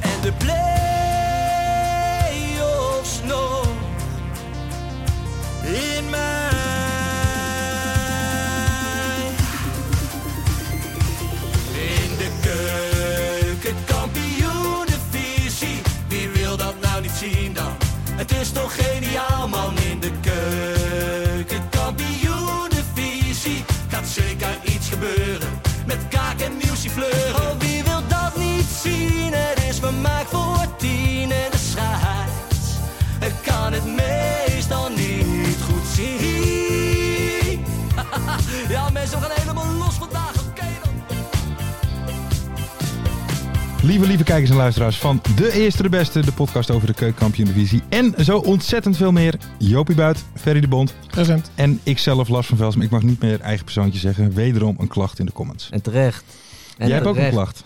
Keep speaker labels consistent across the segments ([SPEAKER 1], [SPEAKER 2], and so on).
[SPEAKER 1] En de play-offs nog
[SPEAKER 2] In mij.
[SPEAKER 1] in de keuken, kampioenenvisie. Wie wil dat nou niet zien dan? Het is toch geniaal man in de keuken, kampioenenvisie. Gaat zeker iets gebeuren met kaak en muziek fleuren. Oh, wie wil dat niet zien? Het is vermaakt voor tien en de scheids. Ik kan het meestal niet goed zien. Ja, mensen, we gaan helemaal los vandaag. Oké dan.
[SPEAKER 3] Lieve, lieve kijkers en luisteraars van De Eerste de Beste, de podcast over de keukenkampioen divisie. En zo ontzettend veel meer. Jopie Buit, Ferry de Bond
[SPEAKER 4] Present.
[SPEAKER 3] en ikzelf, Lars van Velsum. Ik mag niet meer eigen persoontje zeggen. Wederom een klacht in de comments.
[SPEAKER 5] En terecht. En
[SPEAKER 3] Jij hebt ook een
[SPEAKER 5] terecht.
[SPEAKER 3] klacht.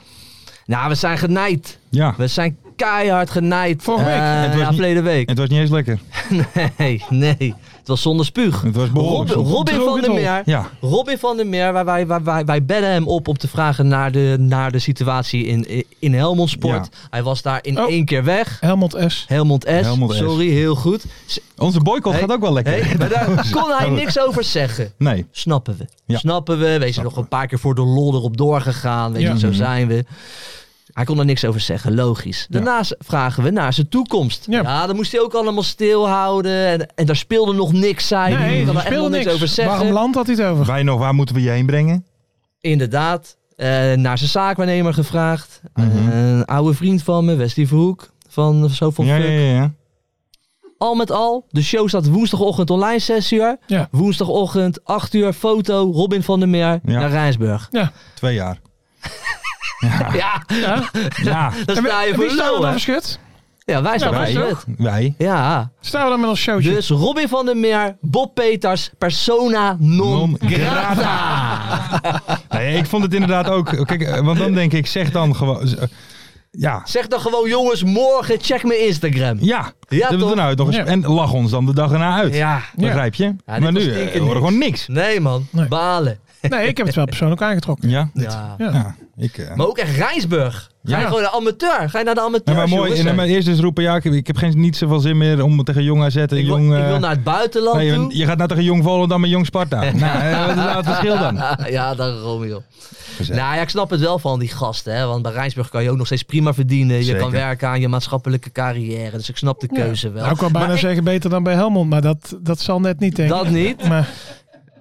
[SPEAKER 5] Nou, we zijn genaaid.
[SPEAKER 3] Ja.
[SPEAKER 5] We zijn keihard genaaid.
[SPEAKER 3] Vorige week.
[SPEAKER 5] Eh,
[SPEAKER 3] Het was
[SPEAKER 5] ja,
[SPEAKER 3] niet-
[SPEAKER 5] verleden week.
[SPEAKER 3] Het was niet eens lekker.
[SPEAKER 5] Nee, nee. Het was zonder spuug.
[SPEAKER 3] Het was behoorlijk.
[SPEAKER 5] Robin, Robin van der Meer.
[SPEAKER 3] Ja.
[SPEAKER 5] Robin van der Meer, waar wij, waar wij, wij bellen hem op om te vragen naar de, naar de situatie in, in Helmond Sport. Hij was daar in
[SPEAKER 4] Oh.
[SPEAKER 5] één keer weg.
[SPEAKER 4] Helmond S.
[SPEAKER 5] Helmond S.
[SPEAKER 3] Helmond S.
[SPEAKER 5] Sorry, heel goed. S-
[SPEAKER 3] Onze boycott
[SPEAKER 5] Hey.
[SPEAKER 3] gaat ook wel lekker.
[SPEAKER 5] Hey, maar daar kon hij niks over zeggen.
[SPEAKER 3] Nee.
[SPEAKER 5] Snappen we.
[SPEAKER 3] Ja.
[SPEAKER 5] Snappen we. We zijn nog een paar keer voor de lol erop doorgegaan. Weet
[SPEAKER 4] Ja.
[SPEAKER 5] je, zo zijn we. Hij kon er niks over zeggen, logisch. Daarnaast vragen we naar zijn toekomst. Ja,
[SPEAKER 4] Ja.
[SPEAKER 5] dan moest hij ook allemaal stilhouden. En, en daar speelde nog niks, zei hij.
[SPEAKER 4] Nee,
[SPEAKER 5] Hij
[SPEAKER 4] er
[SPEAKER 5] kan er echt nog
[SPEAKER 4] speelde
[SPEAKER 5] niks
[SPEAKER 4] niks.
[SPEAKER 5] over zeggen.
[SPEAKER 4] Waarom land had hij het over?
[SPEAKER 3] Wij nog, waar moeten we je heen brengen?
[SPEAKER 5] Inderdaad. eh, naar zijn zaakwaarnemer gevraagd.
[SPEAKER 3] Mhm.
[SPEAKER 5] Eh, een oude vriend van me, Westie Verhoek. Van zo van
[SPEAKER 3] Ja,
[SPEAKER 5] Fuck.
[SPEAKER 3] ja, ja, ja.
[SPEAKER 5] Al met al, de show staat woensdagochtend online 6 uur.
[SPEAKER 4] Ja.
[SPEAKER 5] Woensdagochtend 8 uur, foto, Robin van der Meer
[SPEAKER 3] Ja.
[SPEAKER 5] naar Rijnsburg.
[SPEAKER 3] Twee jaar.
[SPEAKER 5] Ja,
[SPEAKER 3] Ja.
[SPEAKER 5] daar
[SPEAKER 4] En
[SPEAKER 5] sta je
[SPEAKER 4] wie-
[SPEAKER 5] voor
[SPEAKER 4] wie staan
[SPEAKER 5] lul,
[SPEAKER 4] we dan
[SPEAKER 5] hè?
[SPEAKER 4] verschut?
[SPEAKER 5] Ja, wij staan
[SPEAKER 3] wij.
[SPEAKER 5] voor het.
[SPEAKER 3] Wij.
[SPEAKER 5] Ja,
[SPEAKER 4] Staan we dan met ons showtje?
[SPEAKER 5] dus Robin van der Meer, Bob Peters, persona non
[SPEAKER 3] Non
[SPEAKER 5] grata.
[SPEAKER 3] Nee, ik vond het inderdaad ook. Kijk, eh, want dan denk ik, zeg dan gewoon. z- eh, Ja.
[SPEAKER 5] Zeg dan gewoon jongens, morgen check mijn Instagram.
[SPEAKER 3] Ja.
[SPEAKER 5] Ja,
[SPEAKER 3] Dat we
[SPEAKER 5] toch?
[SPEAKER 3] er nou uit nog eens-
[SPEAKER 4] Ja.
[SPEAKER 3] En lach ons dan de dag erna uit.
[SPEAKER 5] Ja.
[SPEAKER 3] Begrijp je?
[SPEAKER 5] dit
[SPEAKER 3] maar nu
[SPEAKER 5] was
[SPEAKER 3] eh,
[SPEAKER 5] stinkend
[SPEAKER 3] we horen
[SPEAKER 5] niks.
[SPEAKER 3] gewoon niks.
[SPEAKER 5] Nee man,
[SPEAKER 4] Nee.
[SPEAKER 5] balen.
[SPEAKER 4] Nee, ik heb het wel persoonlijk aangetrokken.
[SPEAKER 3] Ja.
[SPEAKER 5] Dus- Ja.
[SPEAKER 4] Ja.
[SPEAKER 3] Ja, ik. eh,
[SPEAKER 5] Maar ook echt Rijnsburg. Ga je
[SPEAKER 4] Ja.
[SPEAKER 5] gewoon naar amateur. Ga je naar de amateur.
[SPEAKER 3] Nee, maar mooi. En, maar eerst dus roepen, ja, ik heb, ik heb geen, niet zoveel zin meer om tegen jong AZ en
[SPEAKER 5] ik, wil,
[SPEAKER 3] jong...
[SPEAKER 5] ik
[SPEAKER 3] eh,
[SPEAKER 5] wil naar het buitenland
[SPEAKER 3] nee,
[SPEAKER 5] toe.
[SPEAKER 3] je, je gaat nou tegen jong Volendam en jong Sparta. nou, eh, wat is nou het verschil dan?
[SPEAKER 5] ja, daarom joh. Nou ja, ik snap het wel van die gasten. Hè? Want bij Rijnsburg kan je ook nog steeds prima verdienen. Je
[SPEAKER 3] Zeker.
[SPEAKER 5] kan werken aan je maatschappelijke carrière. Dus ik snap de keuze wel.
[SPEAKER 4] Nou, ik wou bijna
[SPEAKER 5] maar ik,
[SPEAKER 4] zeggen beter dan bij Helmond, maar dat, dat zal net niet, denk ik.
[SPEAKER 5] dat niet.
[SPEAKER 4] Maar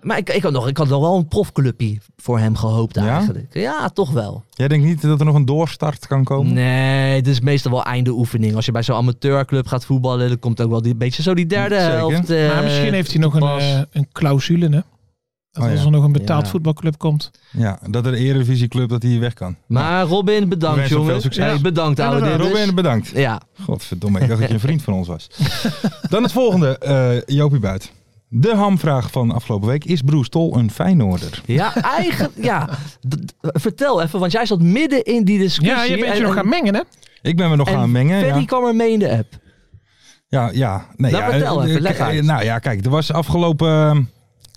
[SPEAKER 5] Maar ik, ik, had nog, ik had nog wel een profclubje voor hem gehoopt
[SPEAKER 3] Ja?
[SPEAKER 5] eigenlijk. Ja, toch wel.
[SPEAKER 3] Jij denkt niet dat er nog een doorstart kan komen?
[SPEAKER 5] Nee, het is meestal wel einde oefening. Als je bij zo'n amateurclub gaat voetballen, dan komt ook wel die, beetje zo die derde
[SPEAKER 3] Zeker.
[SPEAKER 5] helft. eh,
[SPEAKER 4] maar misschien heeft hij nog een,
[SPEAKER 5] pas.
[SPEAKER 4] eh, een clausule, hè? Dat
[SPEAKER 3] Oh,
[SPEAKER 4] als
[SPEAKER 3] ja.
[SPEAKER 4] er nog een betaald
[SPEAKER 5] Ja.
[SPEAKER 4] voetbalclub komt.
[SPEAKER 5] Ja.
[SPEAKER 3] Ja, dat er Eredivisieclub dat hij weg kan.
[SPEAKER 5] Maar Robin,
[SPEAKER 3] We
[SPEAKER 5] bedankt
[SPEAKER 3] wensen
[SPEAKER 5] jongen.
[SPEAKER 3] veel succes.
[SPEAKER 5] Hey, bedankt
[SPEAKER 4] Ja,
[SPEAKER 5] oude
[SPEAKER 3] Nou,
[SPEAKER 5] didders.
[SPEAKER 3] Robin, bedankt.
[SPEAKER 5] Ja,
[SPEAKER 3] Godverdomme, ik dacht dat je een vriend van ons was. Dan het volgende, eh Jopie Buit. De hamvraag van afgelopen week. Is Broes Tol een Feyenoorder?
[SPEAKER 5] ja eigenlijk, ja. D- d- vertel even, want jij zat midden in die discussie.
[SPEAKER 4] Ja, je bent
[SPEAKER 5] en-
[SPEAKER 4] je nog
[SPEAKER 5] en-
[SPEAKER 4] gaan mengen, hè?
[SPEAKER 3] Ik ben me nog
[SPEAKER 5] en
[SPEAKER 3] gaan mengen.
[SPEAKER 5] Ferry
[SPEAKER 3] ja.
[SPEAKER 5] kwam er mee in de app.
[SPEAKER 3] Ja, ja. Nee,
[SPEAKER 5] Nou,
[SPEAKER 3] ja,
[SPEAKER 5] vertel
[SPEAKER 3] eh,
[SPEAKER 5] even,
[SPEAKER 3] eh,
[SPEAKER 5] leg
[SPEAKER 3] k-
[SPEAKER 5] uit.
[SPEAKER 3] eh, Nou ja, kijk, er was afgelopen...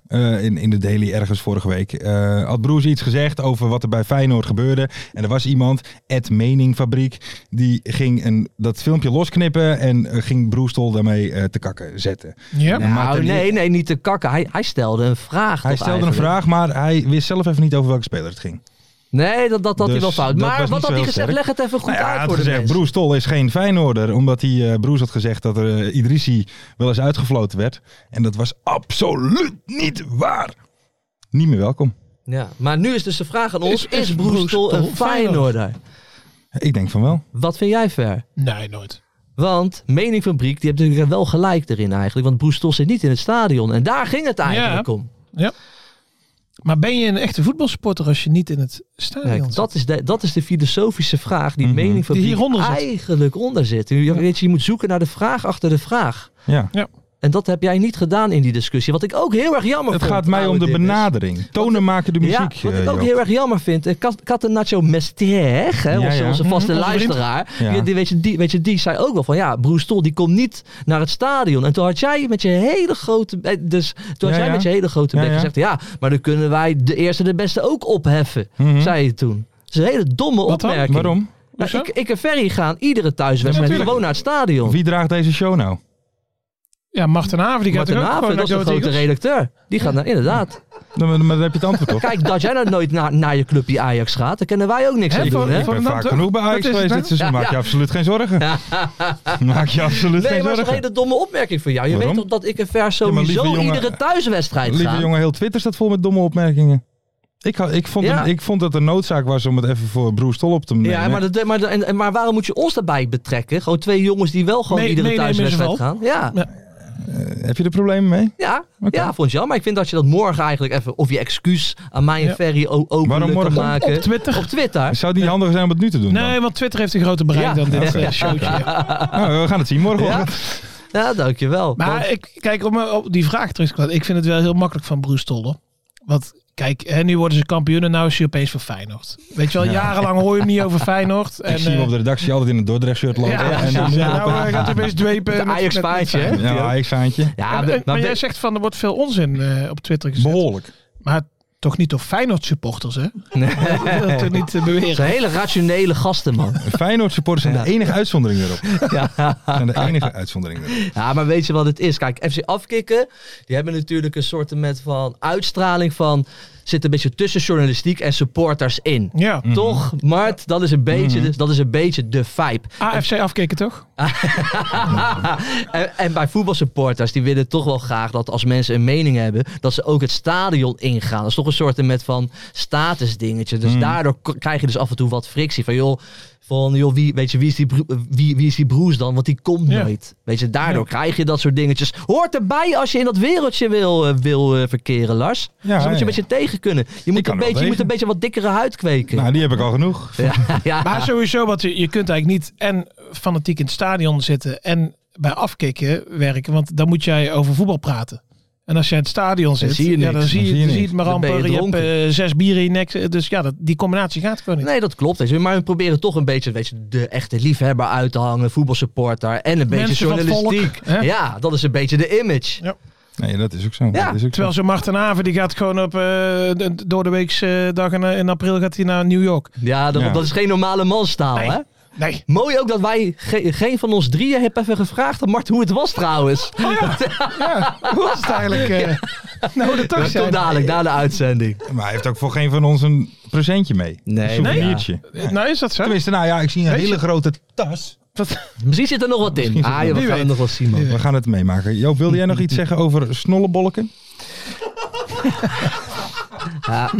[SPEAKER 3] eh, in, in de Daily ergens vorige week eh, had Broes iets gezegd over wat er bij Feyenoord gebeurde. En er was iemand, Ed Meningfabriek, die ging een, dat filmpje losknippen en eh, ging Broes Tol daarmee eh, te kakken zetten.
[SPEAKER 4] Ja.
[SPEAKER 3] Ja.
[SPEAKER 5] Nou,
[SPEAKER 3] Maarten-
[SPEAKER 5] nee, nee, niet te kakken. Hij, hij stelde een vraag.
[SPEAKER 3] Hij
[SPEAKER 5] toch
[SPEAKER 3] stelde een
[SPEAKER 5] eigenlijk?
[SPEAKER 3] vraag, maar hij wist zelf even niet over welke speler het ging.
[SPEAKER 5] Nee, dat, dat had hij
[SPEAKER 3] Dus
[SPEAKER 5] wel fout.
[SPEAKER 3] dat
[SPEAKER 5] Maar
[SPEAKER 3] was
[SPEAKER 5] wat
[SPEAKER 3] niet
[SPEAKER 5] had hij
[SPEAKER 3] zo
[SPEAKER 5] gezegd?
[SPEAKER 3] sterk.
[SPEAKER 5] Leg het even goed
[SPEAKER 3] Nou ja, hij
[SPEAKER 5] uit
[SPEAKER 3] had
[SPEAKER 5] voor de
[SPEAKER 3] gezegd,
[SPEAKER 5] mensen.
[SPEAKER 3] Broes Tol is geen Feyenoorder. Omdat hij, eh, Broes had gezegd dat er eh, Idrissi wel eens uitgefloten werd. En dat was absoluut niet waar. Niet meer welkom.
[SPEAKER 5] Ja, maar nu is dus de vraag aan ons:
[SPEAKER 4] Is- is
[SPEAKER 5] is, Broestel
[SPEAKER 4] Broes Tol
[SPEAKER 5] een Feyenoorder?
[SPEAKER 3] Ik denk van wel.
[SPEAKER 5] Wat vind jij ver?
[SPEAKER 4] Nee, nooit.
[SPEAKER 5] Want Mening Fabriek, die heeft natuurlijk wel gelijk erin eigenlijk. Want Broestel zit niet in het stadion. En daar ging het eigenlijk
[SPEAKER 4] Ja.
[SPEAKER 5] om.
[SPEAKER 4] Maar ben je een echte voetbalsporter als je niet in het
[SPEAKER 5] Kijk,
[SPEAKER 4] stadion zit?
[SPEAKER 5] dat, is de, dat is de filosofische vraag die
[SPEAKER 3] Mhm.
[SPEAKER 5] Mening
[SPEAKER 4] Die
[SPEAKER 5] Fabriek
[SPEAKER 4] hieronder zit.
[SPEAKER 5] eigenlijk onder zit. Je, weet, je, je moet zoeken naar de vraag achter de vraag.
[SPEAKER 3] Ja.
[SPEAKER 5] En dat heb jij niet gedaan in die discussie. Wat ik ook heel erg jammer
[SPEAKER 3] Het
[SPEAKER 5] vond.
[SPEAKER 3] gaat mij om
[SPEAKER 5] oude
[SPEAKER 3] de
[SPEAKER 5] dikkers.
[SPEAKER 3] benadering. Tonen maken de
[SPEAKER 5] Ja,
[SPEAKER 3] muziek.
[SPEAKER 5] wat
[SPEAKER 3] eh,
[SPEAKER 5] ik ook
[SPEAKER 3] Joop.
[SPEAKER 5] heel erg jammer vind. eh, Kat- Catenaccio Mester, hè,
[SPEAKER 3] Ja,
[SPEAKER 5] onze,
[SPEAKER 3] ja.
[SPEAKER 5] onze vaste
[SPEAKER 4] Mhm, onze vriend.
[SPEAKER 5] luisteraar.
[SPEAKER 3] Ja.
[SPEAKER 5] Die, die, weet je, die, weet je, die zei ook wel van ja, Broes Tol die komt niet naar het stadion. En toen had jij met je hele grote, eh, dus, toen had
[SPEAKER 3] Ja,
[SPEAKER 5] jij
[SPEAKER 3] ja.
[SPEAKER 5] met je hele grote
[SPEAKER 3] Ja,
[SPEAKER 5] bek
[SPEAKER 3] ja.
[SPEAKER 5] gezegd ja, maar dan kunnen wij de eerste de beste ook opheffen,
[SPEAKER 3] Mhm.
[SPEAKER 5] zei je toen. Dat is een hele domme
[SPEAKER 4] Wat dan?
[SPEAKER 5] opmerking.
[SPEAKER 3] Waarom?
[SPEAKER 5] Nou,
[SPEAKER 4] Hoezo?
[SPEAKER 5] ik, ik en Ferry gaan iedere thuiswedstrijd
[SPEAKER 4] Ja, natuurlijk.
[SPEAKER 5] gewoon naar het
[SPEAKER 4] Oh.
[SPEAKER 5] stadion.
[SPEAKER 3] Wie draagt deze show nou?
[SPEAKER 4] Ja, Marten Haven, die gaat
[SPEAKER 5] Martin
[SPEAKER 4] er ook
[SPEAKER 5] Haven,
[SPEAKER 4] gewoon
[SPEAKER 5] dat
[SPEAKER 4] naar
[SPEAKER 5] is de
[SPEAKER 4] Go Ahead
[SPEAKER 5] grote
[SPEAKER 4] Eagles.
[SPEAKER 5] redacteur. Die gaat naar, inderdaad.
[SPEAKER 3] Dan, dan- dan heb je het antwoord toch?
[SPEAKER 5] Kijk, dat jij nou nooit naar, naar je clubje Ajax gaat, daar kennen wij ook niks
[SPEAKER 4] Hè,
[SPEAKER 5] aan doen,
[SPEAKER 4] voor-
[SPEAKER 5] hè?
[SPEAKER 3] Ik ben
[SPEAKER 4] Volendam
[SPEAKER 3] vaak
[SPEAKER 4] toch?
[SPEAKER 3] genoeg bij
[SPEAKER 4] Wat
[SPEAKER 3] Ajax
[SPEAKER 4] is het
[SPEAKER 3] geweest
[SPEAKER 4] nou?
[SPEAKER 3] dit seizoen.
[SPEAKER 5] Ja,
[SPEAKER 3] Maak je
[SPEAKER 5] ja.
[SPEAKER 3] absoluut geen zorgen. Maak je absoluut
[SPEAKER 5] Nee,
[SPEAKER 3] geen
[SPEAKER 5] maar dat is een
[SPEAKER 3] zorgen.
[SPEAKER 5] hele domme opmerking van jou. Je
[SPEAKER 3] Waarom?
[SPEAKER 5] weet toch dat ik en Ver
[SPEAKER 3] maar lieve
[SPEAKER 5] sowieso
[SPEAKER 3] jongen-
[SPEAKER 5] iedere thuiswedstrijd
[SPEAKER 3] Lieve
[SPEAKER 5] ga?
[SPEAKER 3] jongen, heel Twitter staat vol met domme opmerkingen. Ik, had- ik, vond,
[SPEAKER 5] Ja.
[SPEAKER 3] ik vond dat er noodzaak was om het even voor Broes Tol op te nemen.
[SPEAKER 5] Ja, maar, dat, maar, dat- en- en- maar waarom moet je ons daarbij betrekken? Gewoon twee jongens die wel gewoon
[SPEAKER 4] Nee,
[SPEAKER 5] iedere
[SPEAKER 4] meenemen is
[SPEAKER 5] thuiswedstrijd
[SPEAKER 4] wel.
[SPEAKER 5] gaan. Ja,
[SPEAKER 4] Ja.
[SPEAKER 3] Heb je er problemen mee?
[SPEAKER 5] ja,
[SPEAKER 3] Oké.
[SPEAKER 5] ja, vond je wel. Maar ik vind dat je dat morgen eigenlijk even, of je excuus aan mij en
[SPEAKER 4] Ja.
[SPEAKER 5] Ferry o- openlijk
[SPEAKER 3] Waarom
[SPEAKER 5] kan
[SPEAKER 3] morgen?
[SPEAKER 5] maken.
[SPEAKER 4] Op Twitter.
[SPEAKER 5] Op Twitter.
[SPEAKER 3] Zou het niet handiger zijn om het nu te doen?
[SPEAKER 4] Nee, want Twitter heeft een groter bereik
[SPEAKER 5] Ja.
[SPEAKER 4] dan dit
[SPEAKER 3] Oké.
[SPEAKER 4] eh, showtje.
[SPEAKER 3] dan? Nou, we gaan het zien morgenochtend.
[SPEAKER 5] Ja, dankjewel. Want-
[SPEAKER 4] Maar ik, kijk, om eh, op die vraag terug te komen. Ik vind het wel heel makkelijk van Bruce Tolle. Want kijk, hè, nu worden ze kampioen en nou is hij opeens van Feyenoord. Weet je wel, jarenlang hoor je hem niet over Feyenoord. En,
[SPEAKER 3] Ik zie hem
[SPEAKER 4] eh,
[SPEAKER 3] op de redactie altijd in een Dordrecht shirt lopen.
[SPEAKER 4] ja,
[SPEAKER 3] en
[SPEAKER 4] precies.
[SPEAKER 3] dan,
[SPEAKER 4] Ja, nou eh, gaat hij opeens dwepen.
[SPEAKER 5] de
[SPEAKER 4] met- met- met
[SPEAKER 5] Ajax-paardje, hè?
[SPEAKER 4] Feyenoord.
[SPEAKER 3] ja, Ajax-faantje.
[SPEAKER 5] Ja,
[SPEAKER 4] En- en-
[SPEAKER 5] maar-
[SPEAKER 4] eh, maar
[SPEAKER 5] maar-
[SPEAKER 4] jij zegt van, er wordt veel onzin eh, op Twitter gezet.
[SPEAKER 3] Behoorlijk.
[SPEAKER 4] Maar toch niet door Feyenoord supporters, hè?
[SPEAKER 5] Nee.
[SPEAKER 4] Dat er niet te
[SPEAKER 5] Het zijn
[SPEAKER 4] beweren.
[SPEAKER 5] hele rationele gasten, man.
[SPEAKER 3] Feyenoord supporters zijn de enige uitzondering erop.
[SPEAKER 5] Ja.
[SPEAKER 3] Zijn de enige uitzondering erop.
[SPEAKER 5] Ja, maar weet je wat het is? Kijk, FC Afkikken, die hebben natuurlijk een soort met van uitstraling van... zit een beetje tussen journalistiek en supporters in.
[SPEAKER 4] Ja.
[SPEAKER 5] Toch, Mart, dat is een beetje, de- dat is een beetje de vibe.
[SPEAKER 4] AFC afkicken, toch?
[SPEAKER 5] en, en bij voetbalsupporters, die willen toch wel graag dat als mensen een mening hebben, dat ze ook het stadion ingaan. Dat is toch een soort met van statusdingetje.
[SPEAKER 3] Hmm.
[SPEAKER 5] Dus daardoor k- krijg je dus af en toe wat frictie. Van joh, van, joh wie, weet je, wie, is die broe- wie, wie is die broes dan? Want die komt
[SPEAKER 4] Ja.
[SPEAKER 5] nooit. Weet je, daardoor krijg je dat soort dingetjes. Hoort erbij als je in dat wereldje wil, eh, wil eh, verkeren, Lars.
[SPEAKER 3] Ja,
[SPEAKER 5] dus dan moet je
[SPEAKER 3] ja.
[SPEAKER 5] een beetje tegen kunnen. Je moet,
[SPEAKER 3] kan
[SPEAKER 5] een
[SPEAKER 3] er wel
[SPEAKER 5] beetje, je moet
[SPEAKER 3] tegen.
[SPEAKER 5] een beetje wat dikkere huid kweken.
[SPEAKER 3] Nou, die heb ik al genoeg.
[SPEAKER 5] ja, ja.
[SPEAKER 4] Maar sowieso, want je, je kunt eigenlijk niet en fanatiek in het stadion zitten en bij afkicken werken. Want dan moet jij over voetbal praten. En als jij in het stadion zit,
[SPEAKER 5] zie je
[SPEAKER 4] ja,
[SPEAKER 5] niks.
[SPEAKER 4] dan zie
[SPEAKER 3] Dan
[SPEAKER 4] je,
[SPEAKER 3] zie je
[SPEAKER 4] dan zie je
[SPEAKER 3] niks.
[SPEAKER 4] het maar
[SPEAKER 5] Dan ben je
[SPEAKER 4] amper. Je, hebt eh, zes bieren in je nek. Dus ja, dat, die combinatie gaat gewoon niet.
[SPEAKER 5] Nee, dat klopt. weet je. Maar we proberen toch een beetje weet je, de echte liefhebber uit te hangen, voetbalsupporter en een beetje
[SPEAKER 4] Mensen van het volk,
[SPEAKER 5] journalistiek.
[SPEAKER 4] hè?
[SPEAKER 5] ja, dat is een beetje de image.
[SPEAKER 3] Nee, dat is ook zo.
[SPEAKER 5] Ja,
[SPEAKER 3] dat is ook
[SPEAKER 4] Terwijl
[SPEAKER 3] zo.
[SPEAKER 4] zo'n Marten Haven, die gaat gewoon op eh, de- door de weekse dag in, eh, in april gaat hij naar New York.
[SPEAKER 5] Ja, dat,
[SPEAKER 3] Ja.
[SPEAKER 5] dat is geen normale manstaal,
[SPEAKER 4] Nee.
[SPEAKER 5] hè?
[SPEAKER 4] Nee.
[SPEAKER 5] Mooi ook dat wij ge- geen van ons drieën hebben even gevraagd aan Mart hoe het was trouwens.
[SPEAKER 4] Oh, Hoe was het eigenlijk? eh? nou, dat toch
[SPEAKER 5] Tot
[SPEAKER 4] zijn.
[SPEAKER 5] dadelijk, na de uitzending.
[SPEAKER 3] Maar hij heeft ook voor geen van ons een presentje mee.
[SPEAKER 5] Nee,
[SPEAKER 3] een souvenirtje.
[SPEAKER 4] Nou, is dat zo?
[SPEAKER 3] Tenminste, nou ja, ik zie een
[SPEAKER 4] Weet je-
[SPEAKER 3] hele grote tas.
[SPEAKER 5] Misschien zit er nog wat in. Ah, joh, we
[SPEAKER 4] Wie
[SPEAKER 5] gaan het
[SPEAKER 4] weet.
[SPEAKER 5] nog wel zien, man.
[SPEAKER 3] Nou, We gaan het meemaken. Joop, wilde jij nog iets zeggen over snollebolken?
[SPEAKER 5] Ja,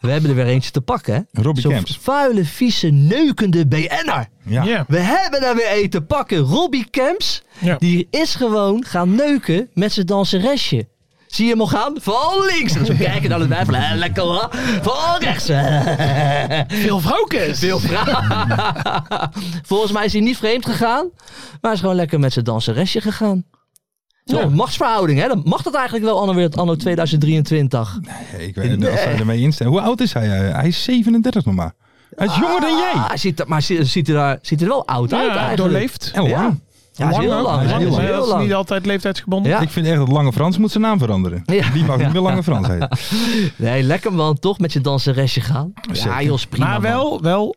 [SPEAKER 5] we hebben er weer eentje te pakken, hè?
[SPEAKER 3] Robbie
[SPEAKER 5] Zo'n
[SPEAKER 3] Camps.
[SPEAKER 5] vuile, vieze, neukende BN'er.
[SPEAKER 3] Ja.
[SPEAKER 4] Ja.
[SPEAKER 5] We hebben daar weer een te pakken. Robbie Camps,
[SPEAKER 4] Ja.
[SPEAKER 5] die is gewoon gaan neuken met zijn danseresje. Zie je hem al gaan? Van links. En zo kijken naar de wijf. Eh, Lekker hoor. Van rechts. Eh,
[SPEAKER 4] Veel vrouwkes.
[SPEAKER 5] Veel vragen. Volgens mij is hij niet vreemd gegaan. Maar hij is gewoon lekker met zijn danseresje gegaan. Zo, machtsverhouding. Hè? Dan mag dat eigenlijk wel anno, weer- anno 2023.
[SPEAKER 3] Hey, ik weet niet of hij ermee instaat. Hoe oud is hij? eh? Hij is 37 nog maar. Hij is jonger dan
[SPEAKER 5] Ah,
[SPEAKER 3] jij.
[SPEAKER 5] hij ziet, er- maar ziet, ziet er daar, ziet er wel oud uit
[SPEAKER 4] Ja,
[SPEAKER 5] eigenlijk.
[SPEAKER 4] doorleefd.
[SPEAKER 3] En lang.
[SPEAKER 5] Ja, hij is heel
[SPEAKER 3] Lang ook.
[SPEAKER 5] lang.
[SPEAKER 3] Hij is
[SPEAKER 5] Hij is
[SPEAKER 3] heel
[SPEAKER 5] heel
[SPEAKER 4] Dat is niet
[SPEAKER 5] lang.
[SPEAKER 4] altijd leeftijdsgebonden.
[SPEAKER 5] Ja.
[SPEAKER 3] Ik vind echt dat Lange Frans moet zijn naam veranderen.
[SPEAKER 5] Ja.
[SPEAKER 3] Die mag niet meer Lange Frans heten.
[SPEAKER 5] Nee, lekker man. Toch met je danseresje gaan. Ja,
[SPEAKER 3] Zeker.
[SPEAKER 5] joh, is prima.
[SPEAKER 4] maar
[SPEAKER 5] man.
[SPEAKER 4] wel, wel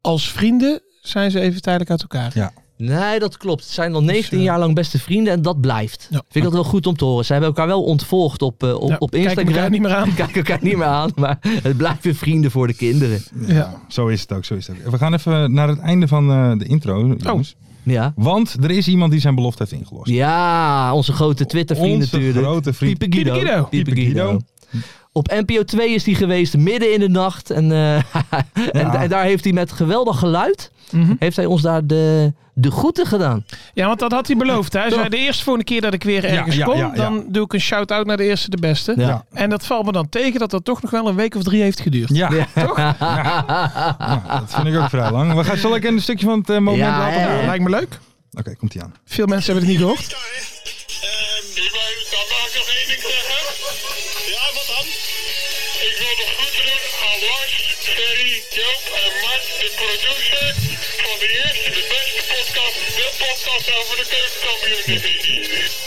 [SPEAKER 4] als vrienden zijn ze even tijdelijk uit elkaar.
[SPEAKER 3] Ja.
[SPEAKER 5] Nee, dat klopt. Het zijn al 19 jaar lang beste vrienden en dat blijft.
[SPEAKER 4] Dus, eh, Ja.
[SPEAKER 5] Vind ik dat wel goed om te horen. Ze hebben elkaar wel ontvolgd op, eh, op,
[SPEAKER 4] Ja,
[SPEAKER 5] op
[SPEAKER 4] kijken
[SPEAKER 5] Instagram.
[SPEAKER 4] elkaar niet meer aan.
[SPEAKER 5] Kijken elkaar niet meer aan, maar het blijven vrienden voor de kinderen.
[SPEAKER 4] Ja.
[SPEAKER 3] Zo is het ook, zo is het ook. We gaan even naar het einde van eh, de intro, jongens.
[SPEAKER 5] Ja,
[SPEAKER 3] Want er is iemand die zijn belofte heeft ingelost.
[SPEAKER 5] ja onze grote Twitter-vriend
[SPEAKER 3] Onze
[SPEAKER 5] natuurlijk.
[SPEAKER 3] grote vriend.
[SPEAKER 5] Piepe Guido.
[SPEAKER 4] Piepe Guido.
[SPEAKER 5] Piepe
[SPEAKER 3] Piepe Guido.
[SPEAKER 5] Guido. Op NPO 2 is hij geweest, midden in de nacht. En, eh, en,
[SPEAKER 3] Ja.
[SPEAKER 5] en daar heeft hij met geweldig geluid, heeft hij ons daar de, de groeten gedaan.
[SPEAKER 4] Mhm. Ja, want dat had hij beloofd. hè. Hij zei, de eerste volgende keer dat ik weer ergens
[SPEAKER 3] ja,
[SPEAKER 4] kom,
[SPEAKER 3] ja, ja.
[SPEAKER 4] dan doe ik een shout-out naar de eerste de beste.
[SPEAKER 3] Ja.
[SPEAKER 4] En dat valt me dan tegen dat dat toch nog wel een week of drie heeft geduurd.
[SPEAKER 3] Ja, toch? Ja. Ja, dat vind ik ook vrij lang. We gaan, zal ik een stukje van het eh, moment
[SPEAKER 5] Ja,
[SPEAKER 3] laten
[SPEAKER 5] ja,
[SPEAKER 3] horen?
[SPEAKER 5] ja.
[SPEAKER 4] Lijkt me leuk.
[SPEAKER 3] Oké, komt ie aan.
[SPEAKER 4] Veel mensen hebben het niet gehoord.
[SPEAKER 6] Ehm, ik wou- dan mag ik nog één ding zeggen. Ja, wat dan? Ik wil nog groeten doen aan Lars, Ferry, Joop en Mart, de producer van de eerste, de beste podcast, de podcast over de keukenkampioen-divisie.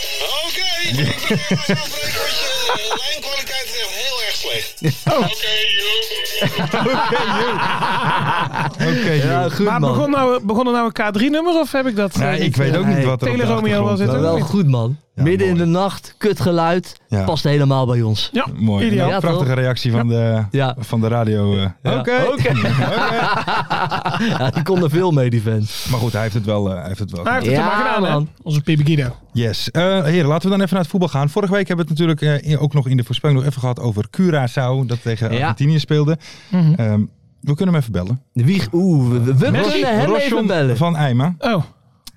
[SPEAKER 6] Oké, ik eh, wil eens afbreken, want je eh, lijnkwaliteit is echt heel erg slecht. Oké, joh.
[SPEAKER 3] Oké, joh.
[SPEAKER 5] goed
[SPEAKER 4] Maar begon nou, begon er nou een K3-nummer of heb ik dat?
[SPEAKER 3] Nee,
[SPEAKER 4] eh,
[SPEAKER 3] ik weet ook niet
[SPEAKER 5] Nee.
[SPEAKER 3] wat er op de
[SPEAKER 4] Tele Romeo
[SPEAKER 3] achtergrond-
[SPEAKER 4] was het
[SPEAKER 3] Nou,
[SPEAKER 5] Maar
[SPEAKER 4] ook.
[SPEAKER 5] wel goed, man.
[SPEAKER 3] Ja,
[SPEAKER 5] midden in
[SPEAKER 3] mooi.
[SPEAKER 5] de nacht, kut geluid.
[SPEAKER 3] Ja.
[SPEAKER 5] Past helemaal bij ons.
[SPEAKER 4] Ja,
[SPEAKER 3] Mooi.
[SPEAKER 4] ideaal.
[SPEAKER 5] Ja,
[SPEAKER 3] prachtige reactie van de,
[SPEAKER 5] Ja.
[SPEAKER 3] van de radio. eh.
[SPEAKER 5] Ja.
[SPEAKER 3] Oké.
[SPEAKER 5] Oké. Ja, die kon er veel mee, die vent.
[SPEAKER 3] Maar goed, hij heeft het wel. eh, hij heeft het wel.
[SPEAKER 4] Hij heeft het
[SPEAKER 5] Ja,
[SPEAKER 4] er maar gedaan,
[SPEAKER 5] man.
[SPEAKER 4] man. Onze Pippi Guido.
[SPEAKER 3] Yes. Eh heren, laten we dan even naar het voetbal gaan. Vorige week hebben we het natuurlijk eh, in- ook nog in de voorspelling nog even gehad over Curaçao. Dat tegen
[SPEAKER 5] Ja.
[SPEAKER 3] Argentinië speelde.
[SPEAKER 4] Mhm.
[SPEAKER 3] Ehm, we kunnen hem even bellen.
[SPEAKER 5] Wie, oeh, we, we kunnen hem even
[SPEAKER 3] Rosjon
[SPEAKER 5] bellen.
[SPEAKER 3] van Eima,
[SPEAKER 4] Oh,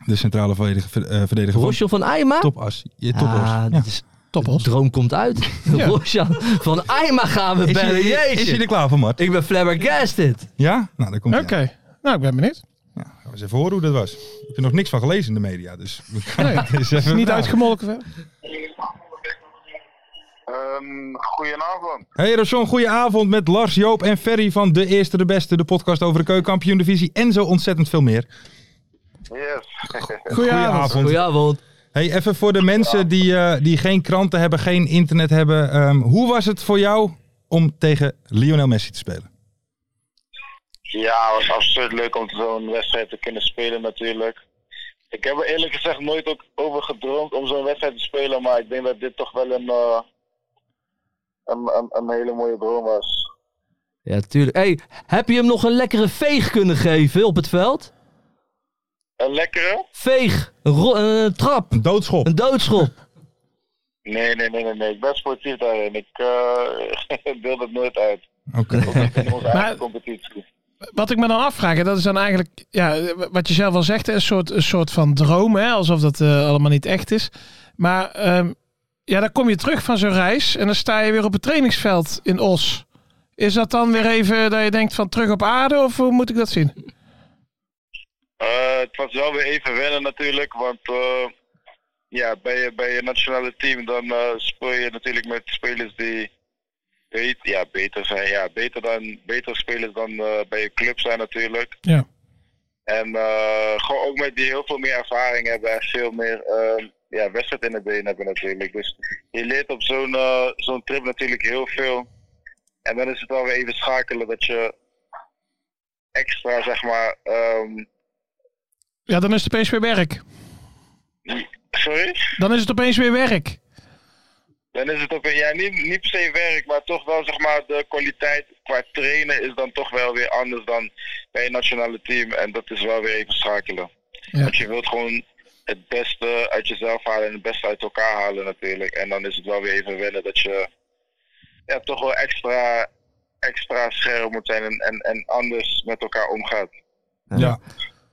[SPEAKER 3] de centrale verdediger, ver- eh, verdediger van
[SPEAKER 5] Rosjon van Aima?
[SPEAKER 3] Topas. Je
[SPEAKER 5] Ah,
[SPEAKER 3] Topas. Ja.
[SPEAKER 5] dit is-
[SPEAKER 4] toppels.
[SPEAKER 5] droom komt uit.
[SPEAKER 4] Ja.
[SPEAKER 5] Rosjan van Aima gaan we
[SPEAKER 3] Is
[SPEAKER 5] bellen.
[SPEAKER 3] hij- Is
[SPEAKER 5] Jeetje.
[SPEAKER 3] hij er klaar voor, Mart?
[SPEAKER 5] Ik ben flabbergasted.
[SPEAKER 3] Ja? Nou, daar komt
[SPEAKER 4] Oké.
[SPEAKER 3] hij aan.
[SPEAKER 4] Nou, ik ben benieuwd.
[SPEAKER 3] Ja, gaan we eens even horen hoe dat was. Ik heb er nog niks van gelezen in de media, dus we gaan
[SPEAKER 4] Nee,
[SPEAKER 3] het eens
[SPEAKER 4] Het is
[SPEAKER 3] even
[SPEAKER 4] niet
[SPEAKER 3] vragen.
[SPEAKER 4] uitgemolken. verder.
[SPEAKER 6] Ehm, goedenavond.
[SPEAKER 3] Hey Rosjon, goedenavond met Lars, Joop en Ferry van De Eerste De Beste, de podcast over de keukenkampioen divisie en zo ontzettend veel meer.
[SPEAKER 6] Yes.
[SPEAKER 4] Goedenavond.
[SPEAKER 5] Goedenavond.
[SPEAKER 3] Hey, even voor de mensen die, eh, die geen kranten hebben, geen internet hebben. ehm, hoe was het voor jou om tegen Lionel Messi te spelen?
[SPEAKER 6] Ja, het was absoluut leuk om zo'n wedstrijd te kunnen spelen natuurlijk. Ik heb er eerlijk gezegd nooit ook over gedroomd om zo'n wedstrijd te spelen, maar ik denk dat dit toch wel een, eh, een, een, een hele mooie droom was.
[SPEAKER 5] Ja, tuurlijk. Hey, heb je hem nog een lekkere veeg kunnen geven op het veld?
[SPEAKER 6] Een lekkere?
[SPEAKER 5] Veeg. Een, ro- een trap.
[SPEAKER 3] Een doodschop.
[SPEAKER 5] Een doodschop.
[SPEAKER 6] Nee, nee, nee, nee, nee. Ik ben sportief daarin. Ik eh deel dat nooit uit.
[SPEAKER 3] Oké.
[SPEAKER 6] In onze
[SPEAKER 4] Maar-
[SPEAKER 6] eigen competitie.
[SPEAKER 4] Wat ik me dan afvraag, en dat is dan eigenlijk, ja, wat je zelf al zegt, een soort, een soort van droom, hè? alsof dat eh, allemaal niet echt is. Maar ehm, ja, dan kom je terug van zo'n reis en dan sta je weer op het trainingsveld in Os. Is dat dan weer even dat je denkt van terug op aarde of hoe moet ik dat zien?
[SPEAKER 6] Eh, het was wel weer even wennen natuurlijk, want eh, ja, bij, je, bij je nationale team dan eh, speel je natuurlijk met spelers die bet- ja, beter zijn. Ja, beter dan, betere spelers dan eh, bij je club zijn natuurlijk.
[SPEAKER 4] Ja.
[SPEAKER 6] En eh, gewoon ook met die heel veel meer ervaring hebben en veel meer eh, ja, wedstrijd in de benen hebben natuurlijk. Dus je leert op zo'n eh, zo'n trip natuurlijk heel veel. En dan is het wel weer even schakelen dat je extra, zeg maar, ehm,
[SPEAKER 4] Ja, dan is het opeens weer werk.
[SPEAKER 6] Sorry?
[SPEAKER 4] Dan is het opeens weer werk.
[SPEAKER 6] Dan is het op ja, niet, niet per se werk, maar toch wel zeg maar de kwaliteit qua trainen is dan toch wel weer anders dan bij je nationale team. En dat is wel weer even schakelen.
[SPEAKER 4] Ja.
[SPEAKER 6] Want je wilt gewoon het beste uit jezelf halen en het beste uit elkaar halen natuurlijk. En dan is het wel weer even wennen dat je ja, toch wel extra, extra scherp moet zijn en, en, en anders met elkaar omgaat.
[SPEAKER 3] Ja.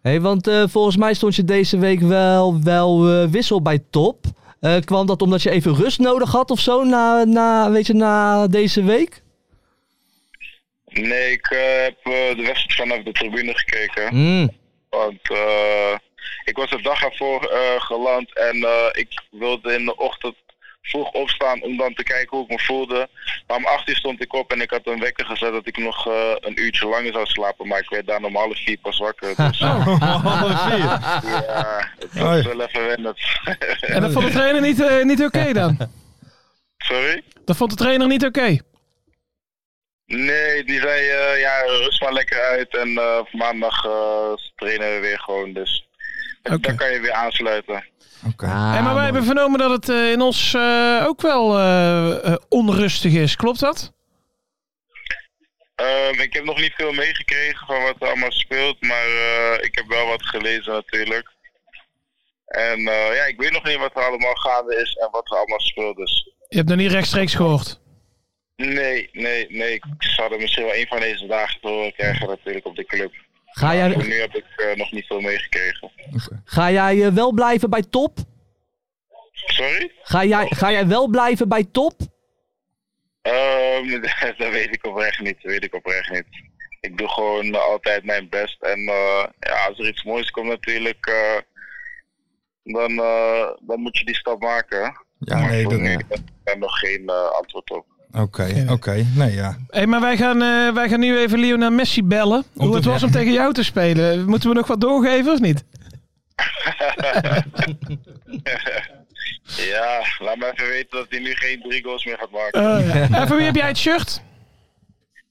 [SPEAKER 5] hey, want eh, volgens mij stond je deze week wel, wel eh, wissel bij top. Eh, kwam dat omdat je even rust nodig had of zo na, na, weet je, na deze week?
[SPEAKER 6] Nee, ik eh, heb eh, de wedstrijd vanaf de tribune gekeken.
[SPEAKER 5] Mm.
[SPEAKER 6] Want eh, ik was de dag ervoor eh, geland en eh, ik wilde in de ochtend vroeg opstaan om dan te kijken hoe ik me voelde. Maar om 8 uur stond ik op en ik had een wekker gezet dat ik nog eh, een uurtje langer zou slapen. Maar ik werd daar om half vier pas wakker. Dus eh, ja, het was wel even wennen.
[SPEAKER 4] En dat vond de trainer niet, eh, niet oké dan.
[SPEAKER 6] Sorry?
[SPEAKER 4] Dat vond de trainer niet oké.
[SPEAKER 6] Nee, die zei eh, ja, rust maar lekker uit en eh, op maandag eh, trainen we weer gewoon. Dus
[SPEAKER 4] Oké.
[SPEAKER 6] Dan kan je weer aansluiten.
[SPEAKER 3] Oké.
[SPEAKER 5] Ah,
[SPEAKER 4] Hey, maar wij
[SPEAKER 5] mooi.
[SPEAKER 4] hebben vernomen dat het eh, in ons eh, ook wel eh, eh, onrustig is. Klopt dat?
[SPEAKER 6] Ehm, ik heb nog niet veel meegekregen van wat er allemaal speelt, maar eh, ik heb wel wat gelezen natuurlijk. En eh, ja, ik weet nog niet wat er allemaal gaande is en wat er allemaal speelt. Dus
[SPEAKER 4] Je hebt nog niet rechtstreeks gehoord.
[SPEAKER 6] nee, nee, nee. Ik zal er misschien wel een van deze dagen te horen krijgen natuurlijk op de club.
[SPEAKER 5] Ga
[SPEAKER 6] Voor
[SPEAKER 5] jij,
[SPEAKER 6] nu heb ik eh, nog niet veel meegekregen.
[SPEAKER 5] ga jij eh, wel blijven bij top?
[SPEAKER 6] Sorry?
[SPEAKER 5] Ga jij, ga jij wel blijven bij top?
[SPEAKER 6] Ehm, dat weet ik oprecht niet. Dat weet ik oprecht niet. Ik doe gewoon eh, altijd mijn best. En eh, ja, als er iets moois komt natuurlijk, eh, dan, eh, dan moet je die stap maken. hè.
[SPEAKER 4] Ah,
[SPEAKER 3] Ja, nee,
[SPEAKER 6] voor
[SPEAKER 3] dat...
[SPEAKER 6] nu heb ik daar nog geen eh, antwoord op.
[SPEAKER 3] Oké, oké. Nee, ja.
[SPEAKER 4] Hey, maar wij gaan, eh, wij gaan nu even Lionel Messi bellen. Hoe
[SPEAKER 3] te-
[SPEAKER 4] het was om tegen jou te spelen. Moeten we nog wat doorgeven of niet?
[SPEAKER 6] Ja, laat me even weten dat hij nu geen drie goals meer gaat maken.
[SPEAKER 4] Eh, en voor wie heb jij het shirt?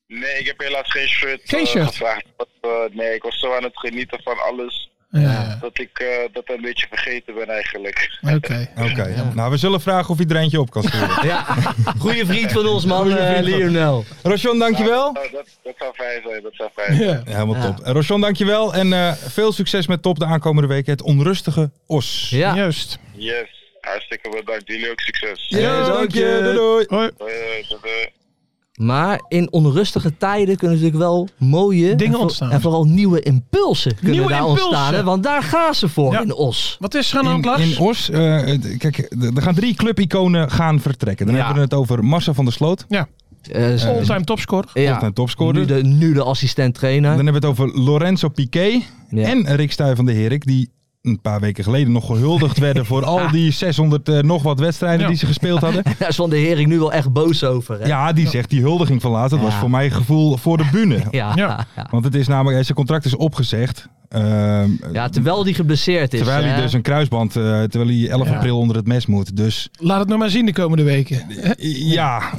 [SPEAKER 6] Nee, ik heb helaas geen shirt,
[SPEAKER 4] Geen
[SPEAKER 6] eh,
[SPEAKER 4] shirt?
[SPEAKER 6] gevraagd. Want, eh, nee, ik was zo aan het genieten van alles
[SPEAKER 4] Ja,
[SPEAKER 6] dat ik eh, dat een beetje vergeten ben eigenlijk.
[SPEAKER 4] oké.
[SPEAKER 3] Oké. Nou, we zullen vragen of iedereen je op kan sturen.
[SPEAKER 5] Ja, goede vriend van ons, man,
[SPEAKER 3] Goeie vriend
[SPEAKER 5] eh,
[SPEAKER 3] van-
[SPEAKER 5] Lionel.
[SPEAKER 3] Rosjon, dankjewel.
[SPEAKER 6] Nou, dat, dat zou fijn zijn, dat zou fijn zijn.
[SPEAKER 4] Ja.
[SPEAKER 3] Helemaal
[SPEAKER 5] Ja.
[SPEAKER 3] top. Eh, Rosjon, dankjewel. En eh, veel succes met Top de aankomende weken. Het onrustige Os.
[SPEAKER 5] Ja,
[SPEAKER 4] Juist.
[SPEAKER 6] Yes, hartstikke bedankt. Jullie ook succes.
[SPEAKER 3] Ja, dank je.
[SPEAKER 5] dank je.
[SPEAKER 3] Doei, doei.
[SPEAKER 4] Hoi.
[SPEAKER 6] Hoi, hoi, tot, eh.
[SPEAKER 5] maar in onrustige tijden kunnen natuurlijk wel mooie en
[SPEAKER 4] Dingen
[SPEAKER 5] voor-
[SPEAKER 4] ontstaan.
[SPEAKER 5] En vooral nieuwe impulsen kunnen
[SPEAKER 4] Nieuwe
[SPEAKER 5] daar
[SPEAKER 4] impulsen.
[SPEAKER 5] ontstaan. hè, Want daar gaan ze voor
[SPEAKER 4] Ja.
[SPEAKER 5] in Os.
[SPEAKER 4] Wat is er aan de hand,
[SPEAKER 3] In, in
[SPEAKER 4] Lars?
[SPEAKER 3] Os, eh, d- kijk, d- er gaan drie clubiconen gaan vertrekken. Dan
[SPEAKER 5] Ja.
[SPEAKER 3] hebben we het over Massa van der Sloot,
[SPEAKER 5] Eh, ze-
[SPEAKER 4] All-time topscorer.
[SPEAKER 5] ja,
[SPEAKER 3] een
[SPEAKER 5] nu
[SPEAKER 3] topscorer.
[SPEAKER 5] de, nu de assistent trainer.
[SPEAKER 3] Dan hebben we het over Lorenzo Piqué
[SPEAKER 5] Ja.
[SPEAKER 3] en Rick Stuy van de Herik, die een paar weken geleden nog gehuldigd werden voor al die 600 eh, nog wat wedstrijden
[SPEAKER 4] Ja.
[SPEAKER 3] die ze gespeeld hadden.
[SPEAKER 5] Daar is Van de Hering nu wel echt boos over. Hè?
[SPEAKER 3] Ja, die zegt die huldiging van laatst, dat was
[SPEAKER 5] Ja.
[SPEAKER 3] voor mijn gevoel voor de bühne.
[SPEAKER 5] Ja.
[SPEAKER 4] Ja.
[SPEAKER 5] Ja.
[SPEAKER 3] Want het is namelijk, eh, zijn contract is opgezegd. Ehm,
[SPEAKER 5] terwijl die geblesseerd is.
[SPEAKER 3] terwijl hij
[SPEAKER 5] hè.
[SPEAKER 3] dus een kruisband, eh, terwijl hij 11
[SPEAKER 4] Ja.
[SPEAKER 3] april onder het mes moet. Dus
[SPEAKER 4] Laat het nog maar zien de komende weken.
[SPEAKER 3] Ja,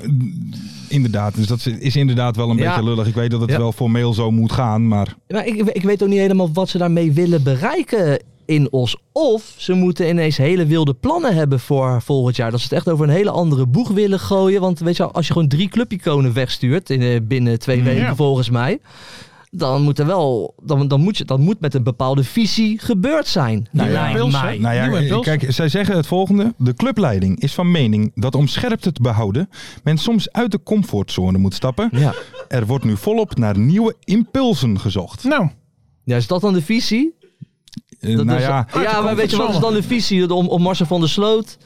[SPEAKER 3] inderdaad. Dus dat is inderdaad wel een
[SPEAKER 5] Ja.
[SPEAKER 3] beetje lullig. Ik weet dat het
[SPEAKER 5] Ja.
[SPEAKER 3] wel formeel zo moet gaan, maar...
[SPEAKER 5] Maar ik, ik weet ook niet helemaal wat ze daarmee willen bereiken in Os. Of ze moeten ineens hele wilde plannen hebben voor volgend jaar. Dat ze het echt over een hele andere boeg willen gooien. Want weet je, wel, als je gewoon drie clubiconen wegstuurt in, eh, binnen twee
[SPEAKER 3] Mm.
[SPEAKER 5] weken volgens mij. Dan moet er wel, dan, dan moet je, dat moet met een bepaalde visie gebeurd zijn.
[SPEAKER 4] Nieuwe
[SPEAKER 5] lijkt
[SPEAKER 4] impulsen.
[SPEAKER 5] mij.
[SPEAKER 3] Nou
[SPEAKER 4] Nieuwe
[SPEAKER 3] ja,
[SPEAKER 4] impulsen.
[SPEAKER 3] kijk, zij zeggen het volgende. De clubleiding is van mening dat om scherpte te behouden... men soms uit de comfortzone moet stappen.
[SPEAKER 5] Ja.
[SPEAKER 3] Er wordt nu volop naar nieuwe impulsen gezocht.
[SPEAKER 4] Nou,
[SPEAKER 5] ja, is dat dan de visie?
[SPEAKER 3] Eh,
[SPEAKER 5] Dat
[SPEAKER 3] nou,
[SPEAKER 5] is-
[SPEAKER 3] ja,
[SPEAKER 5] ja, maar weet je wat is dan de visie om, om Marcel van der Sloot?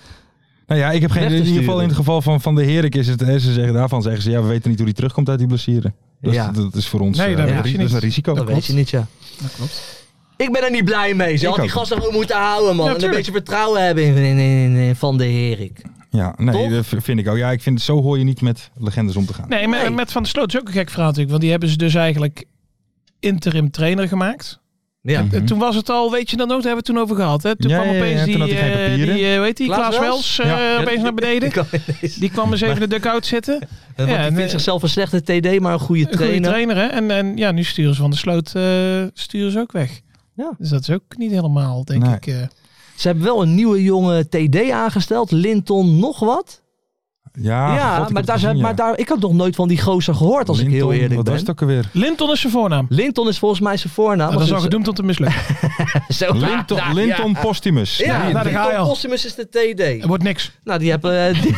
[SPEAKER 3] nou ja, ik heb geen...
[SPEAKER 5] Weg
[SPEAKER 3] In
[SPEAKER 5] te
[SPEAKER 3] ieder geval in
[SPEAKER 5] sturen.
[SPEAKER 3] het geval van Van de Herik is het... eh, Ze zeggen, daarvan zeggen ze, ja, we weten niet hoe die terugkomt uit die blessure. Dat,
[SPEAKER 5] Ja.
[SPEAKER 3] is, dat is voor ons
[SPEAKER 4] Nee,
[SPEAKER 3] eh,
[SPEAKER 4] dat
[SPEAKER 3] een
[SPEAKER 5] weet
[SPEAKER 3] ri-
[SPEAKER 4] je
[SPEAKER 3] dat is een
[SPEAKER 4] niet.
[SPEAKER 3] risico.
[SPEAKER 5] Dat weet je niet, ja.
[SPEAKER 4] dat klopt.
[SPEAKER 5] Ik ben er niet blij mee. Ze
[SPEAKER 3] Ik
[SPEAKER 5] had die
[SPEAKER 3] ook.
[SPEAKER 5] gasten gewoon moeten houden, man. en
[SPEAKER 4] Ja,
[SPEAKER 5] een
[SPEAKER 4] tuurlijk.
[SPEAKER 5] beetje vertrouwen hebben in, in- in- in Van de Herik.
[SPEAKER 3] Ja, nee,
[SPEAKER 5] Toch?
[SPEAKER 3] dat v- vind ik ook. Ja, ik vind zo hoor je niet met legendes om te gaan.
[SPEAKER 4] Nee, maar
[SPEAKER 5] Nee.
[SPEAKER 4] met Van der Sloot is ook een gek verhaal natuurlijk. Want die hebben ze dus eigenlijk interim trainer gemaakt.
[SPEAKER 5] Ja.
[SPEAKER 4] En Eh, toen was het al, weet je dan nog, daar hebben we het toen over gehad. Hè? Toen
[SPEAKER 3] Mhm. Ja,
[SPEAKER 4] kwam
[SPEAKER 3] ja, ja,
[SPEAKER 4] opeens
[SPEAKER 3] toen
[SPEAKER 4] die,
[SPEAKER 3] had hij geen
[SPEAKER 4] eh,
[SPEAKER 3] papieren.
[SPEAKER 4] die, eh, weet die,
[SPEAKER 5] Klaas
[SPEAKER 4] Klaas Wels
[SPEAKER 3] Wels?
[SPEAKER 4] eh, opeens naar beneden.
[SPEAKER 5] Ik kan ineens-
[SPEAKER 4] Die kwam eens even in de dugout zitten.
[SPEAKER 5] Want
[SPEAKER 4] Ja,
[SPEAKER 5] die vindt
[SPEAKER 4] nee.
[SPEAKER 5] zichzelf een slechte TD, maar een goede
[SPEAKER 4] Een goede
[SPEAKER 5] trainer.
[SPEAKER 4] trainer, hè? En, en ja, nu sturen ze Van der Sloot eh, sturen ze ook weg.
[SPEAKER 5] Ja.
[SPEAKER 4] Dus dat is ook niet helemaal, denk
[SPEAKER 3] Nee.
[SPEAKER 4] ik. eh.
[SPEAKER 5] Ze hebben wel een nieuwe jonge TD aangesteld. Linton nog wat.
[SPEAKER 3] Ja,
[SPEAKER 5] ja,
[SPEAKER 3] Ah, God, ik
[SPEAKER 5] maar,
[SPEAKER 3] heb
[SPEAKER 5] daar,
[SPEAKER 3] het gezien,
[SPEAKER 5] zijn-
[SPEAKER 3] ja.
[SPEAKER 5] maar daar, ik had nog nooit van die gozer gehoord, als ik heel
[SPEAKER 3] Linton,
[SPEAKER 5] eerlijk
[SPEAKER 3] wat
[SPEAKER 5] ben.
[SPEAKER 3] was het ook alweer?
[SPEAKER 4] Linton is zijn voornaam.
[SPEAKER 5] Linton is volgens mij zijn voornaam.
[SPEAKER 4] Nou, dat is al
[SPEAKER 5] want
[SPEAKER 4] gedoemd om te mislukken.
[SPEAKER 5] het- zo-
[SPEAKER 3] Linton,
[SPEAKER 5] Oh, Ja,
[SPEAKER 3] Linton Postumus.
[SPEAKER 5] Ja,
[SPEAKER 3] Nee,
[SPEAKER 4] daar ga je
[SPEAKER 5] Linton
[SPEAKER 4] al.
[SPEAKER 5] Postumus is de TD.
[SPEAKER 4] Er wordt niks.
[SPEAKER 5] Nou, die heb, eh, die,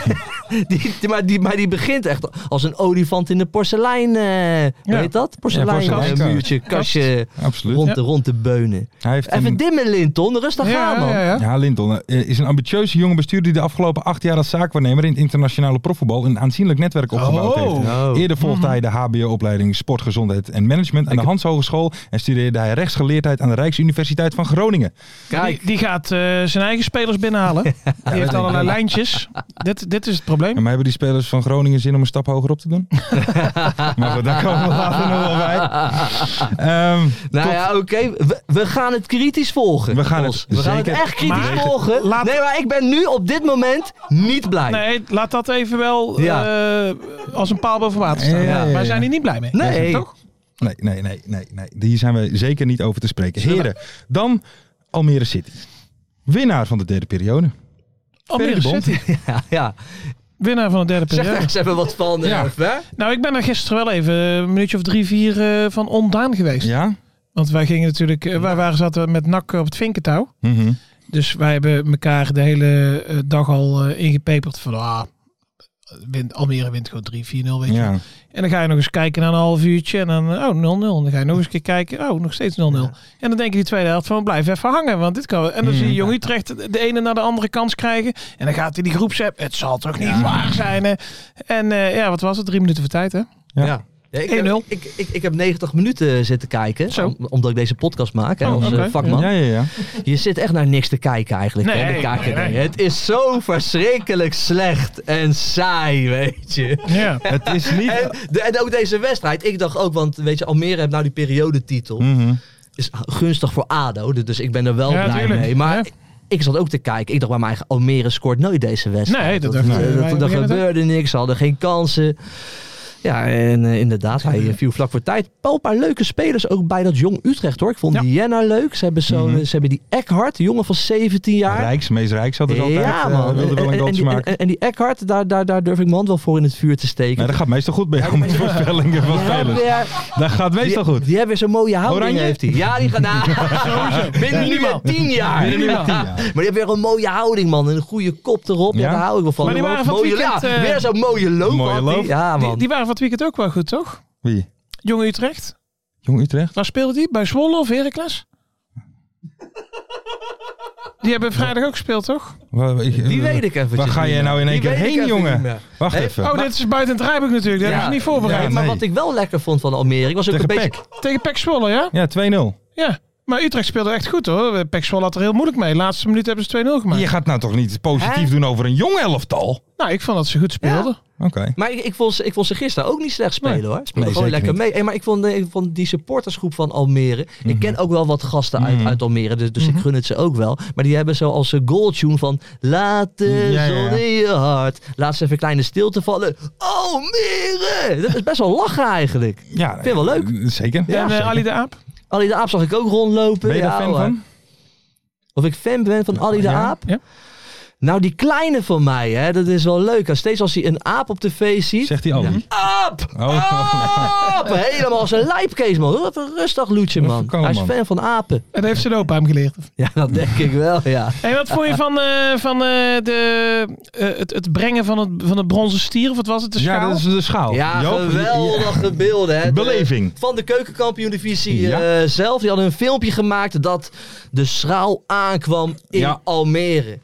[SPEAKER 5] die- die- maar, die, maar die begint echt als een olifant in de porselein. eh
[SPEAKER 4] Ja.
[SPEAKER 5] Weet dat? Porselein,
[SPEAKER 3] Ja, porselein.
[SPEAKER 5] eh, muurtje, kastje.
[SPEAKER 3] absoluut.
[SPEAKER 5] Rond, de, rond de beunen.
[SPEAKER 3] Hij heeft
[SPEAKER 5] Even
[SPEAKER 3] een-
[SPEAKER 5] dimmen, Linton. Rustig aan, man.
[SPEAKER 4] ja, ja.
[SPEAKER 3] ja, Linton eh, is een ambitieuze jonge bestuurder die de afgelopen acht jaar als zaakwaarnemer in het internationale profvoetbal een aanzienlijk netwerk opgebouwd
[SPEAKER 4] Oh.
[SPEAKER 3] heeft.
[SPEAKER 5] Oh.
[SPEAKER 3] Eerder volgde hij de HBO-opleiding Sport, Gezondheid en Management aan de Hans Hogeschool en studeerde hij rechtsgeleerdheid aan de Rijksuniversiteit van Groningen.
[SPEAKER 5] Hm. Kijk.
[SPEAKER 4] Die, die gaat eh, zijn eigen spelers binnenhalen. Die heeft allerlei lijntjes. Dit, dit is het probleem.
[SPEAKER 3] En maar hebben die spelers van Groningen zin om een stap hoger op te doen? maar goed, daar komen we later nog wel bij. Ehm,
[SPEAKER 5] Nou
[SPEAKER 3] tot-
[SPEAKER 5] ja, oké. We, we gaan het kritisch volgen.
[SPEAKER 3] We gaan het
[SPEAKER 5] Os. we gaan het
[SPEAKER 3] zeker-
[SPEAKER 5] echt kritisch
[SPEAKER 4] Maar-
[SPEAKER 5] volgen.
[SPEAKER 4] Laat-
[SPEAKER 5] Nee, maar ik ben nu op dit moment niet blij. Nee,
[SPEAKER 4] Nee, laat dat even wel
[SPEAKER 5] Ja.
[SPEAKER 4] eh, als een paal boven water staan.
[SPEAKER 3] Ja, ja, ja,
[SPEAKER 4] Wij
[SPEAKER 3] ja.
[SPEAKER 4] zijn hier niet blij mee.
[SPEAKER 5] Nee.
[SPEAKER 4] Toch?
[SPEAKER 3] Nee, nee, nee, nee, nee. Hier zijn we zeker niet over te spreken. Heren, dan Almere City. Winnaar van de derde periode.
[SPEAKER 4] Almere
[SPEAKER 3] Ferry de Bond.
[SPEAKER 4] City.
[SPEAKER 5] Ja, ja.
[SPEAKER 4] Winnaar van de derde
[SPEAKER 5] Zeg daar
[SPEAKER 4] periode.
[SPEAKER 5] eens even wat van. eh,
[SPEAKER 3] Ja.
[SPEAKER 5] hè?
[SPEAKER 4] Nou, ik ben er gisteren wel even eh, een minuutje of drie, vier eh, van ontdaan geweest.
[SPEAKER 3] Ja?
[SPEAKER 4] Want wij gingen natuurlijk, eh, wij waren, zaten met nak op het vinkentouw.
[SPEAKER 3] Mhm.
[SPEAKER 4] Dus wij hebben elkaar de hele eh, dag al eh, ingepeperd van, ah, wint- Almere wint gewoon 3-4-0, weet je.
[SPEAKER 3] ja.
[SPEAKER 4] En dan ga je nog eens kijken na een half uurtje en dan, oh, 0-0. En dan ga je nog eens een keer kijken, oh, nog steeds 0-0. En dan denk je die tweede helft van, blijf even hangen, want dit kan... En dan
[SPEAKER 5] Hmm.
[SPEAKER 4] zie je Jong Utrecht de ene naar de andere kans krijgen. En dan gaat hij die groepsapp, het zal toch niet waar zijn, hè? En eh, ja, wat was het? Drie minuten voor tijd, hè?
[SPEAKER 3] Ja.
[SPEAKER 5] Ja. Ja, ik,
[SPEAKER 4] 1-0.
[SPEAKER 5] heb, ik, ik, ik heb 90 minuten zitten kijken,
[SPEAKER 4] Zo.
[SPEAKER 5] om- omdat ik deze podcast maak hè,
[SPEAKER 4] Oh,
[SPEAKER 5] als eh,
[SPEAKER 4] oké.
[SPEAKER 5] vakman.
[SPEAKER 3] Ja, ja, ja.
[SPEAKER 5] Je zit echt naar niks te kijken eigenlijk.
[SPEAKER 4] Nee,
[SPEAKER 5] hè, de KKD.
[SPEAKER 4] nee, nee.
[SPEAKER 5] Het is zo verschrikkelijk slecht en saai, weet je.
[SPEAKER 4] Ja.
[SPEAKER 3] Het is niet...
[SPEAKER 5] En, de- en ook deze wedstrijd. Ik dacht ook, want weet je, Almere heeft nou die periodetitel.
[SPEAKER 3] Mhm.
[SPEAKER 5] Is gunstig voor ADO, dus ik ben er wel
[SPEAKER 4] Hm. Ja,
[SPEAKER 5] blij
[SPEAKER 4] tuurlijk.
[SPEAKER 5] mee. Maar
[SPEAKER 4] Ja.
[SPEAKER 5] ik zat ook te kijken. Ik dacht bij mij, Almere scoort nooit deze wedstrijd.
[SPEAKER 4] Nee, dat dacht ik.
[SPEAKER 5] eh,
[SPEAKER 4] Nee, wij
[SPEAKER 5] dat,
[SPEAKER 4] beginnen
[SPEAKER 5] Er gebeurde niks, ze hadden geen kansen. Ja, en eh, inderdaad, hij eh, viel vlak voor tijd. Wel een paar leuke spelers ook bij dat Jong Utrecht, hoor. Ik vond
[SPEAKER 4] Ja.
[SPEAKER 5] Diana leuk. Ze hebben, zo,
[SPEAKER 3] Mhm.
[SPEAKER 5] ze hebben die Eckhart, een jongen van 17 jaar.
[SPEAKER 3] Rijks, meest Rijks had dus altijd.
[SPEAKER 5] Ja,
[SPEAKER 3] eh,
[SPEAKER 5] man.
[SPEAKER 3] wilde
[SPEAKER 5] En-
[SPEAKER 3] wel een
[SPEAKER 5] en, en,
[SPEAKER 3] goaltje
[SPEAKER 5] die, en,
[SPEAKER 3] maken.
[SPEAKER 5] en die Eckhart, daar, daar, daar durf ik mijn hand wel voor in het vuur te steken.
[SPEAKER 3] Nee, dat gaat meestal goed bij jou met voorspellingen van
[SPEAKER 5] Die hebben
[SPEAKER 3] spelers.
[SPEAKER 5] weer-
[SPEAKER 3] Dat gaat meestal
[SPEAKER 5] die,
[SPEAKER 3] goed.
[SPEAKER 5] die hebben weer zo'n mooie houding,
[SPEAKER 3] Oranje?
[SPEAKER 5] heeft hij. Ja, die gaat na. Binnen nu weer tien jaar.
[SPEAKER 3] Binnen nu weer tien jaar.
[SPEAKER 5] Maar die hebben weer een mooie houding, man. En een goede kop erop. Ja,
[SPEAKER 3] Ja?
[SPEAKER 5] daar hou ik wel van.
[SPEAKER 4] Maar die
[SPEAKER 5] Een
[SPEAKER 4] waren van het
[SPEAKER 5] mooie-
[SPEAKER 4] weekend,
[SPEAKER 5] ja,
[SPEAKER 4] eh,
[SPEAKER 5] Weer zo'n mooie loop.
[SPEAKER 3] mooie
[SPEAKER 5] had die.
[SPEAKER 3] loop.
[SPEAKER 5] Ja, man.
[SPEAKER 4] Die, die waren van het weekend ook wel goed, toch?
[SPEAKER 3] Wie?
[SPEAKER 4] Jong Utrecht.
[SPEAKER 3] Jong Utrecht?
[SPEAKER 4] Waar speelde die? Bij Zwolle of Heracles? Die hebben vrijdag ook gespeeld, toch?
[SPEAKER 3] Waar- eh,
[SPEAKER 5] Die weet ik eventjes
[SPEAKER 3] Waar ga
[SPEAKER 5] niet
[SPEAKER 3] jij nou in één
[SPEAKER 5] meer. Die
[SPEAKER 3] keer
[SPEAKER 5] weet ik
[SPEAKER 3] heen,
[SPEAKER 5] even niet
[SPEAKER 3] jongen?
[SPEAKER 5] meer.
[SPEAKER 3] Wacht
[SPEAKER 5] Hey,
[SPEAKER 3] even.
[SPEAKER 4] Oh, dit is buiten het rijboek natuurlijk. Dat
[SPEAKER 5] Ja.
[SPEAKER 4] hebben ze niet voorbereid.
[SPEAKER 3] Ja,
[SPEAKER 5] maar
[SPEAKER 3] nee.
[SPEAKER 5] wat ik wel lekker vond van Almere was ook
[SPEAKER 3] Tegen
[SPEAKER 5] een beetje...
[SPEAKER 3] Peck.
[SPEAKER 4] Tegen Pek Zwolle, ja?
[SPEAKER 3] Ja, 2-0.
[SPEAKER 4] Ja. Maar Utrecht speelde echt goed, hoor. Eh, Pek Zwolle had er heel moeilijk mee. Laatste minuut hebben ze 2-0 gemaakt.
[SPEAKER 3] Je gaat nou toch niet positief
[SPEAKER 5] Hè?
[SPEAKER 3] doen over een jong elftal? Oké.
[SPEAKER 4] Nou, ik vond dat ze goed speelden.
[SPEAKER 5] Maar ik, ik, vond ze, ik vond ze gisteren ook niet slecht spelen hoor. Ze speelden
[SPEAKER 3] Nee,
[SPEAKER 5] gewoon
[SPEAKER 3] zeker
[SPEAKER 5] lekker mee. Hey, maar ik vond, eh, ik vond die supportersgroep van Almere.
[SPEAKER 3] Mhm.
[SPEAKER 5] Ik ken ook wel wat gasten uit, uit Almere. Dus, dus ik gun het ze ook wel. Maar die hebben zo als een goaltune van. Laat de
[SPEAKER 3] Ja, ja, ja.
[SPEAKER 5] zon in je hart. Laat ze even een kleine stilte vallen. Almere! Dat is best wel lachen eigenlijk.
[SPEAKER 3] Ja,
[SPEAKER 5] Vind je wel leuk?
[SPEAKER 3] Zeker.
[SPEAKER 4] en eh,
[SPEAKER 3] zeker.
[SPEAKER 4] Ali de Aap.
[SPEAKER 5] Ali de Aap zag ik ook rondlopen.
[SPEAKER 3] Ben je daar
[SPEAKER 5] Ja,
[SPEAKER 3] fan
[SPEAKER 5] hoor.
[SPEAKER 3] van?
[SPEAKER 5] Of ik fan ben van Ali de
[SPEAKER 3] Ja,
[SPEAKER 5] Aap?
[SPEAKER 4] ja.
[SPEAKER 5] Nou, die kleine van mij, hè, dat is wel leuk. Als Steeds als hij een aap op tv ziet.
[SPEAKER 3] Zegt hij Oh. Ali?
[SPEAKER 5] Aap! Aap! Helemaal zijn lijpkees, man. Even rustig loetje, man.
[SPEAKER 3] kalm,
[SPEAKER 5] Hij is
[SPEAKER 3] man.
[SPEAKER 5] fan van apen.
[SPEAKER 4] En dat heeft zijn opa hem geleerd.
[SPEAKER 5] Ja, dat denk ik wel, ja.
[SPEAKER 4] En wat vond je van, eh, van eh, de, eh, het, het brengen van het, van het bronzen stier? Of wat was het? De schaal?
[SPEAKER 3] Ja, dat is de schaal.
[SPEAKER 5] Ja,
[SPEAKER 3] Oh, Joop,
[SPEAKER 5] geweldige beelden. Hè. De-
[SPEAKER 3] Beleving.
[SPEAKER 5] van de keukenkampioen-divisie
[SPEAKER 3] Ja.
[SPEAKER 5] eh, zelf. Die hadden een filmpje gemaakt dat de schaal aankwam in
[SPEAKER 3] Ja.
[SPEAKER 5] Almere.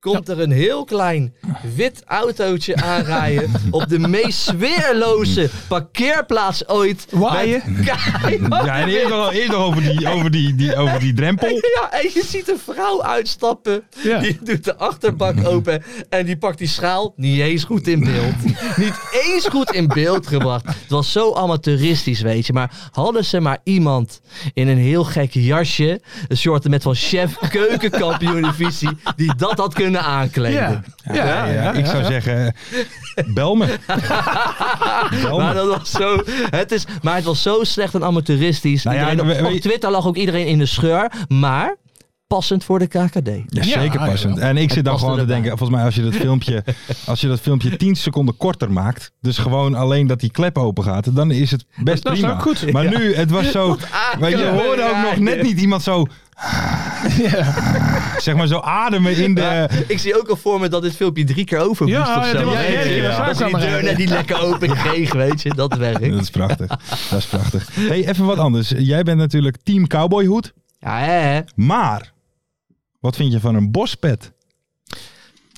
[SPEAKER 5] Komt er een heel klein wit autootje aanrijden op de meest sfeerloze parkeerplaats ooit.
[SPEAKER 4] Waaien.
[SPEAKER 5] Met keihard
[SPEAKER 3] Ja, en eerder, eerder over, die, over, die, die, over die drempel.
[SPEAKER 5] Ja, en je ziet een vrouw uitstappen.
[SPEAKER 4] Ja.
[SPEAKER 5] Die doet de achterbak open. En die pakt die schaal niet eens goed in beeld. niet eens goed in beeld gebracht. Het was zo amateuristisch, weet je. Maar hadden ze maar iemand in een heel gek jasje. Een soort met van chef keukenkampioen-divisie. die dat had kunnen aankleden.
[SPEAKER 4] Ja. Ja,
[SPEAKER 3] Ja, ik zou zeggen, bel me. bel
[SPEAKER 5] Maar
[SPEAKER 3] me.
[SPEAKER 5] dat was zo. Het is, maar het was zo slecht en amateuristisch.
[SPEAKER 3] Nou ja,
[SPEAKER 5] Iedereen-
[SPEAKER 3] we- we-
[SPEAKER 5] op Twitter lag ook iedereen in de scheur. Maar passend voor de KKD.
[SPEAKER 3] Ja,
[SPEAKER 4] Ja,
[SPEAKER 3] zeker
[SPEAKER 4] ja,
[SPEAKER 3] passend.
[SPEAKER 4] ja.
[SPEAKER 3] En ik zit dan
[SPEAKER 5] past
[SPEAKER 3] gewoon te
[SPEAKER 5] erbij.
[SPEAKER 3] denken, volgens mij als je dat filmpje, als je dat filmpje 10 seconden korter maakt, dus gewoon alleen dat die klep open gaat, dan is het best
[SPEAKER 4] Dat is
[SPEAKER 3] prima.
[SPEAKER 4] ook goed.
[SPEAKER 3] Maar nu, het was zo, weet je, je hoorde ook nog net niet iemand zo, zeg maar zo ademen in de,
[SPEAKER 5] Maar ik zie ook al voor me dat dit filmpje drie keer over moest
[SPEAKER 4] Ja,
[SPEAKER 5] of
[SPEAKER 4] ja,
[SPEAKER 5] zo.
[SPEAKER 4] dat was
[SPEAKER 3] Ja, ja, ja.
[SPEAKER 4] ja.
[SPEAKER 5] Dat ze die deur net niet lekker open kreeg, weet je. Dat
[SPEAKER 3] dat
[SPEAKER 5] werkt.
[SPEAKER 3] is prachtig, dat is prachtig. hey, even wat anders. Jij bent natuurlijk team cowboyhoed,
[SPEAKER 5] Ja, hè, hè.
[SPEAKER 3] maar wat vind je van een bospet?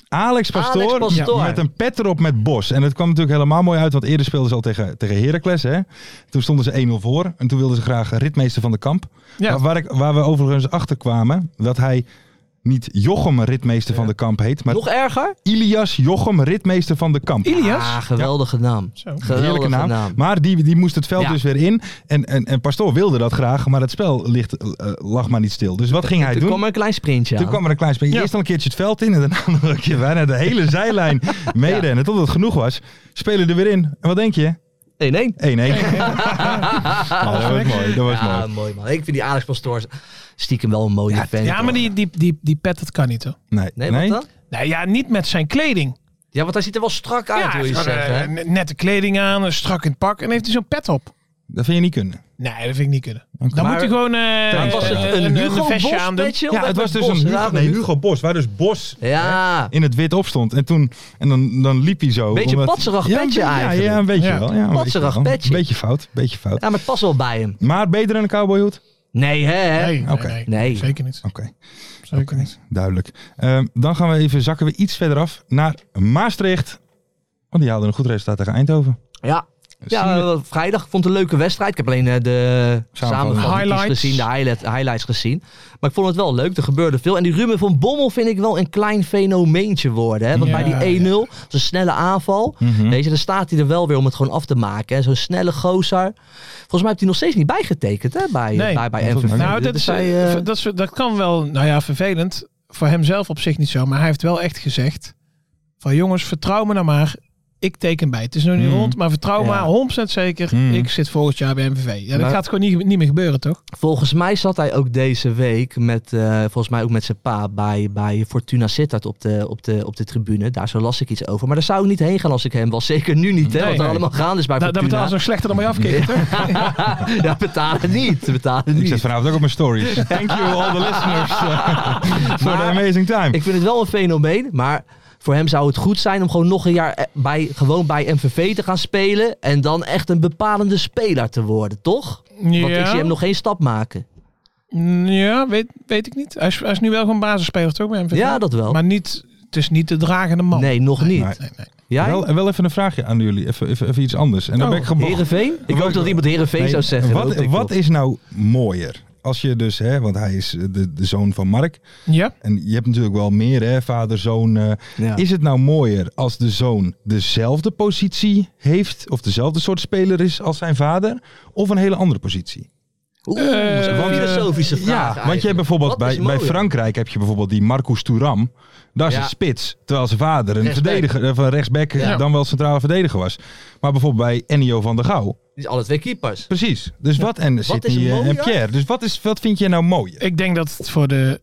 [SPEAKER 3] Alex Pastoor,
[SPEAKER 5] Alex Pastoor.
[SPEAKER 3] met een pet erop met Bos. En dat kwam natuurlijk helemaal mooi uit, want eerder speelden ze al tegen, tegen Heracles. Hè? Toen stonden ze 1-0 voor en toen wilden ze graag ritmeester van de kamp.
[SPEAKER 4] Ja.
[SPEAKER 3] Maar Waar, ik, waar we overigens achter kwamen, dat hij niet Jochem ritmeester van de kamp heet, maar
[SPEAKER 5] Nog erger?
[SPEAKER 3] Ilias Jochem ritmeester van de kamp.
[SPEAKER 4] Ilias?
[SPEAKER 5] Ah, geweldige naam.
[SPEAKER 4] Zo.
[SPEAKER 5] Geweldige
[SPEAKER 3] Heerlijke naam.
[SPEAKER 5] naam.
[SPEAKER 3] Maar die, die moest het veld
[SPEAKER 5] Ja.
[SPEAKER 3] dus weer in. En, en, en Pastoor wilde dat graag, maar het spel ligt, eh, lag maar niet stil. Dus wat ging hij
[SPEAKER 5] Toen
[SPEAKER 3] doen?
[SPEAKER 5] kwam er een klein sprintje
[SPEAKER 3] Toen
[SPEAKER 5] aan.
[SPEAKER 3] kwam er een klein sprintje.
[SPEAKER 4] Ja.
[SPEAKER 3] Eerst al een keertje het veld in en daarna nog een keer bijna de hele zijlijn meerennen. Totdat het genoeg was. Spelen er weer in. En wat denk je?
[SPEAKER 5] 1-1.
[SPEAKER 3] 1-1. Nou, dat was mooi. Dat was
[SPEAKER 5] Ja,
[SPEAKER 3] mooi.
[SPEAKER 5] mooi man. Ik vind die Alex Pastoor stiekem wel een mooie fan.
[SPEAKER 4] Ja, maar die, die, die, die pet, dat kan niet, hoor.
[SPEAKER 3] Nee,
[SPEAKER 5] Nee, wat dan?
[SPEAKER 4] Nou ja, niet met zijn kleding.
[SPEAKER 5] Ja, want hij ziet er wel strak uit,
[SPEAKER 4] ja,
[SPEAKER 5] Ah, wil je
[SPEAKER 4] hij heeft
[SPEAKER 5] zeggen. hè?
[SPEAKER 4] gewoon, eh, nette kleding aan, eh, strak in het pak. En heeft hij zo'n pet op.
[SPEAKER 3] Dat vind je niet kunnen.
[SPEAKER 4] Nee, dat vind ik niet kunnen. Dan
[SPEAKER 5] Maar-
[SPEAKER 4] moet hij gewoon eh,
[SPEAKER 5] het was
[SPEAKER 4] een,
[SPEAKER 5] een-
[SPEAKER 4] een,
[SPEAKER 5] een Hugo
[SPEAKER 4] vestje
[SPEAKER 5] Bos
[SPEAKER 4] aan doen.
[SPEAKER 5] petje op.
[SPEAKER 3] Ja,
[SPEAKER 5] dat
[SPEAKER 3] het was
[SPEAKER 5] met
[SPEAKER 3] dus
[SPEAKER 5] Bos,
[SPEAKER 3] een
[SPEAKER 5] ja,
[SPEAKER 3] Hugo, nee,
[SPEAKER 5] met
[SPEAKER 3] Hugo Bos, waar dus Bos
[SPEAKER 5] Ja.
[SPEAKER 3] in het wit op stond. En, toen, en dan, dan liep hij zo.
[SPEAKER 5] Beetje
[SPEAKER 3] omdat-
[SPEAKER 5] patserig
[SPEAKER 3] ja,
[SPEAKER 5] petje
[SPEAKER 3] ja,
[SPEAKER 5] eigenlijk.
[SPEAKER 3] Ja, een beetje
[SPEAKER 4] Ja.
[SPEAKER 3] wel. Ja, maar
[SPEAKER 5] Patserig
[SPEAKER 3] ik vind wel.
[SPEAKER 5] petje.
[SPEAKER 3] Beetje fout, beetje fout.
[SPEAKER 5] ja, maar het past wel bij hem.
[SPEAKER 3] Maar beter dan een cowboyhoed?
[SPEAKER 5] Nee, hè?
[SPEAKER 4] Nee, nee,
[SPEAKER 3] Oké.
[SPEAKER 4] nee,
[SPEAKER 5] Nee.
[SPEAKER 4] zeker niet.
[SPEAKER 3] Oké,
[SPEAKER 4] Zeker niet.
[SPEAKER 3] duidelijk. Ehm, dan gaan we even, zakken we iets verder af naar Maastricht. Want die haalden een goed resultaat tegen Eindhoven.
[SPEAKER 5] Ja. Ja,
[SPEAKER 3] Zien we-
[SPEAKER 5] eh, vrijdag. Ik vond het een leuke wedstrijd. Ik heb alleen eh, de samenvatting
[SPEAKER 4] Highlights.
[SPEAKER 5] gezien, de highlight, highlights gezien. Maar ik vond het wel leuk. Er gebeurde veel. En die Ruben van Bommel vind ik wel een klein fenomeentje worden. Hè? Want
[SPEAKER 4] Ja, Mhm.
[SPEAKER 5] bij die 1-0, dat is een snelle aanval. Weet je, dan staat hij er wel weer om het gewoon af te maken. En zo'n snelle gozer. Volgens mij heeft hij nog steeds niet bijgetekend hè? Bij,
[SPEAKER 4] Nee.
[SPEAKER 5] bij, bij
[SPEAKER 3] Dat
[SPEAKER 5] MVV.
[SPEAKER 3] is-
[SPEAKER 4] Nou, dat,
[SPEAKER 5] Dus
[SPEAKER 4] is,
[SPEAKER 5] hij, eh,
[SPEAKER 4] eh, dat, is, dat kan wel, nou ja, vervelend. Voor hemzelf op zich niet zo. Maar hij heeft wel echt gezegd: van jongens, vertrouw me nou maar. Ik teken bij. Het is nog niet
[SPEAKER 3] Mm.
[SPEAKER 4] rond, maar vertrouw
[SPEAKER 5] Hmm. Ja. Hmm.
[SPEAKER 4] maar 100% zeker.
[SPEAKER 3] Mm.
[SPEAKER 4] Ik zit volgend jaar bij MVV. Ja, dat
[SPEAKER 5] Maar-
[SPEAKER 4] gaat gewoon niet, niet meer gebeuren, toch?
[SPEAKER 5] Volgens mij zat hij ook deze week met, eh, volgens mij ook met zijn pa bij, bij Fortuna Sittard op de, op, de, op de tribune. Daar zo las ik iets over. Maar daar zou ik niet heen gaan als ik hem was. Zeker nu niet, hè,
[SPEAKER 4] Nee,
[SPEAKER 5] wat er
[SPEAKER 4] nee.
[SPEAKER 5] allemaal gaande is bij
[SPEAKER 4] Dat, dat
[SPEAKER 5] Fortuna.
[SPEAKER 4] betaalt Nou, ze nog slechter dan bij afkicken, toch?
[SPEAKER 5] ja, betalen niet. Betalen
[SPEAKER 3] Ik zet
[SPEAKER 5] niet.
[SPEAKER 3] vanavond ook op mijn stories. Thank you all the listeners for the amazing time.
[SPEAKER 5] Ik vind het wel een fenomeen, maar voor hem zou het goed zijn om gewoon nog een jaar eh, bij, gewoon bij MVV te gaan spelen. En dan echt een bepalende speler te worden, toch? Want ik zie hem nog geen stap maken.
[SPEAKER 4] ja weet, weet ik niet. Hij is, hij is nu wel gewoon basisspeler, toch? Bij MVV?
[SPEAKER 5] Ja, dat wel.
[SPEAKER 4] Maar niet, het is niet de dragende man.
[SPEAKER 5] nee, nog niet.
[SPEAKER 3] maar-
[SPEAKER 4] Nee, nee.
[SPEAKER 5] Jij?
[SPEAKER 3] Wel, wel even een vraagje aan jullie. Even, even, even iets anders. En dan
[SPEAKER 5] Oh,
[SPEAKER 3] ben ik gewoon.
[SPEAKER 5] Heerenveen? Ik hoop dat iemand Heerenveen
[SPEAKER 3] Nee,
[SPEAKER 5] zou zeggen. Dat
[SPEAKER 3] Wat,
[SPEAKER 5] hoop ik
[SPEAKER 3] wat
[SPEAKER 5] nog.
[SPEAKER 3] is nou mooier? Als je dus, hè, want hij is de, de zoon van Mark.
[SPEAKER 4] Ja?
[SPEAKER 3] En je hebt natuurlijk wel meer, hè, vader, zoon. eh.
[SPEAKER 5] Ja.
[SPEAKER 3] Is het nou mooier als de zoon dezelfde positie heeft, of dezelfde soort speler is als zijn vader, of een hele andere positie?
[SPEAKER 5] Oeh,
[SPEAKER 4] Eh,
[SPEAKER 5] zo'n
[SPEAKER 4] want, eh,
[SPEAKER 5] filosofische vraag.
[SPEAKER 3] ja,
[SPEAKER 5] eigenlijk.
[SPEAKER 3] want je hebt bijvoorbeeld
[SPEAKER 5] Wat
[SPEAKER 3] bij,
[SPEAKER 5] is
[SPEAKER 3] bij
[SPEAKER 5] mooier?
[SPEAKER 3] Frankrijk heb je bijvoorbeeld die Marcus Thuram. Dat is
[SPEAKER 5] Ja.
[SPEAKER 3] een spits, terwijl zijn vader een
[SPEAKER 5] Rechtsback.
[SPEAKER 3] verdediger, eh, van rechtsback eh,
[SPEAKER 5] Ja.
[SPEAKER 3] dan wel centrale verdediger was. Maar bijvoorbeeld bij Ennio van der Gouw,
[SPEAKER 5] Die zijn alle twee keepers.
[SPEAKER 3] precies. Dus wat en
[SPEAKER 5] is
[SPEAKER 3] Sidney eh, en
[SPEAKER 5] mooier?
[SPEAKER 3] Pierre. Dus wat, is, wat vind jij nou mooier?
[SPEAKER 4] Ik denk dat het voor de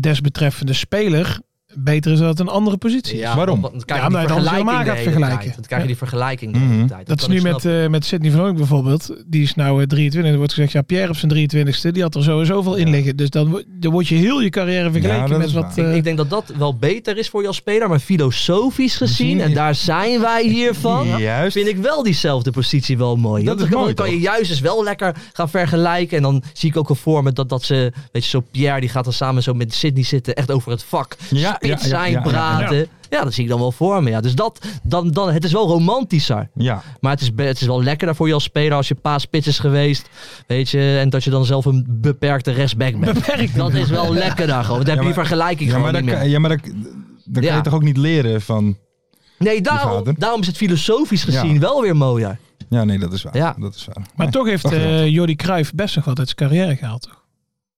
[SPEAKER 4] desbetreffende speler beter is dat het een andere positie is.
[SPEAKER 5] Ja,
[SPEAKER 3] Waarom?
[SPEAKER 5] want Dan krijg
[SPEAKER 4] Ja,
[SPEAKER 5] je
[SPEAKER 4] omdat
[SPEAKER 5] die
[SPEAKER 4] je dan
[SPEAKER 5] vergelijking
[SPEAKER 4] helemaal
[SPEAKER 5] de
[SPEAKER 4] gaat
[SPEAKER 5] hele
[SPEAKER 4] vergelijken.
[SPEAKER 5] tijd. Dan krijg je die vergelijking de
[SPEAKER 3] Mhm.
[SPEAKER 5] hele tijd.
[SPEAKER 4] Dat is
[SPEAKER 5] kan
[SPEAKER 4] nu
[SPEAKER 5] ik
[SPEAKER 4] met,
[SPEAKER 5] snappen.
[SPEAKER 4] eh, met Sidney van Hoek bijvoorbeeld. Die is nou eh, 23. Er wordt gezegd, ja, Pierre op zijn 23ste, die had er sowieso veel in liggen. Dus dan, wo- dan word je heel je carrière vergeleken
[SPEAKER 3] Ja, dat
[SPEAKER 4] met
[SPEAKER 3] is
[SPEAKER 4] wat...
[SPEAKER 3] waar.
[SPEAKER 4] eh,
[SPEAKER 5] Ik, ik denk dat dat wel beter is voor je als speler, maar filosofisch gezien, en daar zijn wij hiervan,
[SPEAKER 3] Juist.
[SPEAKER 5] vind ik wel diezelfde positie wel mooi.
[SPEAKER 3] Dat
[SPEAKER 5] Want
[SPEAKER 3] is
[SPEAKER 5] dan kan,
[SPEAKER 3] mooi,
[SPEAKER 5] dan kan je juist dus wel lekker gaan vergelijken. En dan zie ik ook al voor me dat, dat ze, weet je, zo Pierre, die gaat dan samen zo met Sydney zitten, echt over het vak.
[SPEAKER 3] Ja,
[SPEAKER 5] spits
[SPEAKER 3] ja, ja,
[SPEAKER 5] zijn,
[SPEAKER 3] ja, ja.
[SPEAKER 5] praten. Ja. dat zie ik dan wel voor me. Ja. Dus dat, dan, dan, het is wel romantischer.
[SPEAKER 3] Ja,
[SPEAKER 5] Maar het is, be- het is wel lekkerder voor je als speler als je pa spits is geweest. Weet je, en dat je dan zelf een beperkte rechtsback bent.
[SPEAKER 4] Beperkt.
[SPEAKER 5] Dat is wel lekkerder gewoon. Dan heb je die
[SPEAKER 3] maar-
[SPEAKER 5] vergelijking
[SPEAKER 3] ja,
[SPEAKER 5] gewoon
[SPEAKER 3] maar dan,
[SPEAKER 5] niet meer.
[SPEAKER 3] kan- ja, maar dan, dan kan
[SPEAKER 5] Ja.
[SPEAKER 3] je toch ook niet leren van...
[SPEAKER 5] Nee, daarom,
[SPEAKER 3] vader.
[SPEAKER 5] daarom is het filosofisch gezien
[SPEAKER 3] Ja.
[SPEAKER 5] wel weer mooier.
[SPEAKER 3] Ja, nee, dat is waar.
[SPEAKER 5] Ja.
[SPEAKER 3] Dat is waar.
[SPEAKER 4] maar toch heeft
[SPEAKER 3] Oké.
[SPEAKER 4] eh Jordi Cruijff best nog wat uit zijn carrière gehaald. Toch?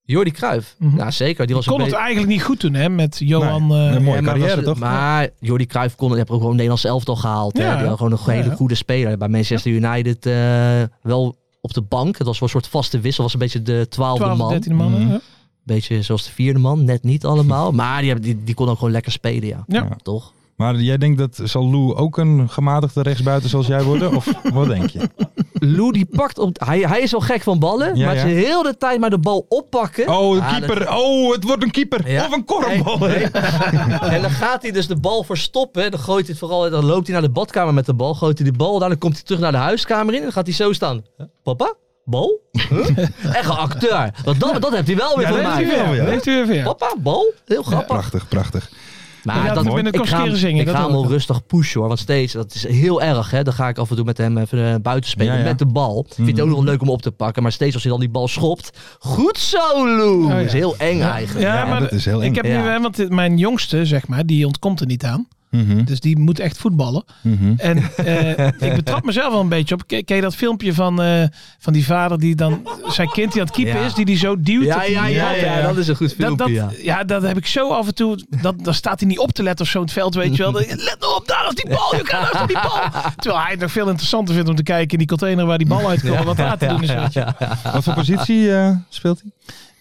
[SPEAKER 5] Jordi Cruijff.
[SPEAKER 4] Mhm.
[SPEAKER 5] Ja, zeker. Die was
[SPEAKER 4] Kon
[SPEAKER 5] een
[SPEAKER 4] het
[SPEAKER 5] beetje-
[SPEAKER 4] eigenlijk niet goed doen hè, met Johan...
[SPEAKER 3] Nee,
[SPEAKER 4] eh,
[SPEAKER 3] nee, mooie
[SPEAKER 5] Ja, maar
[SPEAKER 3] carrière,
[SPEAKER 5] was-
[SPEAKER 3] toch?
[SPEAKER 5] Maar Jordi Cruijff kon, die heb ook gewoon Nederlands elftal gehaald. hè.
[SPEAKER 4] Ja.
[SPEAKER 5] Die was gewoon een hele
[SPEAKER 4] Ja.
[SPEAKER 5] goede speler. Bij Manchester United eh, wel op de bank. Het was wel een soort vaste wissel. was een beetje de twaalfde
[SPEAKER 4] 12,
[SPEAKER 5] man.
[SPEAKER 4] 13 mannen.
[SPEAKER 3] Mhm.
[SPEAKER 4] ja.
[SPEAKER 5] Beetje zoals de vierde man. Net niet allemaal. Maar die, heb- die, die kon ook gewoon lekker spelen, ja.
[SPEAKER 4] Ja.
[SPEAKER 5] Toch?
[SPEAKER 3] Maar jij denkt dat zal Lou ook een gematigde rechtsbuiten zoals jij worden? Of wat denk je?
[SPEAKER 5] Lou die pakt op... Hij, hij is wel gek van ballen.
[SPEAKER 3] Ja,
[SPEAKER 5] maar
[SPEAKER 3] ja.
[SPEAKER 5] ze heel de tijd maar de bal oppakken.
[SPEAKER 3] Oh, de
[SPEAKER 5] Ah, dat-
[SPEAKER 3] keeper. Oh, het wordt een keeper.
[SPEAKER 5] Ja.
[SPEAKER 3] Of een korfbal.
[SPEAKER 5] En dan gaat hij dus de bal verstoppen. Dan gooit hij het vooral. Dan loopt hij naar de badkamer met de bal. Gooit hij die bal daar. Dan komt hij terug naar de huiskamer in. En dan gaat hij zo staan. Papa? Bal? Huh? Echt een acteur. Want dat, dat heeft hij wel weer
[SPEAKER 3] Ja,
[SPEAKER 5] van
[SPEAKER 3] dat
[SPEAKER 5] mij.
[SPEAKER 3] heeft hij wel weer.
[SPEAKER 4] Ja, heeft u weer weer.
[SPEAKER 5] Papa? Bal? Heel grappig.
[SPEAKER 3] Prachtig, prachtig.
[SPEAKER 4] Hij gaat het binnenkort
[SPEAKER 5] ik ga, hem-
[SPEAKER 4] keren zingen,
[SPEAKER 5] Ik
[SPEAKER 4] dat
[SPEAKER 5] ga hem
[SPEAKER 4] hoor
[SPEAKER 5] al
[SPEAKER 4] ik.
[SPEAKER 5] rustig pushen hoor. Want steeds, dat is heel erg. Hè? Dan ga ik af en toe met hem even eh, buiten spelen.
[SPEAKER 3] Ja, ja.
[SPEAKER 5] Met de bal. Vindt hij ook nog wel leuk om op te pakken. Maar steeds als hij dan die bal schopt. Goed zo, Lou.
[SPEAKER 4] Oh, ja.
[SPEAKER 5] Dat is heel eng eigenlijk.
[SPEAKER 4] Ja,
[SPEAKER 3] Ja,
[SPEAKER 4] maar
[SPEAKER 3] dat is heel eng.
[SPEAKER 4] Ik heb nu,
[SPEAKER 5] Ja.
[SPEAKER 4] hè, want dit- mijn jongste, zeg maar, die ontkomt er niet aan.
[SPEAKER 3] Mhm,
[SPEAKER 4] Dus die moet echt voetballen.
[SPEAKER 3] mhm.
[SPEAKER 4] En eh, ik betrap mezelf wel een beetje op. Ken ken je dat filmpje van, eh, van die vader die dan zijn kind die aan het keepen
[SPEAKER 5] Ja.
[SPEAKER 4] is, die die zo duwt? dat
[SPEAKER 5] Ja,
[SPEAKER 4] hij-
[SPEAKER 5] ja, ja, ja, dat is een goed
[SPEAKER 4] Dat,
[SPEAKER 5] filmpje.
[SPEAKER 4] dat, ja.
[SPEAKER 5] ja.
[SPEAKER 4] dat heb ik zo af en toe. Dat, dan staat hij niet op te letten of zo in het veld, weet je wel. Dan- Let nou op, daar is die bal, je kan daar is die bal. Terwijl hij het nog veel interessanter vindt om te kijken in die container waar die bal uitkomt. en Wat daar te doen is. weet je.
[SPEAKER 3] Wat voor positie eh, speelt hij?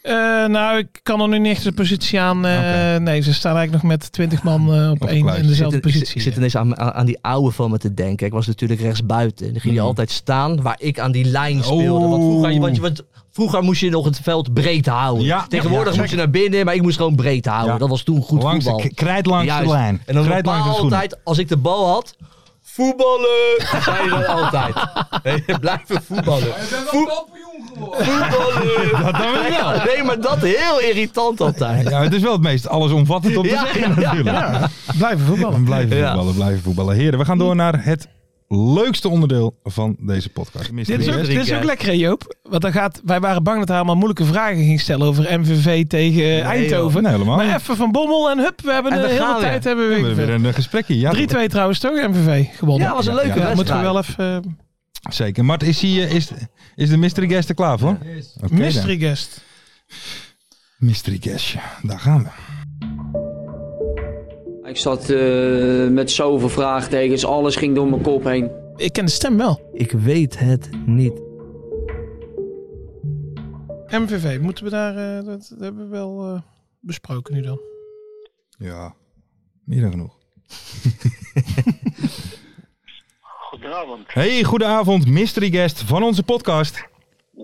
[SPEAKER 4] Eh, nou, ik kan er nu niet echt een positie aan. eh,
[SPEAKER 3] Oké.
[SPEAKER 4] Nee, ze staan eigenlijk nog met twintig man eh, op één
[SPEAKER 5] Ik
[SPEAKER 3] kluis.
[SPEAKER 4] en
[SPEAKER 5] zit,
[SPEAKER 4] dezelfde
[SPEAKER 5] in- ik zit- ik
[SPEAKER 4] positie.
[SPEAKER 5] zit ineens aan, aan, aan die oude van me te denken. Ik was natuurlijk rechtsbuiten. Dan ging hij
[SPEAKER 3] Mhm.
[SPEAKER 5] altijd staan waar ik aan die lijn speelde. Want vroeger, want, je- want vroeger moest je nog het veld breed houden.
[SPEAKER 3] Oh. Ja,
[SPEAKER 5] Tegenwoordig
[SPEAKER 3] ja,
[SPEAKER 5] moest je naar binnen, maar ik moest gewoon breed houden.
[SPEAKER 3] Ja.
[SPEAKER 5] Dat was toen goed
[SPEAKER 3] Langs de,
[SPEAKER 5] voetbal.
[SPEAKER 3] k- krijt langs
[SPEAKER 5] Juist.
[SPEAKER 3] de lijn.
[SPEAKER 5] En dan
[SPEAKER 3] krijt
[SPEAKER 5] roepen
[SPEAKER 3] langs de schoenen.
[SPEAKER 5] altijd, als ik de bal had... Voetballen! Dat zei je dan altijd. Nee, blijven voetballen. Voe- Voetballen! Dat dan wel. Nee, maar dat heel irritant altijd.
[SPEAKER 3] Ja, het is wel het meest allesomvattend om te
[SPEAKER 5] Ja,
[SPEAKER 3] zeggen
[SPEAKER 5] ja,
[SPEAKER 3] natuurlijk.
[SPEAKER 4] Blijven voetballen.
[SPEAKER 3] En blijven
[SPEAKER 5] Ja.
[SPEAKER 3] voetballen, blijven voetballen. Heren, we gaan door naar het leukste onderdeel van deze podcast.
[SPEAKER 4] Dit is, ook,
[SPEAKER 5] Drie
[SPEAKER 4] dit is ook
[SPEAKER 5] keer.
[SPEAKER 4] lekker, hè, Joop. Want dan gaat, wij waren bang dat hij allemaal moeilijke vragen ging stellen over MVV tegen eh, Eindhoven.
[SPEAKER 3] Nee, helemaal
[SPEAKER 4] maar
[SPEAKER 3] niet.
[SPEAKER 4] even van Bommel en hup, we hebben
[SPEAKER 5] En
[SPEAKER 4] de
[SPEAKER 5] daar
[SPEAKER 4] hele
[SPEAKER 5] gaan we.
[SPEAKER 4] tijd hebben
[SPEAKER 3] We
[SPEAKER 4] we
[SPEAKER 3] hebben weer
[SPEAKER 4] weer-
[SPEAKER 3] een eh, gesprekje. Ja,
[SPEAKER 4] 3-2 trouwens toch, MVV gewonnen.
[SPEAKER 5] Ja, was een
[SPEAKER 3] Ja,
[SPEAKER 5] leuke
[SPEAKER 3] ja.
[SPEAKER 5] wedstrijd.
[SPEAKER 4] moeten we wel even... eh,
[SPEAKER 3] Zeker. Mart, is, hij, eh, is, is de mystery guest er klaar voor? Oké dan.
[SPEAKER 4] mystery guest.
[SPEAKER 3] mystery guest. Daar gaan we.
[SPEAKER 7] Ik zat eh, met zoveel vraagtekens, alles ging door mijn kop heen.
[SPEAKER 4] Ik ken de stem wel.
[SPEAKER 5] Ik weet het niet.
[SPEAKER 4] MVV, moeten we daar... eh, dat, dat hebben we wel eh, besproken nu dan.
[SPEAKER 3] Ja, meer dan genoeg.
[SPEAKER 6] Goedenavond.
[SPEAKER 3] Hey, goedenavond, mystery guest van onze podcast.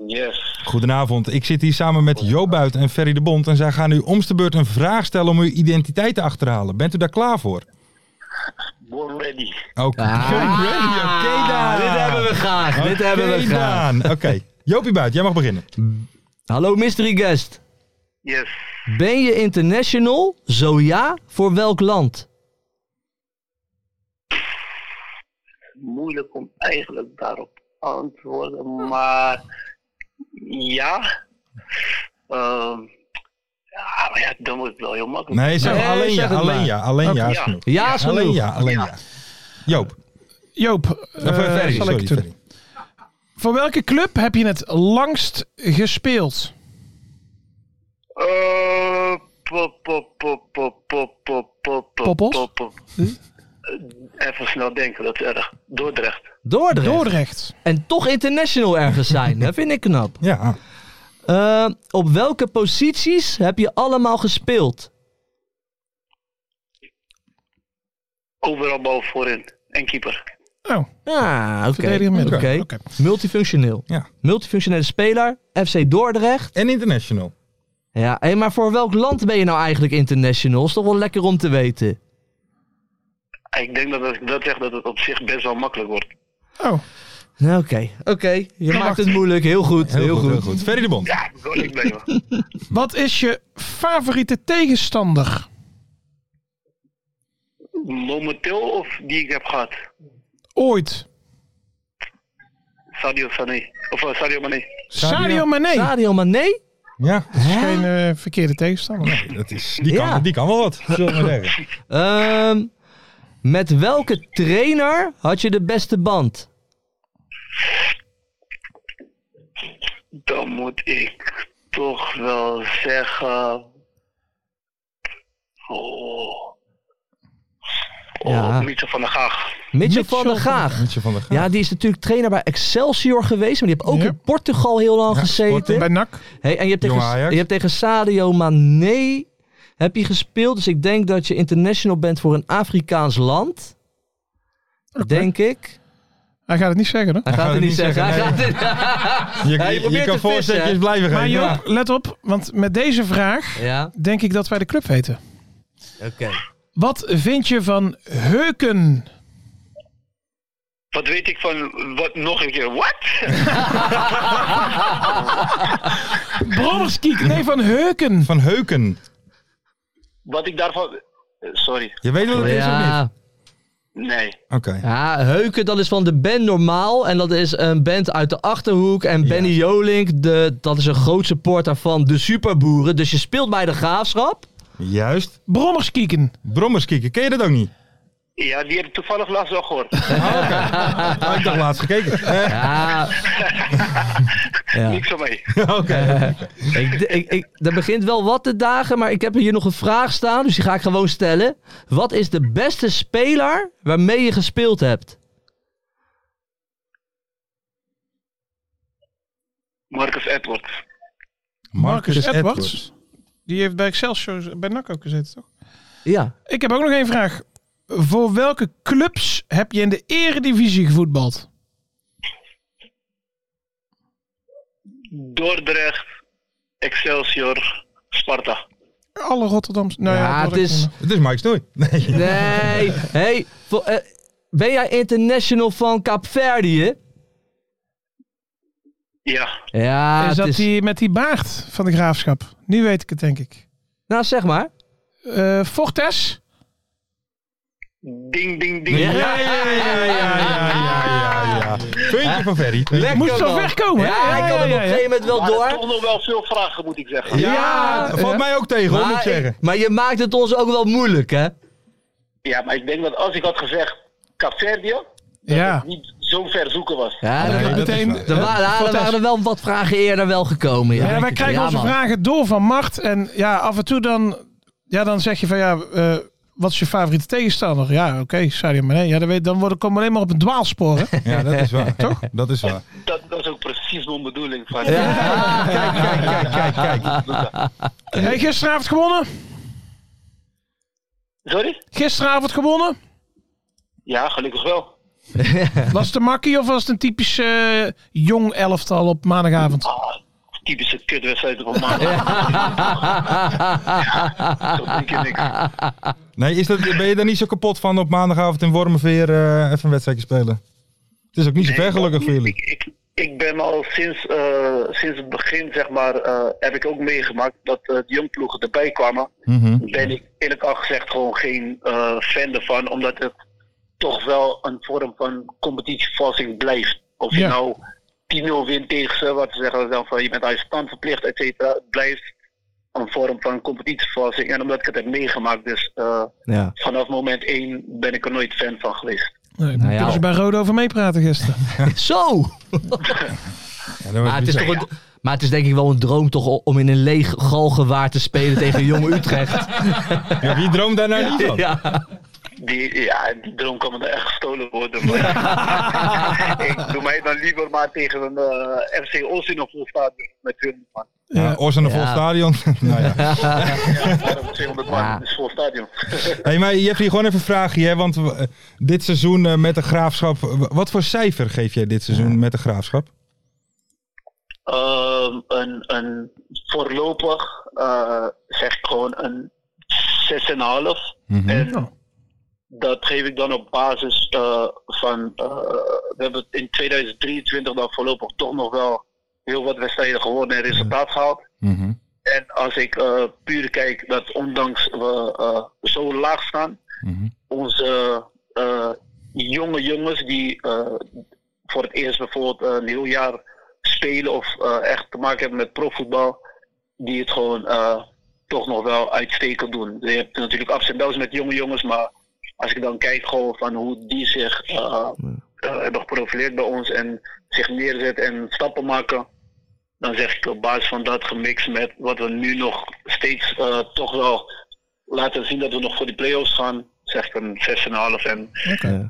[SPEAKER 6] Yes.
[SPEAKER 3] Goedenavond, ik zit hier samen met Jo Buit en Ferry de Bond. En zij gaan u om de beurt een vraag stellen om uw identiteit te achterhalen. Bent u daar klaar voor?
[SPEAKER 6] Born ready.
[SPEAKER 3] Oké. Oké, Daan.
[SPEAKER 5] Ah, Dit hebben we graag. dit hebben we
[SPEAKER 3] Oké,
[SPEAKER 5] graag.
[SPEAKER 3] Daan. Oké. Jopie Buit, jij mag beginnen.
[SPEAKER 5] Hallo mystery guest.
[SPEAKER 6] Yes.
[SPEAKER 5] Ben je international? Zo ja, voor welk land?
[SPEAKER 6] Moeilijk om eigenlijk daarop te antwoorden, maar ja. Ehm, ja, maar ja, dan wordt het wel heel makkelijk.
[SPEAKER 3] Nee, zeg
[SPEAKER 5] Nee,
[SPEAKER 3] alleen
[SPEAKER 5] zeg
[SPEAKER 3] ja,
[SPEAKER 5] het
[SPEAKER 3] alleen
[SPEAKER 5] maar.
[SPEAKER 3] ja, alleen ja is
[SPEAKER 6] Ja.
[SPEAKER 3] genoeg.
[SPEAKER 5] Ja, is
[SPEAKER 3] Alleen
[SPEAKER 5] genoeg.
[SPEAKER 3] ja, alleen ja. Joop.
[SPEAKER 4] Joop, eh,
[SPEAKER 3] Of, eh, Ferry,
[SPEAKER 4] zal ik
[SPEAKER 3] sorry,
[SPEAKER 4] het doen?
[SPEAKER 3] Ferry.
[SPEAKER 4] Voor welke club heb je het langst gespeeld?
[SPEAKER 6] Eh, pop, pop, pop, pop, pop, pop, pop, pop,
[SPEAKER 4] Poppels?
[SPEAKER 6] pop, pop. Eh, Even snel denken, dat is erg. Dordrecht.
[SPEAKER 5] Dordrecht.
[SPEAKER 4] Dordrecht.
[SPEAKER 5] En toch international ergens zijn. dat vind ik knap.
[SPEAKER 3] Ja.
[SPEAKER 5] Eh, op welke posities heb je allemaal gespeeld?
[SPEAKER 6] Overal bal voorin. En keeper.
[SPEAKER 4] Oh,
[SPEAKER 5] Ja, Ah, oké.
[SPEAKER 4] Verdediger midden.
[SPEAKER 5] Oké.
[SPEAKER 4] Oké.
[SPEAKER 5] Multifunctioneel.
[SPEAKER 3] Ja.
[SPEAKER 5] Multifunctionele speler. FC Dordrecht.
[SPEAKER 3] En international.
[SPEAKER 5] Ja, hé, maar voor welk land ben je nou eigenlijk international? Is toch wel lekker om te weten.
[SPEAKER 6] Ik denk dat als ik dat zeg, dat het op zich best wel makkelijk wordt.
[SPEAKER 4] oh.
[SPEAKER 5] Nou, Oké, oké. Je maakt het moeilijk. Heel goed. Heel, goed.
[SPEAKER 3] heel goed. Ferry de Bond.
[SPEAKER 6] Ja, dat kan ik blijven.
[SPEAKER 4] Wat is je favoriete tegenstander?
[SPEAKER 6] Momenteel of die ik heb gehad?
[SPEAKER 4] Ooit.
[SPEAKER 6] Sadio Sané. Of eh, Sadio Mané.
[SPEAKER 4] Sadio,
[SPEAKER 3] Sadio
[SPEAKER 4] Mané.
[SPEAKER 5] Sadio Mané?
[SPEAKER 3] Ja.
[SPEAKER 4] Geen eh, verkeerde tegenstander.
[SPEAKER 3] Dat is, die,
[SPEAKER 5] Ja.
[SPEAKER 3] kan, die kan wel wat, zullen we maar zeggen.
[SPEAKER 5] Ehm, met welke trainer had je de beste band?
[SPEAKER 6] Dan moet ik toch wel zeggen... Oh, oh
[SPEAKER 5] Ja.
[SPEAKER 6] Mitchell van der Gaag.
[SPEAKER 5] Mitchell van der Gaag.
[SPEAKER 3] Mietje van der Gaag.
[SPEAKER 5] Ja, die is natuurlijk trainer bij Excelsior geweest. Maar die heeft ook
[SPEAKER 4] Ja.
[SPEAKER 5] in Portugal heel lang gezeten.
[SPEAKER 4] Bij NAC.
[SPEAKER 5] Hey, en je hebt, tegen,
[SPEAKER 3] Jong Ajax.
[SPEAKER 5] je hebt tegen Sadio Mané heb je gespeeld. Dus ik denk dat je international bent voor een Afrikaans land. Denk ik.
[SPEAKER 4] Hij gaat het niet zeggen, hè?
[SPEAKER 5] Hij, gaat het niet zeggen. Hij gaat het
[SPEAKER 3] je,
[SPEAKER 5] hij
[SPEAKER 3] je- je,
[SPEAKER 5] probeert
[SPEAKER 3] kan
[SPEAKER 5] te vissen,
[SPEAKER 3] voorzetjes
[SPEAKER 5] hè?
[SPEAKER 3] blijven
[SPEAKER 4] Maar
[SPEAKER 3] geven.
[SPEAKER 4] Joop,
[SPEAKER 3] Ja.
[SPEAKER 4] let op, want met deze vraag
[SPEAKER 5] Ja,
[SPEAKER 4] denk ik dat wij de club weten.
[SPEAKER 5] oké.
[SPEAKER 4] Wat vind je van Heuken?
[SPEAKER 6] Wat weet ik van... Wat, nog een keer, wat?
[SPEAKER 4] Brommerskiek, nee, van Heuken.
[SPEAKER 3] Van Heuken.
[SPEAKER 6] Wat ik daarvan... eh, Sorry.
[SPEAKER 3] Je weet wat het is of niet?
[SPEAKER 5] Ja.
[SPEAKER 6] Nee.
[SPEAKER 3] Oké.
[SPEAKER 5] ja, Heuken, dat is van de band Normaal. En dat is een band uit de Achterhoek. En Benny Jolink, de, dat is een groot supporter van de Superboeren. Dus je speelt bij de Graafschap.
[SPEAKER 3] Juist.
[SPEAKER 4] Brommerskieken.
[SPEAKER 3] Brommers kieken. Ken je dat ook niet?
[SPEAKER 6] Ja, die heb ik toevallig laatst al gehoord.
[SPEAKER 3] Ah, ik dacht laatst gekeken. Eh,
[SPEAKER 5] Ja, ja.
[SPEAKER 6] Niks van mee.
[SPEAKER 3] Oké.
[SPEAKER 5] Ah, Eh. Ik, ik, ik, er begint wel wat te dagen, maar ik heb hier nog een vraag staan, dus die ga ik gewoon stellen. Wat is de beste speler waarmee je gespeeld hebt?
[SPEAKER 6] Marcus Edwards.
[SPEAKER 4] Marcus Edwards. Die heeft bij Excelsior bij NAC ook gezeten, toch?
[SPEAKER 5] Ja.
[SPEAKER 4] Ik heb ook nog één vraag. Voor welke clubs heb je in de eredivisie gevoetbald?
[SPEAKER 6] Dordrecht, Excelsior, Sparta.
[SPEAKER 4] Alle Rotterdamse. Nou ja,
[SPEAKER 5] Ja,
[SPEAKER 4] dat
[SPEAKER 5] het is-
[SPEAKER 4] ik-
[SPEAKER 3] Het is Mike Snoei. Nee.
[SPEAKER 5] Nee, hey, vo- eh, ben jij international van Kaapverdië?
[SPEAKER 6] Ja,
[SPEAKER 5] Ja,
[SPEAKER 4] is dat
[SPEAKER 5] ah, het is...
[SPEAKER 4] die met die baard van de graafschap? Nu weet ik het, denk ik.
[SPEAKER 5] Nou, zeg maar.
[SPEAKER 4] Eh, Fortes?
[SPEAKER 6] ding, ding, ding.
[SPEAKER 5] Ja.
[SPEAKER 3] Ja, ja, ja, ja, ja, ja, ja. Puntje van Ferry.
[SPEAKER 5] Lekker
[SPEAKER 4] Moest zo
[SPEAKER 5] man.
[SPEAKER 4] ver komen, hè?
[SPEAKER 5] Ja,
[SPEAKER 4] Ja,
[SPEAKER 5] hij
[SPEAKER 4] ja,
[SPEAKER 5] kan er op
[SPEAKER 4] ja,
[SPEAKER 5] een
[SPEAKER 4] ja.
[SPEAKER 5] gegeven moment wel
[SPEAKER 6] Maar
[SPEAKER 5] door.
[SPEAKER 6] toch nog wel veel vragen, moet ik zeggen.
[SPEAKER 3] Ja,
[SPEAKER 5] Ja,
[SPEAKER 3] valt mij ook tegen, hoor, moet ik
[SPEAKER 5] Maar,
[SPEAKER 3] zeggen.
[SPEAKER 5] maar je maakt het ons ook wel moeilijk, hè?
[SPEAKER 6] Ja, maar ik denk dat als ik had gezegd Caverdia,
[SPEAKER 4] Ja.
[SPEAKER 6] niet zo ver zoeken was.
[SPEAKER 5] Ja,
[SPEAKER 3] Nee,
[SPEAKER 5] dan-
[SPEAKER 3] dat is
[SPEAKER 4] meteen-
[SPEAKER 3] waar.
[SPEAKER 4] eh,
[SPEAKER 5] dan, wa- ja, dan
[SPEAKER 4] Fortes.
[SPEAKER 5] waren er wel wat vragen eerder wel gekomen. Ja,
[SPEAKER 4] Ja, wij krijgen
[SPEAKER 5] Ja,
[SPEAKER 4] onze
[SPEAKER 5] man.
[SPEAKER 4] vragen door van Mart. En ja, af en toe dan, ja, dan zeg je van ja, eh, wat is je favoriete tegenstander? Ja, oké, Sadio Mané. Ja, dan, weet, dan worden, komen we alleen maar op een dwaalspoor. hè?
[SPEAKER 3] Ja, dat is waar. Toch? Dat is waar.
[SPEAKER 6] Dat, dat is ook precies mijn bedoeling. Van,
[SPEAKER 3] Kijk, kijk, kijk, kijk.
[SPEAKER 4] Hey, gisteravond gewonnen.
[SPEAKER 6] Sorry?
[SPEAKER 4] Gisteravond gewonnen.
[SPEAKER 6] Ja, gelukkig wel.
[SPEAKER 4] Was het een makkie of was het een typisch eh, jong elftal op maandagavond?
[SPEAKER 6] Ah, typische kutwedstrijd van maandag. Ja. zo denk je niks.
[SPEAKER 3] Nee, is dat, ben je daar niet zo kapot van op maandagavond in Wormerveer eh, even een wedstrijdje spelen? Het is ook niet zo ver gelukkig voor jullie.
[SPEAKER 6] Ik, ik, ik ben al sinds, eh, sinds het begin, zeg maar, eh, heb ik ook meegemaakt dat eh, de jongploegen erbij kwamen.
[SPEAKER 3] Mhm. Hmm.
[SPEAKER 6] Ben ik eerlijk al gezegd gewoon geen eh, fan ervan, omdat het toch wel een vorm van competitievervalsing blijft. Of je
[SPEAKER 4] Ja.
[SPEAKER 6] nou 10-0 wint tegen ze, wat ze zeggen dan van je bent aan je stand verplicht, et cetera. Het blijft een vorm van competitievervalsing. En omdat ik het heb meegemaakt, dus eh,
[SPEAKER 5] Ja.
[SPEAKER 6] vanaf moment 1 ben ik er nooit fan van geweest.
[SPEAKER 4] Nee,
[SPEAKER 5] Nou
[SPEAKER 4] daar kunnen ze bij Rode over meepraten gisteren.
[SPEAKER 5] Zo!
[SPEAKER 3] Ja, dat was
[SPEAKER 5] Maar het, is
[SPEAKER 3] bizar.
[SPEAKER 5] toch een, maar het is denk ik wel een droom toch om in een leeg galgenwaard te spelen tegen Jong Utrecht.
[SPEAKER 3] Ja, wie droomt daar nou niet van?
[SPEAKER 5] Ja.
[SPEAKER 6] Die, ja, die droom kan me dan echt gestolen worden. Maar ik doe mij dan liever maar tegen een eh, FC Os in een vol stadion met 200 man.
[SPEAKER 3] Ja, Ors en een vol
[SPEAKER 5] Ja.
[SPEAKER 3] stadion. nou ja.
[SPEAKER 6] Waarom 200 man
[SPEAKER 5] Ja.
[SPEAKER 6] is vol stadion.
[SPEAKER 3] Hey, maar je hebt hier gewoon even een vraagje, hè? Want eh, dit seizoen eh, met de graafschap. w- Wat voor cijfer geef jij dit seizoen met de graafschap?
[SPEAKER 6] Ehm, een, een voorlopig eh, zeg ik gewoon een 6,5.
[SPEAKER 3] Mhm.
[SPEAKER 6] En dat geef ik dan op basis eh, van. eh, we hebben in 2023 dan voorlopig toch nog wel heel wat wedstrijden gewonnen en resultaat gehaald. En als ik eh, puur kijk dat ondanks we eh, zo laag staan, onze eh, jonge jongens die eh, voor het eerst bijvoorbeeld een heel jaar spelen of eh, echt te maken hebben met profvoetbal, die het gewoon eh, toch nog wel uitstekend doen. Je hebt natuurlijk ups en downs met jonge jongens, maar als ik dan kijk gewoon van hoe die zich eh, eh, hebben geprofileerd bij ons en zich neerzet en stappen maken, dan zeg ik op basis van dat gemixt met wat we nu nog steeds eh, toch wel laten zien dat we nog voor die play-offs gaan, zeg ik een 6,5. En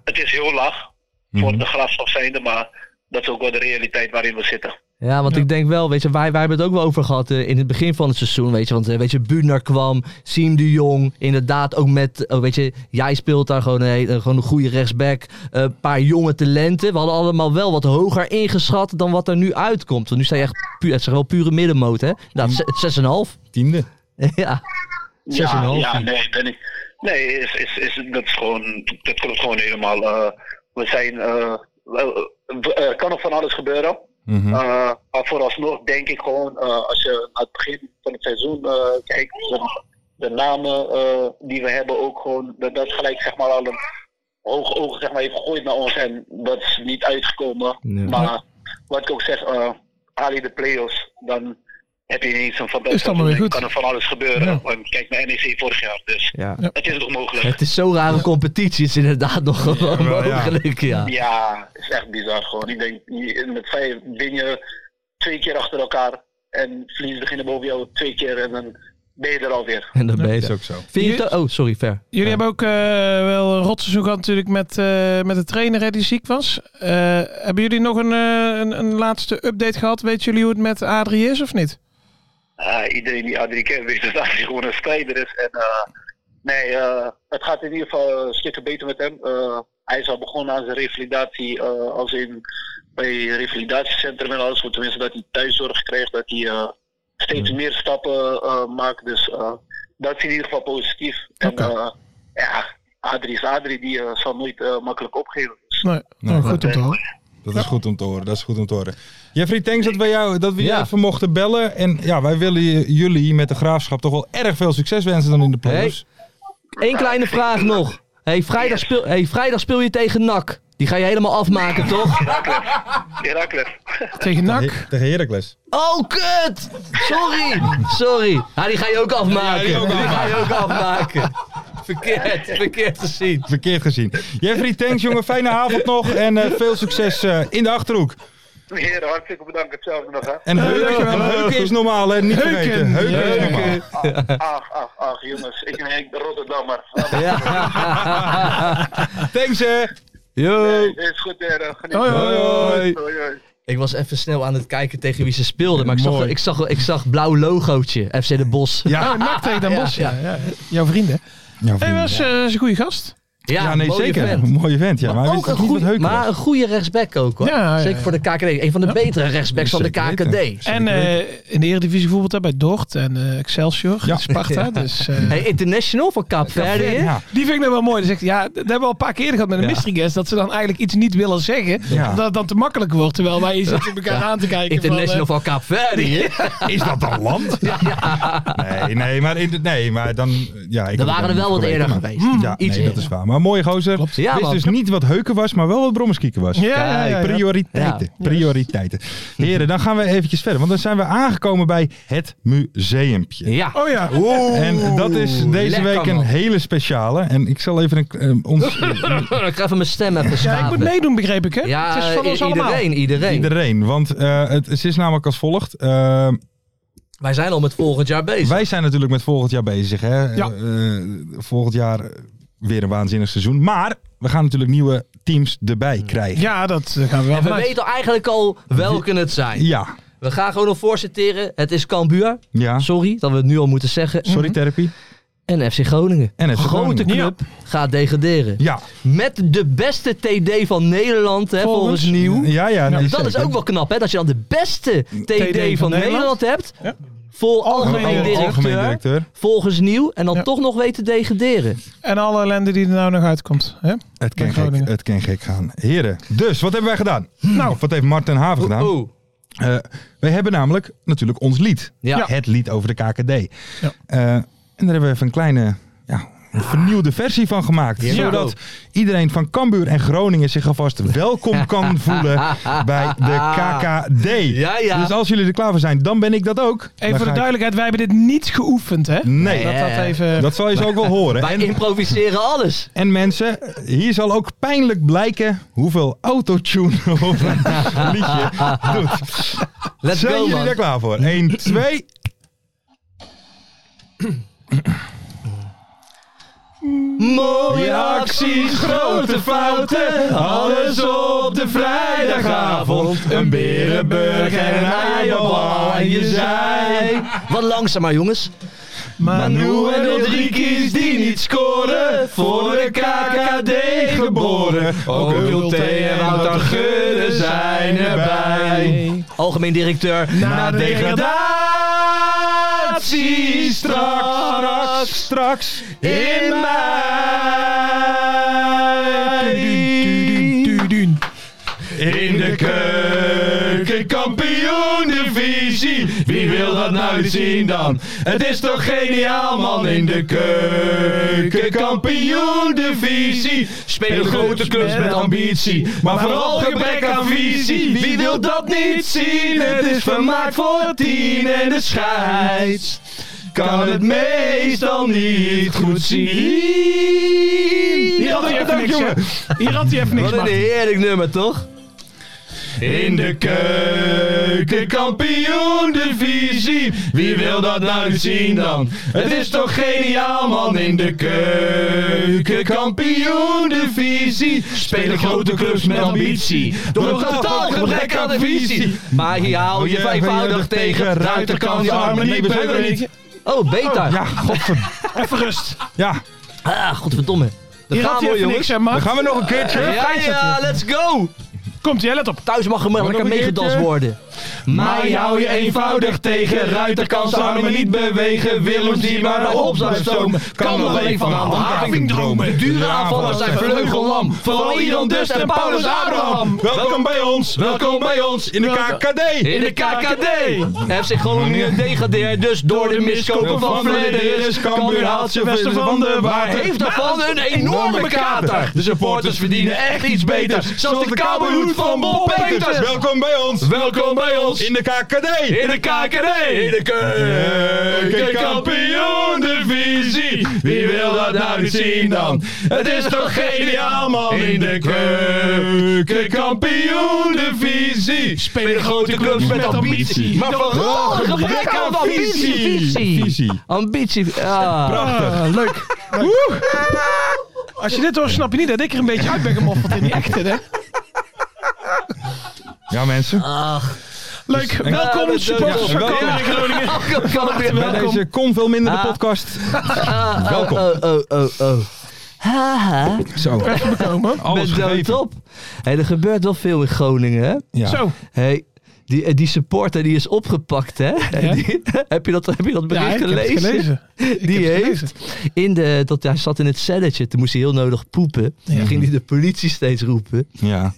[SPEAKER 6] het is heel laag voor de graafschap zijnde, maar dat is ook wel de realiteit waarin we zitten.
[SPEAKER 5] Ja, want ik denk wel, weet je, wij, wij hebben het ook wel over gehad eh, in het begin van het seizoen, weet je. Want, eh, weet je, Bunar kwam, Siem de Jong, inderdaad ook met, oh, weet je, jij speelt daar gewoon een, hele- eh, gewoon een goede rechtsback. eh, Een paar jonge talenten. We hadden allemaal wel wat hoger ingeschat dan wat er nu uitkomt. Want nu sta je echt, puur, het is wel pure middenmoot, hè. Nou, ze- 6,5.
[SPEAKER 3] Tiende.
[SPEAKER 5] ja.
[SPEAKER 6] ja,
[SPEAKER 5] 6,5.
[SPEAKER 6] ja, nee, ben ik. Nee, is, is, is, dat, is gewoon, dat klopt gewoon helemaal. Eh, we zijn. eh, we- we- er kan nog van alles gebeuren. Eh, maar vooralsnog denk ik gewoon, eh, als je aan het begin van het seizoen eh, kijkt, de, de namen eh, die we hebben ook gewoon, dat, dat gelijk zeg maar al een hoog oog zeg maar, heeft gegooid naar ons en dat is niet uitgekomen.
[SPEAKER 5] Nee.
[SPEAKER 6] Maar wat ik ook zeg, eh haal je de play-offs, dan heb je ineens een Van
[SPEAKER 4] Is het allemaal weer
[SPEAKER 6] Dijk.
[SPEAKER 4] goed.
[SPEAKER 6] kan er van alles gebeuren.
[SPEAKER 4] Ja.
[SPEAKER 6] Want Kijk naar NEC vorig jaar, dus
[SPEAKER 5] Ja.
[SPEAKER 6] het is nog mogelijk.
[SPEAKER 5] Het is zo rare competitie. Het is inderdaad nog gewoon
[SPEAKER 3] Jawel, ja.
[SPEAKER 5] mogelijk. Ja.
[SPEAKER 6] Ja, is echt bizar gewoon. Ik denk, je- met vijf win je twee keer achter elkaar. En verliezen beginnen boven jou twee keer en dan ben je er alweer.
[SPEAKER 5] En dan ben je
[SPEAKER 3] is
[SPEAKER 5] er.
[SPEAKER 3] ook zo.
[SPEAKER 5] Vind je het- Oh, sorry, ver.
[SPEAKER 4] Jullie hebben ook eh, wel een rotseizoen gehad natuurlijk met, eh, met de trainer hè, die ziek was. Eh, hebben jullie nog een, eh, een, een laatste update gehad? Weet jullie hoe het met Adrie is of niet?
[SPEAKER 6] Ah, iedereen die A3 kent weet dat hij gewoon een strijder is. En eh, nee, eh, het gaat in ieder geval een stukje beter met hem. Eh, hij is al begonnen aan zijn revalidatie, eh, als in bij revalidatiecentrum en alles. Tenminste dat hij thuiszorg krijgt, dat hij eh, steeds meer stappen eh, maakt. Dus eh, dat is in ieder geval positief. En eh, ja, Adrie is Adrie, die eh, zal nooit eh, makkelijk opgeven. Dus,
[SPEAKER 4] Nee, Nou, goed om te horen.
[SPEAKER 3] Dat is goed om te horen. Dat is goed om te horen. Jeffrey, thanks dat we jou dat we je
[SPEAKER 5] Ja.
[SPEAKER 3] even mochten bellen. En ja, wij willen je- jullie met de graafschap toch wel erg veel succes wensen dan in de playoffs.
[SPEAKER 5] Eén kleine vraag nog. Hey, vrijdag, speel, hey, vrijdag speel je tegen NAC. Die ga je helemaal afmaken, toch?
[SPEAKER 6] Herakles.
[SPEAKER 4] Tegen NAC?
[SPEAKER 3] He- Tegen Heracles.
[SPEAKER 5] Oh, kut! Sorry! Sorry. Ja, die ga je ook afmaken. Die ga je ook afmaken. Verkeerd, verkeerd gezien.
[SPEAKER 3] Verkeerd gezien. Jeffrey, thanks jongen. Fijne avond nog. En eh, veel succes eh, in de Achterhoek.
[SPEAKER 6] Heren, hartstikke bedankt. Hetzelfde nog, hè.
[SPEAKER 3] En heuken, en heuken is normaal, hè? Niet
[SPEAKER 4] Heuken.
[SPEAKER 3] vergeten. Heuken, is
[SPEAKER 5] Heuken.
[SPEAKER 3] normaal.
[SPEAKER 6] Ach, ach, ach, jongens. Ik ben Henk de Rotterdammer.
[SPEAKER 5] Ja.
[SPEAKER 3] Thanks, hè.
[SPEAKER 5] Yo.
[SPEAKER 6] Is goed, heren. Geniet.
[SPEAKER 4] Hoi, hoi,
[SPEAKER 3] hoi.
[SPEAKER 6] Hoi, hoi.
[SPEAKER 5] Ik was even snel aan het kijken tegen wie ze speelden, maar ik zag,
[SPEAKER 3] Mooi.
[SPEAKER 5] ik zag, ik zag blauw logootje, FC De Bos.
[SPEAKER 4] Ja, NAC Oh, tegen Den Bosch. Ja, ja. Jouw vrienden. Hij was eh, is een goede gast.
[SPEAKER 3] Ja, nee,
[SPEAKER 5] mooie
[SPEAKER 3] zeker.
[SPEAKER 5] vent.
[SPEAKER 3] Mooie vent, ja. Maar, hij
[SPEAKER 5] ook
[SPEAKER 3] wist
[SPEAKER 5] een
[SPEAKER 3] ook niet wat
[SPEAKER 5] goede,
[SPEAKER 3] heuken
[SPEAKER 5] maar
[SPEAKER 3] was.
[SPEAKER 5] een goede rechtsback ook hoor.
[SPEAKER 4] Ja, ja, ja.
[SPEAKER 5] Zeker voor de KKD. Een van de betere rechtsbacks van de
[SPEAKER 3] Zeker
[SPEAKER 5] KKD.
[SPEAKER 3] weten.
[SPEAKER 4] En eh, in de Eredivisie voetbal daar bij Dort en eh, Excelsior,
[SPEAKER 3] Ja.
[SPEAKER 4] Sparta. Dus, eh,
[SPEAKER 5] Hey, international van Kaapverdië.
[SPEAKER 3] Ja.
[SPEAKER 4] Die vind ik nou wel mooi. Die zegt, ja, dat hebben we al een paar keer gehad met een
[SPEAKER 5] Ja.
[SPEAKER 4] mystery guest. Dat ze dan eigenlijk iets niet willen zeggen.
[SPEAKER 3] Ja.
[SPEAKER 4] Omdat het dan te makkelijk wordt. Terwijl wij hier zitten elkaar aan te kijken.
[SPEAKER 5] International
[SPEAKER 4] van,
[SPEAKER 5] van
[SPEAKER 4] eh,
[SPEAKER 5] Kaapverdië.
[SPEAKER 3] Is dat dan land? Nee, nee, maar, in de- nee, maar dan... Ja, ik
[SPEAKER 5] Er
[SPEAKER 3] had
[SPEAKER 5] waren
[SPEAKER 3] het
[SPEAKER 5] er wel wat
[SPEAKER 3] dan niet geweten,
[SPEAKER 5] eerder
[SPEAKER 3] maar-
[SPEAKER 5] geweest. Hm,
[SPEAKER 3] Ja,
[SPEAKER 5] Iets
[SPEAKER 3] nee, dat
[SPEAKER 5] eerder.
[SPEAKER 3] is waar. Maar mooie gozer.
[SPEAKER 5] Klopt. Ja,
[SPEAKER 3] wist
[SPEAKER 5] man.
[SPEAKER 3] dus niet wat heuken was, maar wel wat brommerskieker was.
[SPEAKER 4] Ja, ja, ja, ja.
[SPEAKER 3] Prioriteiten. Prioriteiten. Heren, dan gaan we eventjes verder. Want dan zijn we aangekomen bij het museumpje.
[SPEAKER 5] Ja.
[SPEAKER 4] oh ja,
[SPEAKER 3] En dat is deze
[SPEAKER 5] lekker,
[SPEAKER 3] week een
[SPEAKER 5] man.
[SPEAKER 3] hele speciale. En ik zal even een, eh, ons,
[SPEAKER 5] ik ga even mijn stem even
[SPEAKER 4] ja, ik
[SPEAKER 5] schaven.
[SPEAKER 4] moet meedoen begreep ik hè.
[SPEAKER 5] Ja,
[SPEAKER 4] het is van ons
[SPEAKER 5] iedereen,
[SPEAKER 4] allemaal.
[SPEAKER 5] iedereen.
[SPEAKER 3] iedereen. Want eh, het, het is namelijk als volgt. Eh,
[SPEAKER 5] Wij zijn al met volgend jaar bezig.
[SPEAKER 3] wij zijn natuurlijk met volgend jaar bezig. Hè?
[SPEAKER 4] Ja.
[SPEAKER 3] Eh, eh, volgend jaar weer een waanzinnig seizoen. Maar we gaan natuurlijk nieuwe teams erbij krijgen.
[SPEAKER 4] Ja, dat eh, gaan we wel
[SPEAKER 5] en we
[SPEAKER 4] vanuit.
[SPEAKER 5] weten eigenlijk al welke het zijn.
[SPEAKER 3] Ja.
[SPEAKER 5] We gaan gewoon nog voorzitteren. Het is Cambuur.
[SPEAKER 3] Ja.
[SPEAKER 5] Sorry dat we het nu al moeten zeggen.
[SPEAKER 3] Sorry, therapie.
[SPEAKER 5] En FC Groningen.
[SPEAKER 3] En FC
[SPEAKER 5] Grote
[SPEAKER 3] Groningen.
[SPEAKER 5] club gaat degraderen.
[SPEAKER 3] Ja.
[SPEAKER 5] Met de beste TD van Nederland, hè, volgens, Nieuw.
[SPEAKER 3] Ja, ja. nee,
[SPEAKER 5] dat is
[SPEAKER 3] zeker.
[SPEAKER 5] ook wel knap, hè? Dat je dan de beste TD, van,
[SPEAKER 4] van
[SPEAKER 5] Nederland
[SPEAKER 4] Nederland
[SPEAKER 5] hebt. Vol algemeen,
[SPEAKER 3] Al-
[SPEAKER 5] directeur,
[SPEAKER 3] algemeen directeur.
[SPEAKER 5] Volgens Nieuw. En dan
[SPEAKER 4] Ja.
[SPEAKER 5] toch nog weten degraderen.
[SPEAKER 4] En alle ellende die er nou nog uitkomt. Hè?
[SPEAKER 3] Het kan,
[SPEAKER 4] Bij
[SPEAKER 3] gek,
[SPEAKER 4] Groningen.
[SPEAKER 3] het kan gek gaan. Heren, dus wat hebben wij gedaan? Nou, wat heeft Martin Haven gedaan?
[SPEAKER 5] Oeh.
[SPEAKER 3] Eh, wij hebben namelijk natuurlijk ons lied.
[SPEAKER 5] Ja.
[SPEAKER 3] Het lied over de KKD.
[SPEAKER 4] Ja.
[SPEAKER 3] Eh, en daar hebben we even een kleine ja, een vernieuwde versie van gemaakt.
[SPEAKER 5] Ja.
[SPEAKER 3] Zodat iedereen van Cambuur en Groningen zich alvast welkom kan voelen bij de KKD.
[SPEAKER 5] Ja, ja.
[SPEAKER 3] Dus als jullie er klaar voor zijn, dan ben ik dat ook. Dan
[SPEAKER 4] Even voor
[SPEAKER 3] ga
[SPEAKER 4] de
[SPEAKER 3] ik-
[SPEAKER 4] duidelijkheid, wij hebben dit niet geoefend hè.
[SPEAKER 3] Nee.
[SPEAKER 4] Dat dat even...
[SPEAKER 3] Dat zal je zo ook wel horen.
[SPEAKER 5] Wij
[SPEAKER 3] En-
[SPEAKER 5] improviseren alles.
[SPEAKER 3] En mensen, hier zal ook pijnlijk blijken hoeveel autotune op een liedje doet.
[SPEAKER 5] Let's
[SPEAKER 3] Zijn
[SPEAKER 5] go,
[SPEAKER 3] jullie
[SPEAKER 5] man.
[SPEAKER 3] daar klaar voor? 1, 2.
[SPEAKER 5] Mooie acties, grote fouten, alles op de vrijdagavond. Een Berenburg en een eierbal aan je zij. Wat langzamer jongens. Manu en Ulrikis die niet scoren, voor de KKD geboren. Ook Ulte en Wouter Gudde zijn erbij. Algemeen directeur, na degradatie straks.
[SPEAKER 3] Straks, straks.
[SPEAKER 5] In mei.
[SPEAKER 3] In de keuken, kampioen divisie. televisie. Wie wil dat nou niet zien dan? Het is toch geniaal, man. In de keuken, kampioen divisie. Spelen grote clubs met ambitie, maar vooral gebrek aan visie. Wie wil dat niet zien? Het is vermaakt voor tien en de scheids kan het meestal niet goed zien.
[SPEAKER 4] Hier had hij even niks, hè? Hier had hij even niks,
[SPEAKER 5] Wat een
[SPEAKER 4] Martin.
[SPEAKER 5] heerlijk nummer, toch?
[SPEAKER 3] In de keuken, kampioen divisie. Wie wil dat nou niet zien dan? Het is toch geniaal man in de keuken, kampioen divisie. Spelen grote clubs met ambitie. Door een totaal gebrek aan visie.
[SPEAKER 5] Maar hier haal je vijfvoudig tegen. Ruiter kan je armen niet beuren. Oh, beta.
[SPEAKER 3] Ja, godver...
[SPEAKER 4] Even rust.
[SPEAKER 3] Ja,
[SPEAKER 5] Ah, godverdomme. Daar
[SPEAKER 4] Hier had
[SPEAKER 5] gaan
[SPEAKER 4] hij
[SPEAKER 5] we,
[SPEAKER 4] even
[SPEAKER 5] jongens.
[SPEAKER 4] niks, hè,
[SPEAKER 3] dan
[SPEAKER 4] Mark?
[SPEAKER 3] gaan we nog een keertje.
[SPEAKER 5] Ja, ja, let's go.
[SPEAKER 4] Komt hij, let op.
[SPEAKER 5] Thuis mag er
[SPEAKER 3] nog
[SPEAKER 5] makkelijk
[SPEAKER 3] een
[SPEAKER 5] meegedanst
[SPEAKER 3] keertje?
[SPEAKER 5] worden. Maar
[SPEAKER 3] Mij hou je eenvoudig tegen. Ruiter kan zijn armen niet bewegen. Willems die maar naar op blijft stomen. Kan nog alleen van handhaving dromen.
[SPEAKER 5] Dure aanvallers zijn vleugellam. Vooral Iran Dust en Paulus Abraham.
[SPEAKER 3] Welkom bij ons. Welkom bij ons. In de KKD.
[SPEAKER 5] In de KKD. FC Groningen degradeert dus door de miskopen van Flederis.
[SPEAKER 3] Cambuur haalt ze Westen van de
[SPEAKER 5] Maar
[SPEAKER 3] Waard.
[SPEAKER 5] heeft daarvan Nou, een enorme kater. De supporters verdienen echt iets beters. Zoals de kabelhoed van Bob Peters.
[SPEAKER 3] Welkom bij ons.
[SPEAKER 5] Welkom bij ons
[SPEAKER 3] In de KKD.
[SPEAKER 5] in de KKD. In de
[SPEAKER 3] Keukenkampioen divisie. Wie wil dat nou niet zien dan? Het is toch geniaal man in de keukenkampioen divisie. Spelen grote clubs met ambitie. Maar
[SPEAKER 5] Oh,
[SPEAKER 3] vooral gebrek aan
[SPEAKER 5] Ambitie.
[SPEAKER 3] visie.
[SPEAKER 5] Ambitie. Ah.
[SPEAKER 4] Ah, leuk. Woe. Als je dit hoort, snap je niet dat ik er een beetje uit ben gemoffeld in die echte, hè?
[SPEAKER 3] Ja mensen,
[SPEAKER 4] Leuk.
[SPEAKER 5] Ah,
[SPEAKER 4] Welkom,
[SPEAKER 5] dat-
[SPEAKER 4] supporters van
[SPEAKER 3] dat-
[SPEAKER 4] Groningen. Groningen.
[SPEAKER 5] Welkom, Cambuur.
[SPEAKER 3] bij deze kon veel minder de podcast.
[SPEAKER 5] Ah,
[SPEAKER 3] Welkom.
[SPEAKER 5] Oh, oh, oh, oh. Haha,
[SPEAKER 3] Zo,
[SPEAKER 4] Komen.
[SPEAKER 3] alles
[SPEAKER 5] ben dood
[SPEAKER 3] gegeven.
[SPEAKER 5] op. Hey, er gebeurt wel veel in Groningen, hè?
[SPEAKER 3] Ja.
[SPEAKER 4] Zo.
[SPEAKER 5] Hey, die, eh, die supporter die is opgepakt, hè? Die- heb, je dat, heb je dat bericht
[SPEAKER 4] Ja, ik heb het
[SPEAKER 5] gelezen?
[SPEAKER 4] gelezen.
[SPEAKER 5] Die
[SPEAKER 4] heb het
[SPEAKER 5] heeft in de, dat hij zat in het celletje, toen moest hij heel nodig poepen. Toen ging hij de politie steeds roepen.
[SPEAKER 3] Ja,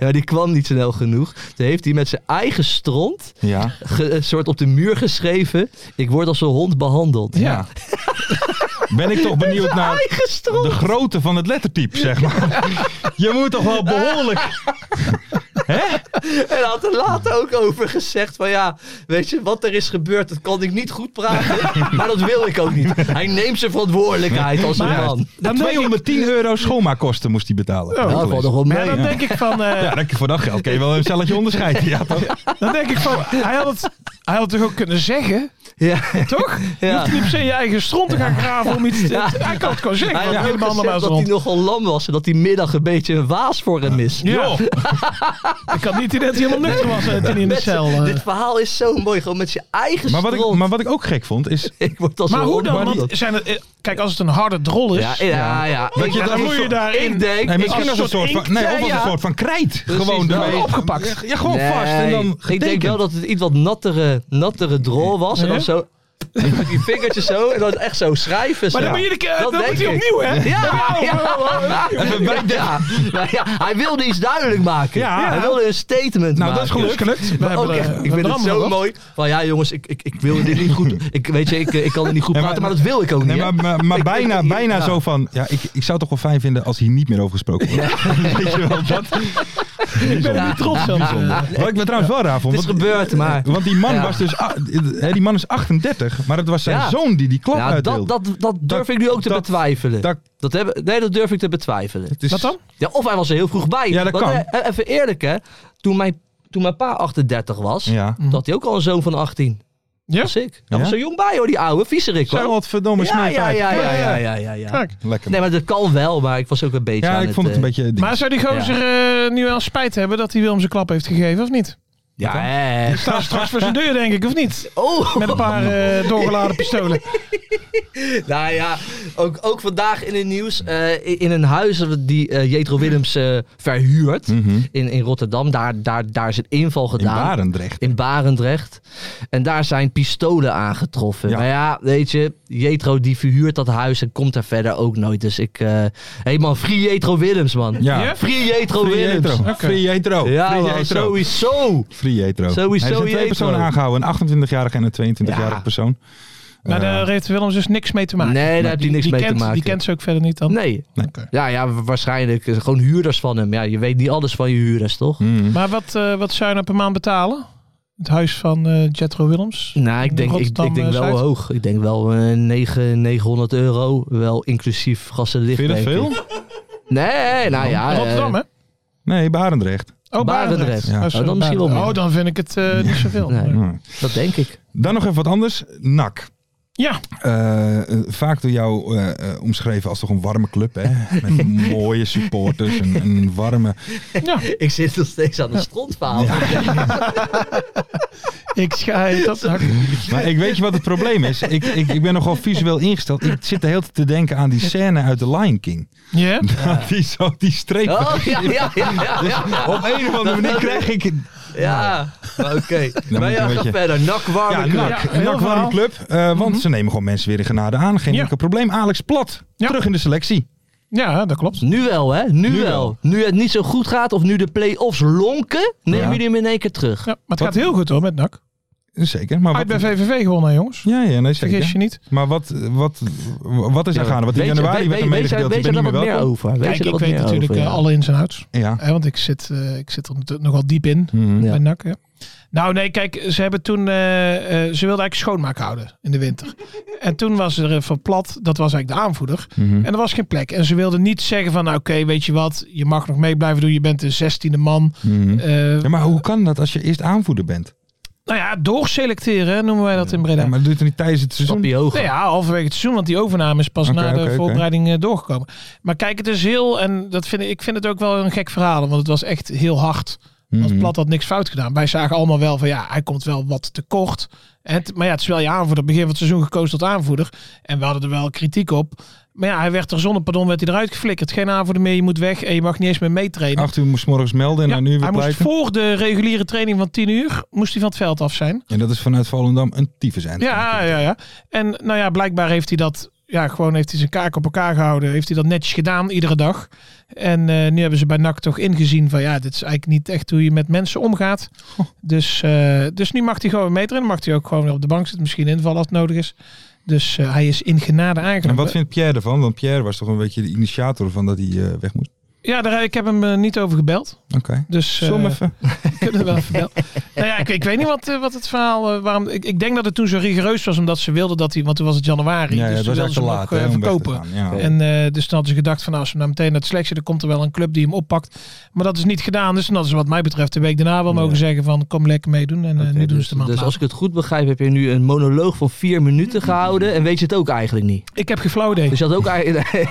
[SPEAKER 5] Ja, die kwam niet snel genoeg. Toen heeft hij met zijn eigen stront
[SPEAKER 3] ja,
[SPEAKER 5] ge- een soort op de muur geschreven: ik word als een hond behandeld.
[SPEAKER 3] ja. Ben ik toch benieuwd naar
[SPEAKER 5] Eigen stront.
[SPEAKER 3] de grootte van het lettertype, zeg maar. Je moet toch wel behoorlijk...
[SPEAKER 5] En hij had er later ook over gezegd van ja, weet je, wat er is gebeurd, dat kan ik niet goed praten, maar dat wil ik ook niet. Hij neemt zijn verantwoordelijkheid als een man.
[SPEAKER 4] Dan denk ik,
[SPEAKER 3] 210 euro schoonmaakkosten moest hij betalen.
[SPEAKER 4] Ja,
[SPEAKER 3] Heb ik
[SPEAKER 5] Dat valt
[SPEAKER 3] gelezen.
[SPEAKER 5] nog wel
[SPEAKER 4] maar
[SPEAKER 5] mee.
[SPEAKER 4] dan denk ik van... eh,
[SPEAKER 3] Ja, dat- voor dat geld kun je wel een celletje onderscheiden. Ja, toch?
[SPEAKER 4] Dan denk ik van... Hij had het, hij had het toch ook kunnen zeggen?
[SPEAKER 5] Ja.
[SPEAKER 4] Toch? Je
[SPEAKER 5] Ja.
[SPEAKER 4] hoeft niet per se je eigen stront te gaan graven om iets te...
[SPEAKER 5] Ja.
[SPEAKER 4] Hij kan het gewoon zeggen.
[SPEAKER 5] Hij
[SPEAKER 4] want
[SPEAKER 5] had ook
[SPEAKER 4] helemaal
[SPEAKER 5] gezegd
[SPEAKER 4] normaal
[SPEAKER 5] dat hij
[SPEAKER 4] rond.
[SPEAKER 5] nogal lam was en dat die middag een beetje een waas voor hem is.
[SPEAKER 4] Ja. ik had niet idee dat hij helemaal nuchter was eh, toen hij in de
[SPEAKER 5] Mensen,
[SPEAKER 4] cel... eh.
[SPEAKER 5] dit verhaal is zo mooi, gewoon met je eigen
[SPEAKER 3] Maar wat, ik,
[SPEAKER 5] stront.
[SPEAKER 3] maar wat ik ook gek vond, is
[SPEAKER 5] ik word als
[SPEAKER 4] Maar
[SPEAKER 5] een
[SPEAKER 4] hoe
[SPEAKER 5] hond
[SPEAKER 4] dan? Want
[SPEAKER 5] behandeld.
[SPEAKER 4] zijn het, eh, kijk, als het een harde drol is...
[SPEAKER 5] Ja, ja, ja.
[SPEAKER 4] je
[SPEAKER 5] Ik-
[SPEAKER 4] dan moet je daarin-
[SPEAKER 5] Ik denk...
[SPEAKER 3] nee, misschien
[SPEAKER 4] als
[SPEAKER 3] als een soort van, nee,
[SPEAKER 5] inkt,
[SPEAKER 3] of als
[SPEAKER 5] ja,
[SPEAKER 3] een
[SPEAKER 5] ja.
[SPEAKER 3] soort van krijt.
[SPEAKER 5] Precies,
[SPEAKER 3] gewoon
[SPEAKER 5] dan
[SPEAKER 3] ermee-
[SPEAKER 4] opgepakt.
[SPEAKER 3] Ja, gewoon vast en
[SPEAKER 5] Nee,
[SPEAKER 3] dan
[SPEAKER 5] ik denk wel
[SPEAKER 3] getekend.
[SPEAKER 5] dat het iets wat nattere, nattere drol was. En dan
[SPEAKER 4] Ja?
[SPEAKER 5] zo... Met die vingertjes zo. En dan echt zo schrijven.
[SPEAKER 4] Maar
[SPEAKER 5] zo.
[SPEAKER 4] dan moet je de keer-
[SPEAKER 5] Dat
[SPEAKER 4] dan
[SPEAKER 5] denk
[SPEAKER 4] moet hij
[SPEAKER 5] ik.
[SPEAKER 4] opnieuw, hè?
[SPEAKER 5] Ja, ja. Ja. Nou ja, hij wilde iets duidelijk maken.
[SPEAKER 3] Ja.
[SPEAKER 5] Hij wilde een statement
[SPEAKER 3] Nou,
[SPEAKER 5] maken.
[SPEAKER 3] dat is gelukt.
[SPEAKER 4] We
[SPEAKER 5] Maar ook
[SPEAKER 4] hebben,
[SPEAKER 5] echt,
[SPEAKER 4] eh, we
[SPEAKER 5] ik vind
[SPEAKER 4] hebben
[SPEAKER 5] het
[SPEAKER 4] allemaal
[SPEAKER 5] zo
[SPEAKER 4] wat.
[SPEAKER 5] mooi. Van ja, jongens, ik, ik, ik wil dit niet goed. Ik weet je, ik, ik kan er niet goed
[SPEAKER 3] Ja, maar-
[SPEAKER 5] praten, maar dat wil ik ook niet.
[SPEAKER 3] Nee,
[SPEAKER 5] hè.
[SPEAKER 3] maar, maar, maar
[SPEAKER 5] Ik-
[SPEAKER 3] bijna,
[SPEAKER 5] ik-
[SPEAKER 3] bijna
[SPEAKER 5] ja.
[SPEAKER 3] zo van, ja, ik, ik zou het toch wel fijn vinden als hier niet meer over gesproken wordt. Weet je wel, dat?
[SPEAKER 4] Ik ben er niet trots op.
[SPEAKER 3] Wat ik me trouwens wel raar vond.
[SPEAKER 5] Het is
[SPEAKER 3] want-
[SPEAKER 5] gebeurd, maar.
[SPEAKER 3] Want die man
[SPEAKER 5] Ja.
[SPEAKER 3] was dus, ah, hè, die man is 38, maar het was zijn
[SPEAKER 5] Ja.
[SPEAKER 3] zoon die die klap
[SPEAKER 5] Ja, dat,
[SPEAKER 3] uitdeelde.
[SPEAKER 5] dat, dat durf
[SPEAKER 3] Dat-
[SPEAKER 5] ik nu ook te
[SPEAKER 3] dat-
[SPEAKER 5] betwijfelen.
[SPEAKER 3] dat-
[SPEAKER 5] dat hebben, nee, dat durf ik te betwijfelen.
[SPEAKER 3] Het is-
[SPEAKER 4] Wat dan?
[SPEAKER 5] Ja, of hij was er heel vroeg bij.
[SPEAKER 3] Ja, dat
[SPEAKER 5] Want,
[SPEAKER 3] kan.
[SPEAKER 5] eh, even eerlijk, hè. Toen mijn, toen mijn pa 38 was,
[SPEAKER 3] Ja.
[SPEAKER 5] toen had hij ook al een zoon van 18.
[SPEAKER 4] Ja?
[SPEAKER 5] Dat was ik. Hij
[SPEAKER 3] Ja?
[SPEAKER 5] was zo jong bij, hoor, die oude viezerik.
[SPEAKER 3] Zo
[SPEAKER 5] hoor.
[SPEAKER 3] wat verdomme
[SPEAKER 5] Ja,
[SPEAKER 3] smeet
[SPEAKER 5] ja,
[SPEAKER 3] uit.
[SPEAKER 5] ja, ja, ja, ja, ja, ja.
[SPEAKER 4] Kijk.
[SPEAKER 3] Lekker.
[SPEAKER 5] Nee, maar dat kan wel, maar ik was ook een beetje
[SPEAKER 3] ja,
[SPEAKER 5] aan
[SPEAKER 3] ik vond het een
[SPEAKER 5] eh,
[SPEAKER 3] beetje...
[SPEAKER 4] Maar zou die gozer eh, nu wel spijt hebben dat hij Willem zijn klap heeft gegeven, of niet?
[SPEAKER 5] Ja, hè.
[SPEAKER 4] Staan ze straks voor zijn deur, denk ik, of niet?
[SPEAKER 5] Oh,
[SPEAKER 4] Met een paar eh, doorgeladen pistolen.
[SPEAKER 5] nou ja. Ook, ook vandaag in het nieuws, eh, in een huis die eh, Jetro Willems eh, verhuurt
[SPEAKER 3] Mhm.
[SPEAKER 5] in, in Rotterdam. Daar, daar, daar is een inval
[SPEAKER 3] Hm. In
[SPEAKER 5] gedaan.
[SPEAKER 3] Barendrecht.
[SPEAKER 5] in Barendrecht. En daar zijn pistolen aangetroffen.
[SPEAKER 3] Ja.
[SPEAKER 5] Maar ja, weet je, Jetro die verhuurt dat huis en komt daar verder ook nooit. Dus ik, eh hey man, free Jetro Willems man.
[SPEAKER 3] Ja.
[SPEAKER 4] Ja?
[SPEAKER 5] Free Jetro
[SPEAKER 3] Free
[SPEAKER 5] Willems.
[SPEAKER 3] Jetro. Free Jetro.
[SPEAKER 5] Ja
[SPEAKER 3] Free
[SPEAKER 5] man,
[SPEAKER 3] Jetro.
[SPEAKER 5] sowieso.
[SPEAKER 3] Free Jetro.
[SPEAKER 5] Sowieso
[SPEAKER 3] Hij heeft twee
[SPEAKER 5] Jetro.
[SPEAKER 3] personen aangehouden. Een 28-jarige en een 22-jarige
[SPEAKER 5] Ja.
[SPEAKER 3] persoon.
[SPEAKER 4] Maar
[SPEAKER 3] Eh,
[SPEAKER 4] Nou, daar heeft Willems dus niks mee te maken.
[SPEAKER 5] Nee, daar heb je
[SPEAKER 4] Die-
[SPEAKER 5] niks
[SPEAKER 4] die
[SPEAKER 5] mee
[SPEAKER 4] kent,
[SPEAKER 5] te maken.
[SPEAKER 4] Die kent ze ook verder niet dan.
[SPEAKER 5] Nee.
[SPEAKER 3] Nee.
[SPEAKER 5] Ja, ja, wa- waarschijnlijk eh, gewoon huurders van hem. Ja, je weet niet alles van je huurders, toch?
[SPEAKER 3] Mm.
[SPEAKER 4] Maar wat, eh, wat zou je nou per maand betalen? Het huis van eh Jetro Willems?
[SPEAKER 5] Nou, ik denk, ik,
[SPEAKER 4] Rotterdam,
[SPEAKER 5] ik denk
[SPEAKER 4] eh,
[SPEAKER 5] wel
[SPEAKER 4] Zuid.
[SPEAKER 5] hoog. Ik denk wel eh, negen 900 euro. Wel inclusief gas en licht.
[SPEAKER 3] Vind je dat
[SPEAKER 5] denk ik.
[SPEAKER 3] veel?
[SPEAKER 5] Nee, nou ja. eh,
[SPEAKER 4] Rotterdam, hè?
[SPEAKER 3] Nee, Barendrecht.
[SPEAKER 4] Oh, Barendrecht.
[SPEAKER 5] Barendrecht.
[SPEAKER 3] Ja.
[SPEAKER 4] Oh, sorry,
[SPEAKER 5] Oh, dan misschien wel
[SPEAKER 4] Barendrecht.
[SPEAKER 5] meer.
[SPEAKER 4] Oh, dan vind ik het eh, niet zoveel.
[SPEAKER 5] Nee.
[SPEAKER 4] Maar-
[SPEAKER 3] Mm.
[SPEAKER 5] Dat denk ik.
[SPEAKER 3] Dan nog even wat anders. NAC.
[SPEAKER 4] Ja,
[SPEAKER 3] Eh, eh, vaak door jou eh, eh, omschreven als toch een warme club, hè? Met mooie supporters en een warme...
[SPEAKER 4] ja.
[SPEAKER 5] Ik zit nog steeds aan de strontverhaal.
[SPEAKER 4] ik schijt op de
[SPEAKER 3] Maar ik weet je wat het probleem is? Ik, ik, ik ben nogal visueel ingesteld. Ik zit de hele tijd te denken aan die scène uit The Lion King.
[SPEAKER 4] Ja?
[SPEAKER 3] Die zo die streep...
[SPEAKER 5] Oh, ja, ja, ja, ja.
[SPEAKER 3] Dus-
[SPEAKER 5] ja.
[SPEAKER 3] Op een of andere manier krijg ik...
[SPEAKER 5] Ja, oké. Maar
[SPEAKER 3] moet
[SPEAKER 5] ja,
[SPEAKER 3] een
[SPEAKER 5] ga
[SPEAKER 3] beetje-
[SPEAKER 5] verder. Nak warme
[SPEAKER 3] Ja, nou-
[SPEAKER 5] club.
[SPEAKER 3] NAC.
[SPEAKER 4] Ja, heel
[SPEAKER 3] NAC warme
[SPEAKER 4] verhaal. Mhm.
[SPEAKER 3] club. eh, want ze nemen gewoon mensen weer in genade aan. Geen
[SPEAKER 4] Ja.
[SPEAKER 3] enkel probleem. Alex Plat.
[SPEAKER 4] Ja.
[SPEAKER 3] Terug in de selectie.
[SPEAKER 4] ja, dat klopt.
[SPEAKER 5] Nu wel, hè? Nu,
[SPEAKER 3] Nu
[SPEAKER 5] wel.
[SPEAKER 3] wel.
[SPEAKER 5] Nu het niet zo goed gaat of nu de play-offs lonken, neem
[SPEAKER 3] Ja.
[SPEAKER 5] jullie hem in één keer terug.
[SPEAKER 4] Ja, maar het gaat heel goed hoor met NAC.
[SPEAKER 3] Zeker. Maar
[SPEAKER 4] Uit bij
[SPEAKER 3] wat...
[SPEAKER 4] VVV gewonnen, hè, jongens.
[SPEAKER 3] Ja, ja, nee,
[SPEAKER 4] Vergis
[SPEAKER 3] zeker.
[SPEAKER 4] je niet.
[SPEAKER 3] Maar wat, wat, wat is er gaande? Want in
[SPEAKER 5] Weet je- weet-
[SPEAKER 3] januari werd
[SPEAKER 5] weet- weet-
[SPEAKER 3] er medegedeeld, je
[SPEAKER 5] Weet je
[SPEAKER 3] bent
[SPEAKER 5] daar wat
[SPEAKER 3] niet meer
[SPEAKER 5] meer
[SPEAKER 3] welkom.
[SPEAKER 5] over? Weet je Oh,
[SPEAKER 4] Kijk,
[SPEAKER 5] daar
[SPEAKER 4] ik
[SPEAKER 5] wat
[SPEAKER 4] weet
[SPEAKER 5] meer
[SPEAKER 4] natuurlijk
[SPEAKER 5] over,
[SPEAKER 4] eh,
[SPEAKER 5] ja.
[SPEAKER 4] alle ins en outs.
[SPEAKER 3] Ja.
[SPEAKER 4] Hè, want ik zit, eh, ik zit er natuurlijk nog wel diep in
[SPEAKER 3] Mhm.
[SPEAKER 5] Ja.
[SPEAKER 4] bij NAC. Hè. Nou nee, kijk, ze hebben toen, eh, eh, ze wilden eigenlijk schoonmaak houden in de winter. en toen was er eh, Van Plat, dat was eigenlijk de aanvoerder.
[SPEAKER 3] Mhm.
[SPEAKER 4] En er was geen plek. En ze wilden niet zeggen van, nou, oké, weet je wat, je mag nog mee blijven doen. Je bent de zestiende man.
[SPEAKER 3] Mhm.
[SPEAKER 4] Eh,
[SPEAKER 3] Ja, maar hoe kan dat als je eerst aanvoerder bent?
[SPEAKER 4] Nou ja, doorselecteren hè, noemen wij dat in Breda.
[SPEAKER 3] Ja, maar dat doet er niet tijdens het seizoen.
[SPEAKER 5] Stappie hoger.
[SPEAKER 4] Nou ja, halverwege het seizoen, want die overname is pas
[SPEAKER 3] Oké,
[SPEAKER 4] na de
[SPEAKER 3] oké, oké.
[SPEAKER 4] voorbereiding eh, doorgekomen. Maar kijk, het is heel, en dat vind ik, ik vind het ook wel een gek verhaal, want het was echt heel hard. Want
[SPEAKER 3] Mhm.
[SPEAKER 4] Plat had niks fout gedaan. Wij zagen allemaal wel van ja, hij komt wel wat tekort. En het- maar ja, het is wel je aanvoerder. Begin van het seizoen gekozen tot aanvoerder. En we hadden er wel kritiek op. Maar ja, hij werd er zonder pardon werd hij eruit geflikkerd. Geen aanvoerder meer, je moet weg en je mag niet eens meer meetrainen.
[SPEAKER 3] Acht uur moest 's morgens melden en
[SPEAKER 4] Ja,
[SPEAKER 3] nou nu weer
[SPEAKER 4] hij moest
[SPEAKER 3] blijken.
[SPEAKER 4] voor de reguliere training van 10 uur moest hij van het veld af zijn.
[SPEAKER 3] En dat is vanuit Volendam een tyfus eind.
[SPEAKER 4] Ja, ja, ja. En nou ja, blijkbaar heeft hij dat. Ja, gewoon heeft hij zijn kaak op elkaar gehouden. Heeft hij dat netjes gedaan iedere dag. En eh, nu hebben ze bij NAC toch ingezien van ja, dit is eigenlijk niet echt hoe je met mensen omgaat. Dus, eh, dus nu mag hij gewoon meter in. Mag hij ook gewoon weer op de bank zitten. Misschien invallen als het nodig is. Dus eh, hij is in genade
[SPEAKER 3] En
[SPEAKER 4] aangenomen.
[SPEAKER 3] wat vindt Pierre ervan? Want Pierre was toch een beetje de initiator van dat hij eh, weg moest.
[SPEAKER 4] Ja, daar, ik heb hem eh, niet over gebeld.
[SPEAKER 3] Oké.
[SPEAKER 4] Dus eh,
[SPEAKER 3] Zul hem even.
[SPEAKER 4] ik heb er wel even gebeld. nou ja, ik, ik weet niet wat, eh, wat het verhaal... eh, waarom, ik, ik denk dat het toen zo rigoureus was omdat ze wilden dat hij... Want toen was het januari.
[SPEAKER 3] Ja, ja,
[SPEAKER 4] dus
[SPEAKER 3] het
[SPEAKER 4] toen
[SPEAKER 3] was
[SPEAKER 4] wilden
[SPEAKER 3] echt
[SPEAKER 4] ze
[SPEAKER 3] te
[SPEAKER 4] hem
[SPEAKER 3] laat hè,
[SPEAKER 4] ook, eh,
[SPEAKER 3] om weg te
[SPEAKER 4] verkopen.
[SPEAKER 3] gaan. Ja.
[SPEAKER 5] Oh.
[SPEAKER 4] En eh, dus toen hadden ze gedacht van nou, als we nou meteen naar het selectie, dan komt er wel een club die hem oppakt. Maar dat is niet gedaan. Dus dan hadden ze wat mij betreft de week daarna wel mogen zeggen van kom lekker meedoen. En eh,
[SPEAKER 5] Oké,
[SPEAKER 4] nu doen
[SPEAKER 5] dus,
[SPEAKER 4] ze de maand
[SPEAKER 5] dus
[SPEAKER 4] later.
[SPEAKER 5] als ik het goed begrijp, heb je nu een monoloog van vier minuten gehouden en weet je het ook eigenlijk niet.
[SPEAKER 4] Ik heb geflauwd.
[SPEAKER 5] Dus je had ook eigenlijk. Nee,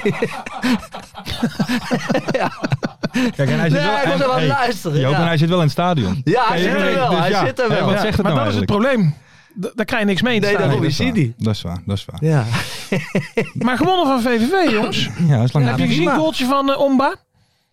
[SPEAKER 3] Kijk, en hij zit wel,
[SPEAKER 5] ik was er
[SPEAKER 3] en-
[SPEAKER 5] wel aan
[SPEAKER 3] hey,
[SPEAKER 5] het luisteren.
[SPEAKER 3] Joop, en
[SPEAKER 5] Ja,
[SPEAKER 3] hij zit wel in het stadion.
[SPEAKER 5] Ja, hij
[SPEAKER 3] Kijk,
[SPEAKER 5] zit er
[SPEAKER 3] dus
[SPEAKER 5] wel. Hij
[SPEAKER 3] ja,
[SPEAKER 5] zit er
[SPEAKER 3] hè,
[SPEAKER 5] wel.
[SPEAKER 3] Wat zegt het
[SPEAKER 4] maar
[SPEAKER 3] nou
[SPEAKER 4] dat is het
[SPEAKER 3] eigenlijk?
[SPEAKER 4] probleem. Da- daar krijg je niks mee. in het
[SPEAKER 5] Nee,
[SPEAKER 4] stadion.
[SPEAKER 5] daarom is hij niet.
[SPEAKER 3] Dat is waar, dat is waar.
[SPEAKER 5] Ja.
[SPEAKER 4] Maar gewonnen van VVV, jongens.
[SPEAKER 3] Ja, dat is lang.
[SPEAKER 4] heb je gezien het goaltje van eh, Omba?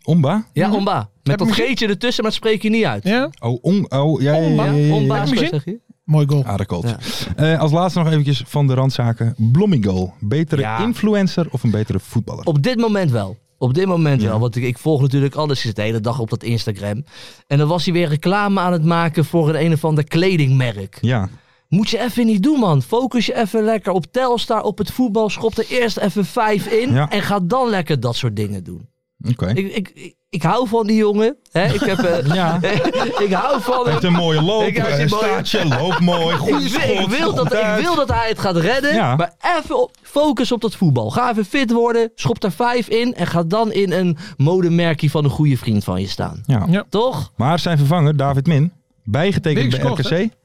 [SPEAKER 3] Omba?
[SPEAKER 5] ja, Omba. Met
[SPEAKER 4] Heb
[SPEAKER 5] dat
[SPEAKER 4] je
[SPEAKER 5] geetje ertussen, maar het spreek je niet uit.
[SPEAKER 4] Ja?
[SPEAKER 3] Oh, om, oh, ja, ja, ja,
[SPEAKER 5] Omba,
[SPEAKER 3] ja, ja, ja.
[SPEAKER 5] Omba,
[SPEAKER 4] Heb je hem
[SPEAKER 5] zeg je?
[SPEAKER 4] Mooi
[SPEAKER 5] Ah,
[SPEAKER 4] goal.
[SPEAKER 3] Aardekolt. Eh, als laatste nog eventjes van de randzaken. Blommingol. Betere
[SPEAKER 5] Ja.
[SPEAKER 3] influencer of een betere voetballer?
[SPEAKER 5] Op dit moment wel. Op dit moment
[SPEAKER 3] Ja.
[SPEAKER 5] wel. Want ik, ik volg natuurlijk alles. Ik zit de hele dag op dat Instagram. En dan was hij weer reclame aan het maken voor een een of ander kledingmerk.
[SPEAKER 3] Ja.
[SPEAKER 5] Moet je even niet doen, man. Focus je even lekker op Telstar, op het voetbal. Schop er eerst even vijf in.
[SPEAKER 3] Ja.
[SPEAKER 5] En ga dan lekker dat soort dingen doen.
[SPEAKER 3] Oké.
[SPEAKER 5] Ik, ik, ik, ik hou van die jongen. Hè? Ik, heb, eh,
[SPEAKER 3] Ja.
[SPEAKER 5] ik hou van
[SPEAKER 3] Hij heeft
[SPEAKER 5] hem.
[SPEAKER 3] een mooie loop.
[SPEAKER 5] Ik heb
[SPEAKER 3] eh,
[SPEAKER 5] een mooie-
[SPEAKER 3] staartje, loopt mooi.
[SPEAKER 5] Ik
[SPEAKER 3] Goed
[SPEAKER 5] wil, ik, wil dat, ik wil dat hij het gaat redden.
[SPEAKER 3] Ja.
[SPEAKER 5] Maar even op, focus op dat voetbal. Ga even fit worden. Schop er vijf in. En ga dan in een modemerkje van een goede vriend van je staan.
[SPEAKER 3] Ja.
[SPEAKER 4] Ja.
[SPEAKER 5] Toch?
[SPEAKER 3] Maar zijn vervanger, David Min, bijgetekend
[SPEAKER 4] Weer
[SPEAKER 3] bij
[SPEAKER 4] gescoord,
[SPEAKER 3] RKC.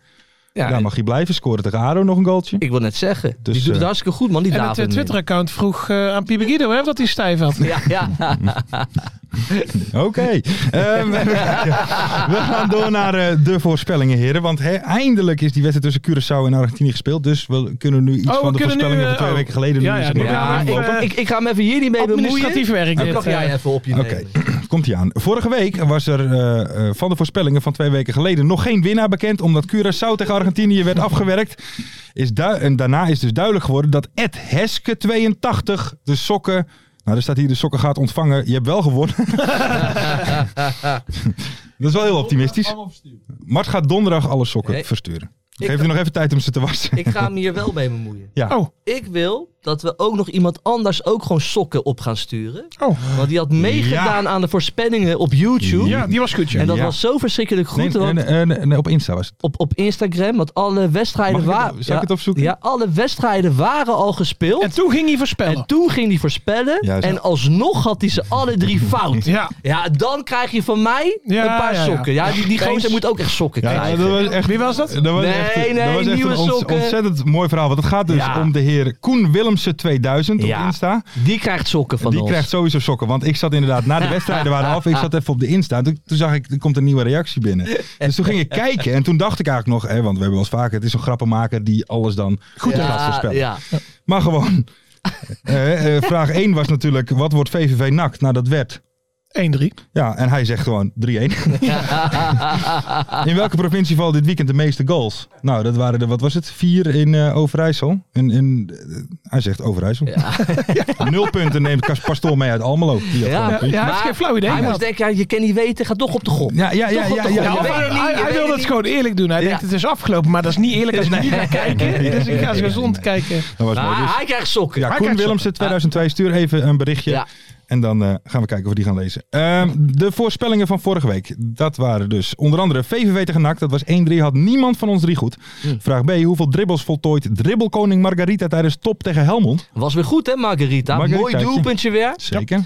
[SPEAKER 5] Ja,
[SPEAKER 3] Daar mag hij blijven scoren tegen Aro nog een goaltje.
[SPEAKER 5] Ik wil net zeggen.
[SPEAKER 3] Dus,
[SPEAKER 5] die doet het
[SPEAKER 3] eh,
[SPEAKER 5] hartstikke goed, man. Die
[SPEAKER 4] En het
[SPEAKER 5] David
[SPEAKER 4] eh,
[SPEAKER 5] Min.
[SPEAKER 4] Twitter-account vroeg eh, aan Pibe Guido hè, of dat hij stijf had.
[SPEAKER 5] Ja, ja.
[SPEAKER 3] Oké. Ehm, we gaan door naar eh, de voorspellingen, heren. Want hè, eindelijk is die wedstrijd tussen Curaçao en Argentinië gespeeld. Dus we kunnen nu iets
[SPEAKER 4] Oh, we
[SPEAKER 3] van de
[SPEAKER 4] kunnen nu,
[SPEAKER 3] voorspellingen van
[SPEAKER 4] eh,
[SPEAKER 3] twee
[SPEAKER 4] oh.
[SPEAKER 3] weken geleden
[SPEAKER 4] Ja,
[SPEAKER 3] doen.
[SPEAKER 4] ja,
[SPEAKER 3] Dus
[SPEAKER 4] we
[SPEAKER 3] dat-
[SPEAKER 4] gaan
[SPEAKER 3] Ja,
[SPEAKER 4] even-
[SPEAKER 5] ik, ik, ik ga hem even hier niet mee bemoeien.
[SPEAKER 4] Administratief werk
[SPEAKER 5] Dan
[SPEAKER 4] dit.
[SPEAKER 5] mag jij
[SPEAKER 4] eh.
[SPEAKER 5] even op je nemen.
[SPEAKER 3] Oké, komt hij aan. Vorige week was er eh, eh, van de voorspellingen van twee weken geleden nog geen winnaar bekend. Omdat Curaçao tegen Argentinië werd afgewerkt. Is du- en daarna is dus duidelijk geworden dat Ed Heske 82 de sokken... Nou, er staat hier de sokken gaat ontvangen. Je hebt wel gewonnen. dat is wel heel optimistisch. Mart gaat donderdag alle sokken
[SPEAKER 5] Nee.
[SPEAKER 3] versturen.
[SPEAKER 5] Ik-
[SPEAKER 3] Geef u nog even tijd om ze te wassen.
[SPEAKER 5] Ik ga hem hier wel mee bemoeien.
[SPEAKER 3] Ja.
[SPEAKER 4] Oh.
[SPEAKER 5] Ik wil dat we ook nog iemand anders ook gewoon sokken op gaan sturen.
[SPEAKER 4] Oh.
[SPEAKER 5] Want die had meegedaan aan de voorspellingen op YouTube.
[SPEAKER 4] Ja, die was goed, ja.
[SPEAKER 5] En dat
[SPEAKER 3] Ja.
[SPEAKER 5] was zo verschrikkelijk goed.
[SPEAKER 3] Nee,
[SPEAKER 5] want
[SPEAKER 3] nee, nee, nee, nee, eh, op Insta was het.
[SPEAKER 5] op, op Instagram, want alle wedstrijden
[SPEAKER 3] Mag ik het-
[SPEAKER 5] waren...
[SPEAKER 3] zal ik het opzoeken?
[SPEAKER 5] Ja, alle wedstrijden waren al gespeeld.
[SPEAKER 4] En toen ging hij voorspellen.
[SPEAKER 5] En toen ging hij voorspellen.
[SPEAKER 3] Juist.
[SPEAKER 5] En alsnog had hij ze alle drie fout.
[SPEAKER 4] Ja.
[SPEAKER 5] Ja, dan krijg je van mij
[SPEAKER 4] Ja,
[SPEAKER 5] een paar
[SPEAKER 4] ja, ja.
[SPEAKER 5] sokken. Ja, die, die
[SPEAKER 4] Eens.
[SPEAKER 5] gozer moet ook echt sokken
[SPEAKER 3] Ja,
[SPEAKER 5] krijgen.
[SPEAKER 3] dat was echt,
[SPEAKER 4] Wie was dat?
[SPEAKER 3] Dat was
[SPEAKER 5] Nee,
[SPEAKER 3] echt, dat
[SPEAKER 5] nee,
[SPEAKER 3] was echt
[SPEAKER 5] nieuwe
[SPEAKER 3] een ont-
[SPEAKER 5] sokken.
[SPEAKER 3] ontzettend mooi verhaal. Want het gaat dus
[SPEAKER 5] Ja.
[SPEAKER 3] om de heer Koen Willemsen 2000
[SPEAKER 5] Ja.
[SPEAKER 3] op Insta.
[SPEAKER 5] Die krijgt sokken van
[SPEAKER 3] die
[SPEAKER 5] ons.
[SPEAKER 3] krijgt sowieso sokken. Want ik zat inderdaad, na de wedstrijden waren af, ik zat even op de Insta. En toen, toen zag ik, er komt een nieuwe reactie binnen. Dus toen ging ik kijken. En toen dacht ik eigenlijk nog, hè, want we hebben wel eens vaker, het is een grappenmaker die alles dan goed
[SPEAKER 5] ja,
[SPEAKER 3] gaat voorspellen.
[SPEAKER 5] Ja.
[SPEAKER 3] Maar gewoon, eh, eh, vraag 1 was natuurlijk, wat wordt VVV nakt? Nou, dat werd...
[SPEAKER 4] 1-3.
[SPEAKER 3] Ja, en hij zegt gewoon 3-1. in welke provincie vallen dit weekend de meeste goals? Nou, dat waren er, wat was het? Vier in eh, Overijssel. In, in, eh, hij zegt Overijssel. Nul punten neemt Cas Pastoor mee uit Almelo. Die had
[SPEAKER 5] Ja.
[SPEAKER 3] gewoon een punt.
[SPEAKER 4] Ja, hij heeft
[SPEAKER 5] Maar
[SPEAKER 4] geen flauw idee
[SPEAKER 5] Hij moest
[SPEAKER 4] gehad.
[SPEAKER 5] denken, ja, je kan niet weten, ga toch op de gok.
[SPEAKER 3] Ja, ja, ja,
[SPEAKER 5] Toch
[SPEAKER 3] ja,
[SPEAKER 5] op de
[SPEAKER 3] ja,
[SPEAKER 5] grond.
[SPEAKER 3] ja.
[SPEAKER 5] Ja, weet het niet, je
[SPEAKER 4] Hij, hij
[SPEAKER 5] weet
[SPEAKER 4] wil
[SPEAKER 5] het
[SPEAKER 4] dat gewoon eerlijk doen. Hij
[SPEAKER 5] Ja.
[SPEAKER 4] denkt het is afgelopen, maar dat is niet eerlijk als ik niet ga kijken. Dus ik ga zo gezond kijken.
[SPEAKER 3] Dat was
[SPEAKER 5] Maar
[SPEAKER 3] mooi. Dus,
[SPEAKER 5] hij krijgt sokken.
[SPEAKER 3] ja,
[SPEAKER 5] Hij
[SPEAKER 3] Koen
[SPEAKER 5] krijgt
[SPEAKER 3] Willemsen 2002, stuur even een berichtje.
[SPEAKER 5] Ja.
[SPEAKER 3] En dan eh, gaan we kijken of we die gaan lezen. Ehm, de voorspellingen van vorige week. Dat waren dus onder andere VVV tegen NAC. Dat was 1-3. Had niemand van ons drie goed. Vraag B. Hoeveel dribbels voltooit dribbelkoning Margarita tijdens top tegen Helmond?
[SPEAKER 5] sokken. Was weer goed, hè, Margarita?
[SPEAKER 3] Margarita,
[SPEAKER 5] Mooi doelpuntje weer.
[SPEAKER 3] Zeker.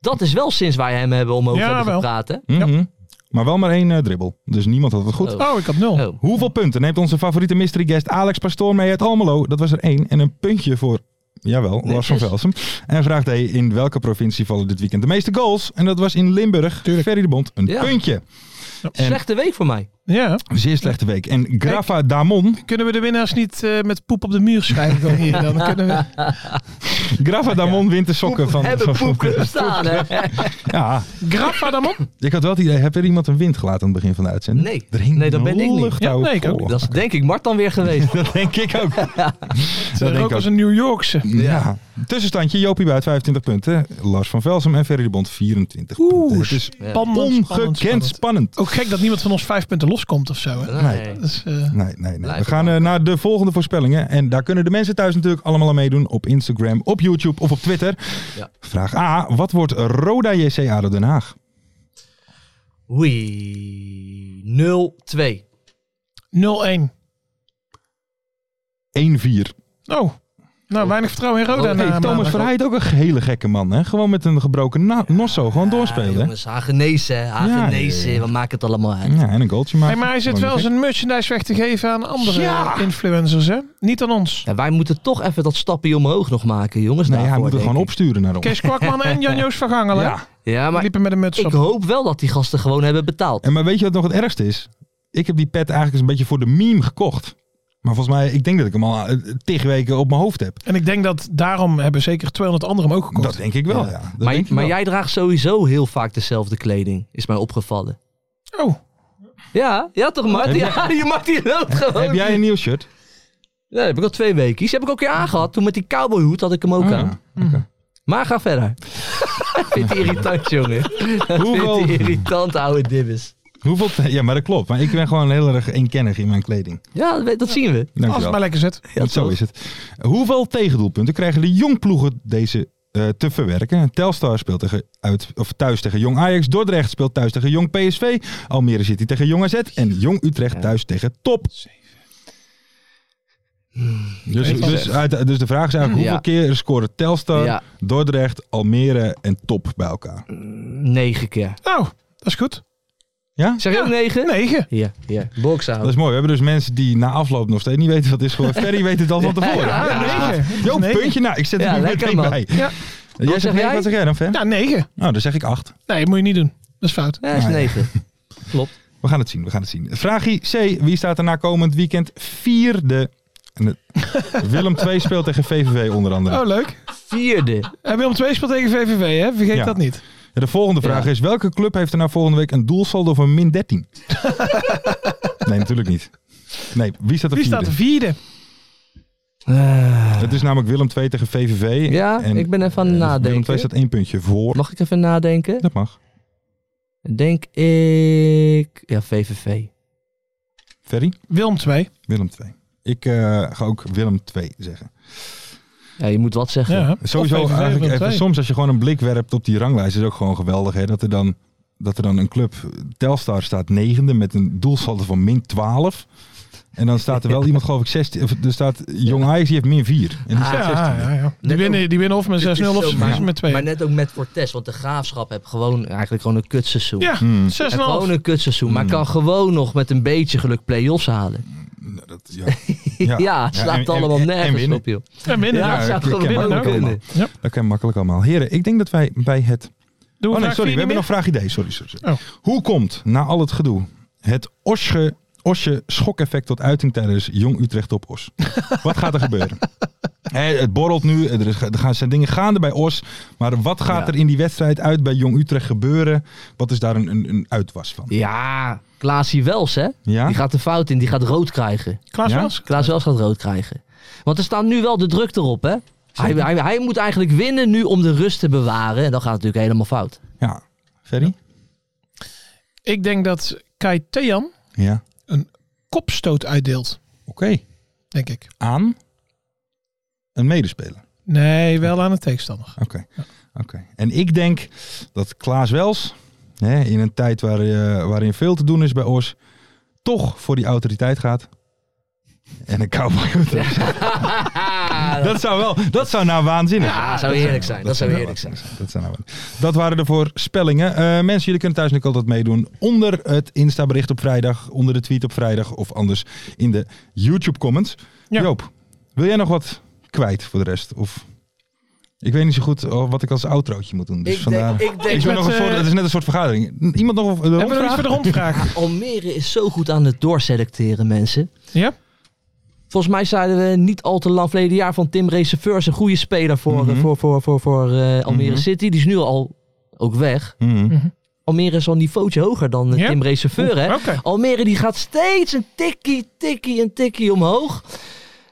[SPEAKER 5] Dat is wel sinds wij hem hebben om over
[SPEAKER 4] Ja,
[SPEAKER 5] hebben
[SPEAKER 4] wel.
[SPEAKER 5] gepraat, hè?
[SPEAKER 3] Mhm. Maar wel maar één eh, dribbel. Dus niemand had het goed.
[SPEAKER 5] Oh.
[SPEAKER 4] Oh, ik had nul.
[SPEAKER 5] Oh.
[SPEAKER 3] Hoeveel punten neemt onze favoriete mystery guest Alex Pastoor mee uit Almelo? Dat was er één. En een puntje voor, jawel, Lars van Velsem. En vraagt hij, in welke provincie vallen dit weekend de meeste goals? En dat was in Limburg. Ferry de Bond, een
[SPEAKER 5] Ja.
[SPEAKER 3] puntje. En-
[SPEAKER 5] Slechte week voor mij.
[SPEAKER 4] Ja.
[SPEAKER 3] Zeer slechte week. En Grafa Damon.
[SPEAKER 4] Kunnen we de winnaars niet eh, met poep op de muur schrijven? Dan hier? Dan kunnen we...
[SPEAKER 3] Grafa Damon wint de sokken van...
[SPEAKER 5] hebben
[SPEAKER 3] van-
[SPEAKER 5] poep kunnen staan, hè?
[SPEAKER 3] Ja,
[SPEAKER 4] Grappa dan op.
[SPEAKER 3] ik had wel het idee, heb er iemand een wind gelaten aan het begin van de uitzending?
[SPEAKER 5] Nee.
[SPEAKER 3] Er hing
[SPEAKER 5] Nee, dat ben ik niet.
[SPEAKER 3] luchtouw
[SPEAKER 4] Ja, nee, ik ook
[SPEAKER 3] voor.
[SPEAKER 4] niet.
[SPEAKER 5] Dat is denk ik Mart dan weer geweest.
[SPEAKER 3] Dat denk ik ook.
[SPEAKER 4] Dat
[SPEAKER 3] denk ik
[SPEAKER 4] ook
[SPEAKER 3] ook.
[SPEAKER 4] als een New Yorkse.
[SPEAKER 3] Ja. Tussenstandje, Jopie Buit 25 punten. Lars van Velsum en Ferry de Bond 24 punten. Het is
[SPEAKER 4] Spannend,
[SPEAKER 3] ongekend
[SPEAKER 4] spannend,
[SPEAKER 3] spannend.
[SPEAKER 4] spannend. Ook gek dat niemand van ons vijf punten loskomt of zo. Hè?
[SPEAKER 5] Nee.
[SPEAKER 4] Dus, eh,
[SPEAKER 3] Nee, nee, nee. We
[SPEAKER 5] Blijf
[SPEAKER 3] gaan eh, naar de volgende voorspellingen. En daar kunnen de mensen thuis natuurlijk allemaal aan meedoen. Op Instagram, op YouTube of op Twitter.
[SPEAKER 5] Ja.
[SPEAKER 3] Vraag A. Wat wordt Roda JC ADO Den Haag?
[SPEAKER 5] Oei. 0-2.
[SPEAKER 3] 1-4.
[SPEAKER 4] 0-1. Oh, nou weinig vertrouwen in Roda.
[SPEAKER 5] Oh,
[SPEAKER 4] na
[SPEAKER 3] Hey, Thomas
[SPEAKER 4] maandag.
[SPEAKER 3] Verheid ook een hele gekke man. Hè? Gewoon met een gebroken na- nosso. Gewoon
[SPEAKER 5] Ah,
[SPEAKER 3] doorspelen.
[SPEAKER 5] jongens, Hagenese, hè. Hagenese.
[SPEAKER 3] Ja, ja, ja.
[SPEAKER 5] We maken het allemaal uit.
[SPEAKER 3] Ja, en een goaltje maken.
[SPEAKER 4] Hey, maar hij zit wel zijn merchandise weg te geven aan andere
[SPEAKER 3] Oh, Ja.
[SPEAKER 4] influencers, hè? Niet aan ons.
[SPEAKER 5] Ja, wij moeten toch even dat stapje omhoog nog maken, jongens.
[SPEAKER 3] Nee, hij
[SPEAKER 5] daarvoor,
[SPEAKER 3] moet het
[SPEAKER 5] denk
[SPEAKER 3] gewoon
[SPEAKER 5] ik.
[SPEAKER 3] opsturen naar ons.
[SPEAKER 4] Kees Kwakman en Jan-Joos van Gangelen.
[SPEAKER 3] Ja.
[SPEAKER 5] Ja, maar
[SPEAKER 4] liepen met een muts
[SPEAKER 5] ik
[SPEAKER 4] op.
[SPEAKER 5] hoop wel dat die gasten gewoon hebben betaald.
[SPEAKER 3] En maar weet je wat nog het ergste is? Ik heb die pet eigenlijk eens een beetje voor de meme gekocht. Maar volgens mij, ik denk dat ik hem al eh, tig weken op mijn hoofd heb.
[SPEAKER 4] En ik denk dat daarom hebben zeker 200 anderen hem ook gekocht.
[SPEAKER 3] Dat denk ik wel, ja. Dat
[SPEAKER 5] Maar,
[SPEAKER 3] denk ik
[SPEAKER 5] maar
[SPEAKER 3] wel.
[SPEAKER 5] jij draagt sowieso heel vaak dezelfde kleding, is mij opgevallen.
[SPEAKER 4] Oh,
[SPEAKER 5] Ja, ja toch Mart? Ja, je mag die lood gewoon.
[SPEAKER 3] Heb jij een nieuw shirt?
[SPEAKER 5] Ja, dat heb ik al twee weken. Die heb ik ook een keer aangehad. Toen met die cowboyhoed had ik hem ook
[SPEAKER 3] Ah,
[SPEAKER 5] aan. Mhm. Maar ga verder. Vindt hij irritant, jongen. Vindt
[SPEAKER 3] Hoeveel,
[SPEAKER 5] hij irritant, oude dibbes.
[SPEAKER 3] hoeveel, ja, maar dat klopt. Maar ik ben gewoon heel erg eenkennig in mijn kleding.
[SPEAKER 5] Ja, dat, weet- dat zien we.
[SPEAKER 4] als het
[SPEAKER 3] Dankjewel.
[SPEAKER 4] maar lekker zit.
[SPEAKER 5] Ja,
[SPEAKER 3] Want zo
[SPEAKER 5] toch?
[SPEAKER 3] is het. Hoeveel tegendoelpunten krijgen de jongploegen deze eh, te verwerken? Telstar speelt tegen uit, of thuis tegen Jong Ajax. Dordrecht speelt thuis tegen Jong PSV. Almere City tegen Jong AZ. En Jong Utrecht thuis tegen Top. Dus, dus, uit- dus de vraag is eigenlijk
[SPEAKER 5] Ja.
[SPEAKER 3] hoeveel keer scoren Telstar,
[SPEAKER 5] Ja.
[SPEAKER 3] Dordrecht, Almere en Top bij elkaar?
[SPEAKER 5] Negen keer.
[SPEAKER 4] Nou, dat is goed.
[SPEAKER 3] Ja?
[SPEAKER 5] Zeg je ook negen?
[SPEAKER 4] 9.
[SPEAKER 5] Ja, ja. Bokshouden.
[SPEAKER 3] Dat is mooi. We hebben dus mensen die na afloop nog steeds niet weten wat het is geworden. Ferry weet het al van tevoren.
[SPEAKER 4] Ja,
[SPEAKER 3] Ja,
[SPEAKER 4] negen.
[SPEAKER 3] Joop,
[SPEAKER 4] Negen.
[SPEAKER 3] puntje. Nou, ik zet het
[SPEAKER 5] Ja,
[SPEAKER 3] nu
[SPEAKER 5] lekker,
[SPEAKER 3] meteen
[SPEAKER 5] man.
[SPEAKER 3] bij.
[SPEAKER 4] Ja.
[SPEAKER 3] Jij zegt
[SPEAKER 5] zeg
[SPEAKER 3] negen,
[SPEAKER 5] jij?
[SPEAKER 3] Wat zeg jij dan, Fan?
[SPEAKER 4] Ja, negen.
[SPEAKER 3] Nou, dan zeg ik acht.
[SPEAKER 4] Nee, moet je niet doen. Dat is fout.
[SPEAKER 5] Ja, is
[SPEAKER 3] Nee.
[SPEAKER 5] negen. Klopt.
[SPEAKER 3] We gaan het zien, we gaan het zien. Vraagie C. Wie staat er na komend weekend vierde? En het- Willem 2 speelt tegen VVV onder andere.
[SPEAKER 4] Oh, leuk.
[SPEAKER 5] Vierde.
[SPEAKER 4] En Willem 2 speelt tegen VVV, hè? Vergeet
[SPEAKER 3] Ja.
[SPEAKER 4] dat niet.
[SPEAKER 3] Ja, De volgende vraag
[SPEAKER 5] Ja.
[SPEAKER 3] is: welke club heeft er nou volgende week een doelsaldo van min 13? nee, natuurlijk niet. Nee, wie staat er
[SPEAKER 4] Wie staat
[SPEAKER 3] vierde?
[SPEAKER 4] de vierde?
[SPEAKER 3] Het is namelijk Willem 2 tegen VVV.
[SPEAKER 5] Eh, Ja, ik ben even aan het
[SPEAKER 3] eh, Willem
[SPEAKER 5] nadenken.
[SPEAKER 3] 2 staat één puntje voor.
[SPEAKER 5] Mag ik even nadenken?
[SPEAKER 3] Dat mag.
[SPEAKER 5] Denk ik... Ja, VVV.
[SPEAKER 3] Ferry,
[SPEAKER 4] Willem 2.
[SPEAKER 3] Willem 2. Ik eh, ga ook Willem 2 zeggen.
[SPEAKER 5] Ja, je moet wat zeggen.
[SPEAKER 4] Ja.
[SPEAKER 3] Sowieso
[SPEAKER 4] Of VVV
[SPEAKER 3] eigenlijk
[SPEAKER 4] Willem
[SPEAKER 3] even,
[SPEAKER 4] II.
[SPEAKER 3] soms als je gewoon een blik werpt op die ranglijst is ook gewoon geweldig. Hè? Dat, er dan, dat er dan een club, Telstar staat negende met een doelsaldo van min 12. En dan staat er wel iemand geloof ik 16, of er staat Jong Ajax die heeft min 4. En die
[SPEAKER 5] Ah,
[SPEAKER 3] staat
[SPEAKER 4] Ja,
[SPEAKER 3] 16.
[SPEAKER 4] ja, ja. Die,
[SPEAKER 5] Net
[SPEAKER 4] winnen, die winnen of met 6-0
[SPEAKER 5] Het is
[SPEAKER 4] of
[SPEAKER 5] zo,
[SPEAKER 4] ze
[SPEAKER 5] maar-
[SPEAKER 4] verliezen met 2.
[SPEAKER 5] Maar net ook met Fortes, want de graafschap heeft gewoon eigenlijk gewoon een kutseizoen.
[SPEAKER 4] Ja,
[SPEAKER 3] Hmm.
[SPEAKER 4] 6,5.
[SPEAKER 5] Heeft gewoon een kutseizoen,
[SPEAKER 3] Mm.
[SPEAKER 5] maar kan gewoon nog met een beetje geluk play-offs halen.
[SPEAKER 3] Nou, dat- ja. Ja.
[SPEAKER 5] Ja, het slaat
[SPEAKER 3] Ja, en- en-
[SPEAKER 5] allemaal
[SPEAKER 3] en
[SPEAKER 5] nergens
[SPEAKER 3] winnen.
[SPEAKER 5] op, joh.
[SPEAKER 4] En winnen.
[SPEAKER 5] Ja,
[SPEAKER 4] Ja,
[SPEAKER 5] het zou
[SPEAKER 3] ik- ik
[SPEAKER 5] gewoon
[SPEAKER 3] ken
[SPEAKER 5] winnen
[SPEAKER 3] ook
[SPEAKER 5] ook
[SPEAKER 3] allemaal.
[SPEAKER 5] winnen.
[SPEAKER 3] Dat kan makkelijk allemaal. Heren, ik denk dat wij bij het...
[SPEAKER 4] Doen
[SPEAKER 3] Oh
[SPEAKER 4] we
[SPEAKER 3] nee,
[SPEAKER 4] vraag
[SPEAKER 3] sorry, we
[SPEAKER 4] vier
[SPEAKER 3] hebben nog
[SPEAKER 4] niet
[SPEAKER 3] vraag idee. Sorry, sorry. sorry.
[SPEAKER 4] Oh.
[SPEAKER 3] Hoe komt, na al het gedoe, het Osje, Osje schokeffect tot uiting tijdens Jong Utrecht op Os? wat gaat er gebeuren? Hè, het borrelt nu, er, is, er gaan, zijn dingen gaande bij Os. Maar wat gaat
[SPEAKER 5] Ja.
[SPEAKER 3] er in die wedstrijd uit bij Jong Utrecht gebeuren? Wat is daar een, een, een uitwas van?
[SPEAKER 5] Ja, Klaasie Wels, hè?
[SPEAKER 3] Ja?
[SPEAKER 5] Die gaat de fout in, die gaat rood krijgen.
[SPEAKER 4] meer. Klaas
[SPEAKER 3] Ja?
[SPEAKER 4] Wels?
[SPEAKER 5] Klaas Wels gaat rood krijgen. Want er staat nu wel de druk erop, hè? Hij, hij, hij moet eigenlijk winnen nu om de rust te bewaren. En dan gaat het natuurlijk helemaal fout.
[SPEAKER 3] ja. Ferry?
[SPEAKER 4] Ik denk dat Kai Thean
[SPEAKER 3] Ja.
[SPEAKER 4] kopstoot uitdeelt,
[SPEAKER 3] Oké.
[SPEAKER 4] denk ik.
[SPEAKER 3] Aan een medespeler.
[SPEAKER 4] Nee, wel aan de tegenstander.
[SPEAKER 3] Oké. oké. En ik denk dat Klaas Wels, hè, in een tijd waar, eh, waarin veel te doen is bij Os, toch voor die autoriteit gaat. En een cowboy.
[SPEAKER 5] Ah,
[SPEAKER 3] dat zou wel, dat zou nou waanzinnig
[SPEAKER 5] Ja, zou heerlijk zijn. Dat zou heerlijk zijn.
[SPEAKER 3] Dat, zou nou waanzinnig. dat waren de voorspellingen. Eh, mensen, jullie kunnen thuis natuurlijk altijd meedoen. Onder het Insta-bericht op vrijdag, onder de tweet op vrijdag of anders in de YouTube-comments.
[SPEAKER 4] Ja.
[SPEAKER 3] Joop, wil jij nog wat kwijt voor de rest? Of... Ik weet niet zo goed oh, wat ik als outrootje moet doen. Dus
[SPEAKER 5] Ik
[SPEAKER 3] vandaar...
[SPEAKER 5] denk, ik denk
[SPEAKER 3] Ik ben nog een
[SPEAKER 4] met,
[SPEAKER 3] voor,
[SPEAKER 4] eh,
[SPEAKER 3] het is net een soort vergadering. Iemand nog een- een
[SPEAKER 4] Hebben we nog
[SPEAKER 3] rondvraag?
[SPEAKER 4] iets voor de rondvraag?
[SPEAKER 5] Almere is zo goed aan het doorselecteren, mensen.
[SPEAKER 4] ja?
[SPEAKER 5] Volgens mij zeiden we niet al te lang verleden jaar van Tim Reserveurs, een goede speler voor, eh,
[SPEAKER 3] Mhm.
[SPEAKER 5] voor, voor, voor, voor eh, Almere
[SPEAKER 3] Mhm.
[SPEAKER 5] City. Die is nu al ook weg.
[SPEAKER 3] Mhm.
[SPEAKER 5] Almere is al een niveautje hoger dan eh,
[SPEAKER 4] Ja?
[SPEAKER 5] Tim Reserveur, hè?
[SPEAKER 4] Oké.
[SPEAKER 5] Almere die gaat steeds een tikkie, tikkie, een tikkie omhoog.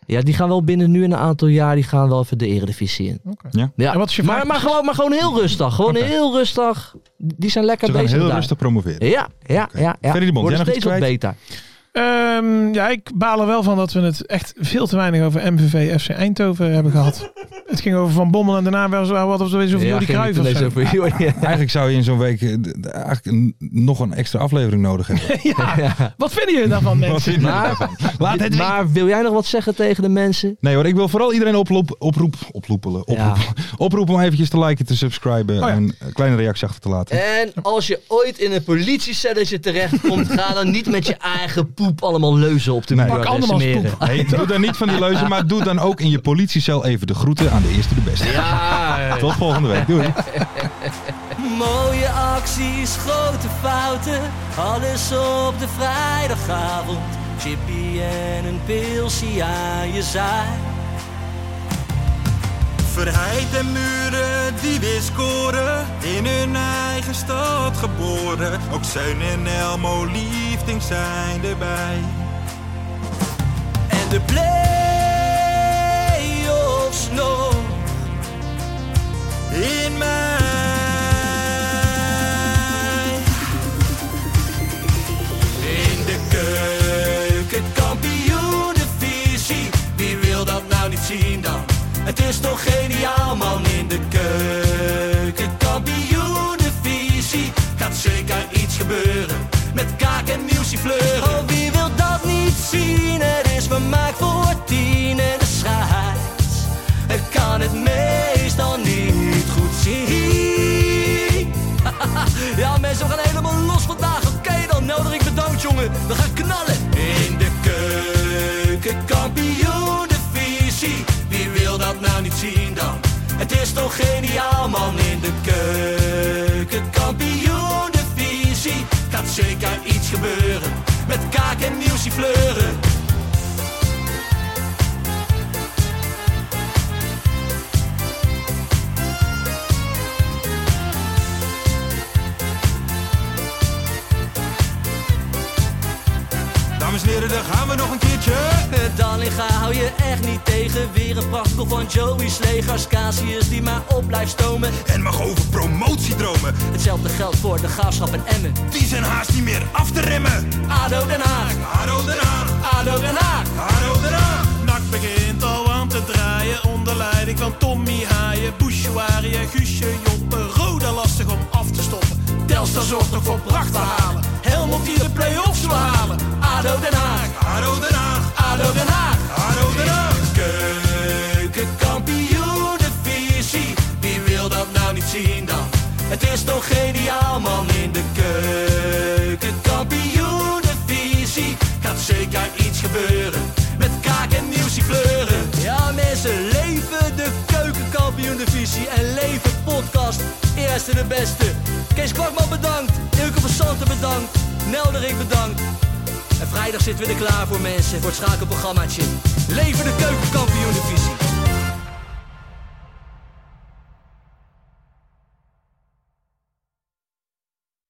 [SPEAKER 5] Ja, die gaan wel binnen nu in een aantal jaar, die gaan wel even de eredivisie in.
[SPEAKER 3] Ja.
[SPEAKER 5] Ja.
[SPEAKER 4] En wat is je
[SPEAKER 5] maar,
[SPEAKER 4] vraag?
[SPEAKER 5] maar, gewoon, maar gewoon heel rustig. Gewoon
[SPEAKER 3] Oké.
[SPEAKER 5] heel rustig. Die zijn lekker
[SPEAKER 3] Ze gaan
[SPEAKER 5] bezig
[SPEAKER 3] heel
[SPEAKER 5] daar.
[SPEAKER 3] rustig promoveren.
[SPEAKER 5] Ja, ja,
[SPEAKER 3] Oké.
[SPEAKER 5] ja. ja.
[SPEAKER 3] Ferry de Bond,
[SPEAKER 5] Worden
[SPEAKER 3] jij nog
[SPEAKER 5] steeds
[SPEAKER 3] iets
[SPEAKER 5] wat beter.
[SPEAKER 4] Ehm, ja, ik baal er wel van dat we het echt veel te weinig over MVV FC Eindhoven hebben gehad. het ging over Van Bommel en daarna was we hadden we het eens over Jordi Cruijff of zo.
[SPEAKER 3] Eigenlijk zou je in zo'n week eh, d- d- eigenlijk een- nog een extra aflevering nodig hebben.
[SPEAKER 4] ja. Wat vinden jullie daarvan,
[SPEAKER 3] Wat
[SPEAKER 4] mensen?
[SPEAKER 3] vind je daarvan?
[SPEAKER 5] Ah. Maar,
[SPEAKER 3] Laat het weten.
[SPEAKER 5] maar wil jij nog wat zeggen tegen de mensen?
[SPEAKER 3] Nee hoor, ik wil vooral iedereen oproep, oproep, oproepelen,
[SPEAKER 5] Ja.
[SPEAKER 3] oproepen, oproepen om eventjes te liken, te subscriben
[SPEAKER 4] ja.
[SPEAKER 3] en een kleine reactie achter te laten.
[SPEAKER 5] En als je ooit in een politiecelletje terechtkomt, ga dan niet met je eigen poep allemaal leuzen op de
[SPEAKER 3] Nee.
[SPEAKER 5] muur
[SPEAKER 3] Pak
[SPEAKER 5] en
[SPEAKER 4] andermans
[SPEAKER 5] smeren.
[SPEAKER 3] Nee, doe dan niet van die leuzen, maar doe dan ook in je politiecel even de groeten aan de eerste de beste.
[SPEAKER 5] Ja.
[SPEAKER 3] Tot volgende week. Doei.
[SPEAKER 1] Mooie acties, grote fouten, alles op de vrijdagavond. Chippy en een pilsie aan je zaai.
[SPEAKER 2] Verheid en muren die weer scoren, in hun eigen stad geboren. Ook Zijn en Elmo liefding zijn erbij.
[SPEAKER 1] En de play-offs nog.
[SPEAKER 2] In mij.
[SPEAKER 1] In de keuken, kampioenenvisie. Wie wil dat nou niet zien dan? Het is toch geniaal man in de keuken, kampioenenvisie. Gaat zeker iets gebeuren met kaak en muziek fleuren. Oh, wie wil dat niet zien? Het is vermaakt voor tien en de scheids. Ik kan het meestal niet goed zien. Ja, mensen, we gaan helemaal los vandaag. Oké, dan nodig ik de dood, jongen. We gaan knallen. In de keuken, kampioen, de visie. Wie wil dat nou niet zien dan?
[SPEAKER 5] Het is toch geniaal man in de keuken. Kampioen de visie. Gaat zeker iets gebeuren. Met kaak en nieuwsie fleuren.
[SPEAKER 3] Dames en heren, daar gaan we nog een keertje.
[SPEAKER 5] Dallinga hou je echt niet tegen. Weer een prachtkel van Joey's legers. Casius die maar op blijft stomen.
[SPEAKER 3] En mag over promotiedromen.
[SPEAKER 5] Hetzelfde geldt voor de graafschap en Emmen.
[SPEAKER 3] Die zijn haast niet meer af te remmen.
[SPEAKER 5] ADO Den Haag.
[SPEAKER 3] Haro Den Haag,
[SPEAKER 5] ADO Den Haag.
[SPEAKER 3] Haro Den Haag.
[SPEAKER 8] Nak begint al aan te draaien onder leiding van Tommy Haaien, Bouchouari en Guusje Joppen. Roda lastig om af te stoppen.
[SPEAKER 5] Telstar zorgt nog voor pracht te halen. Helmond die de play-offs wil halen. ADO Den Haag.
[SPEAKER 3] Haro Den Haag,
[SPEAKER 5] ADO Den Haag.
[SPEAKER 3] Haro Den Haag.
[SPEAKER 5] Keukenkampioenenvisie, wie wil dat nou niet zien dan? Het is toch geniaal man in de keukenkampioenenvisie. Gaat zeker iets gebeuren, met kaak en nieuwsie kleuren. Ja mensen, leven de keukenkampioenenvisie en leven podcast. Eerste de beste. Kees Kwakman bedankt, Ilke van Santen bedankt, Nelderik bedankt. En vrijdag zitten we er klaar voor mensen, voor het schakelprogrammaatje. Leven de keukenkampioen divisie.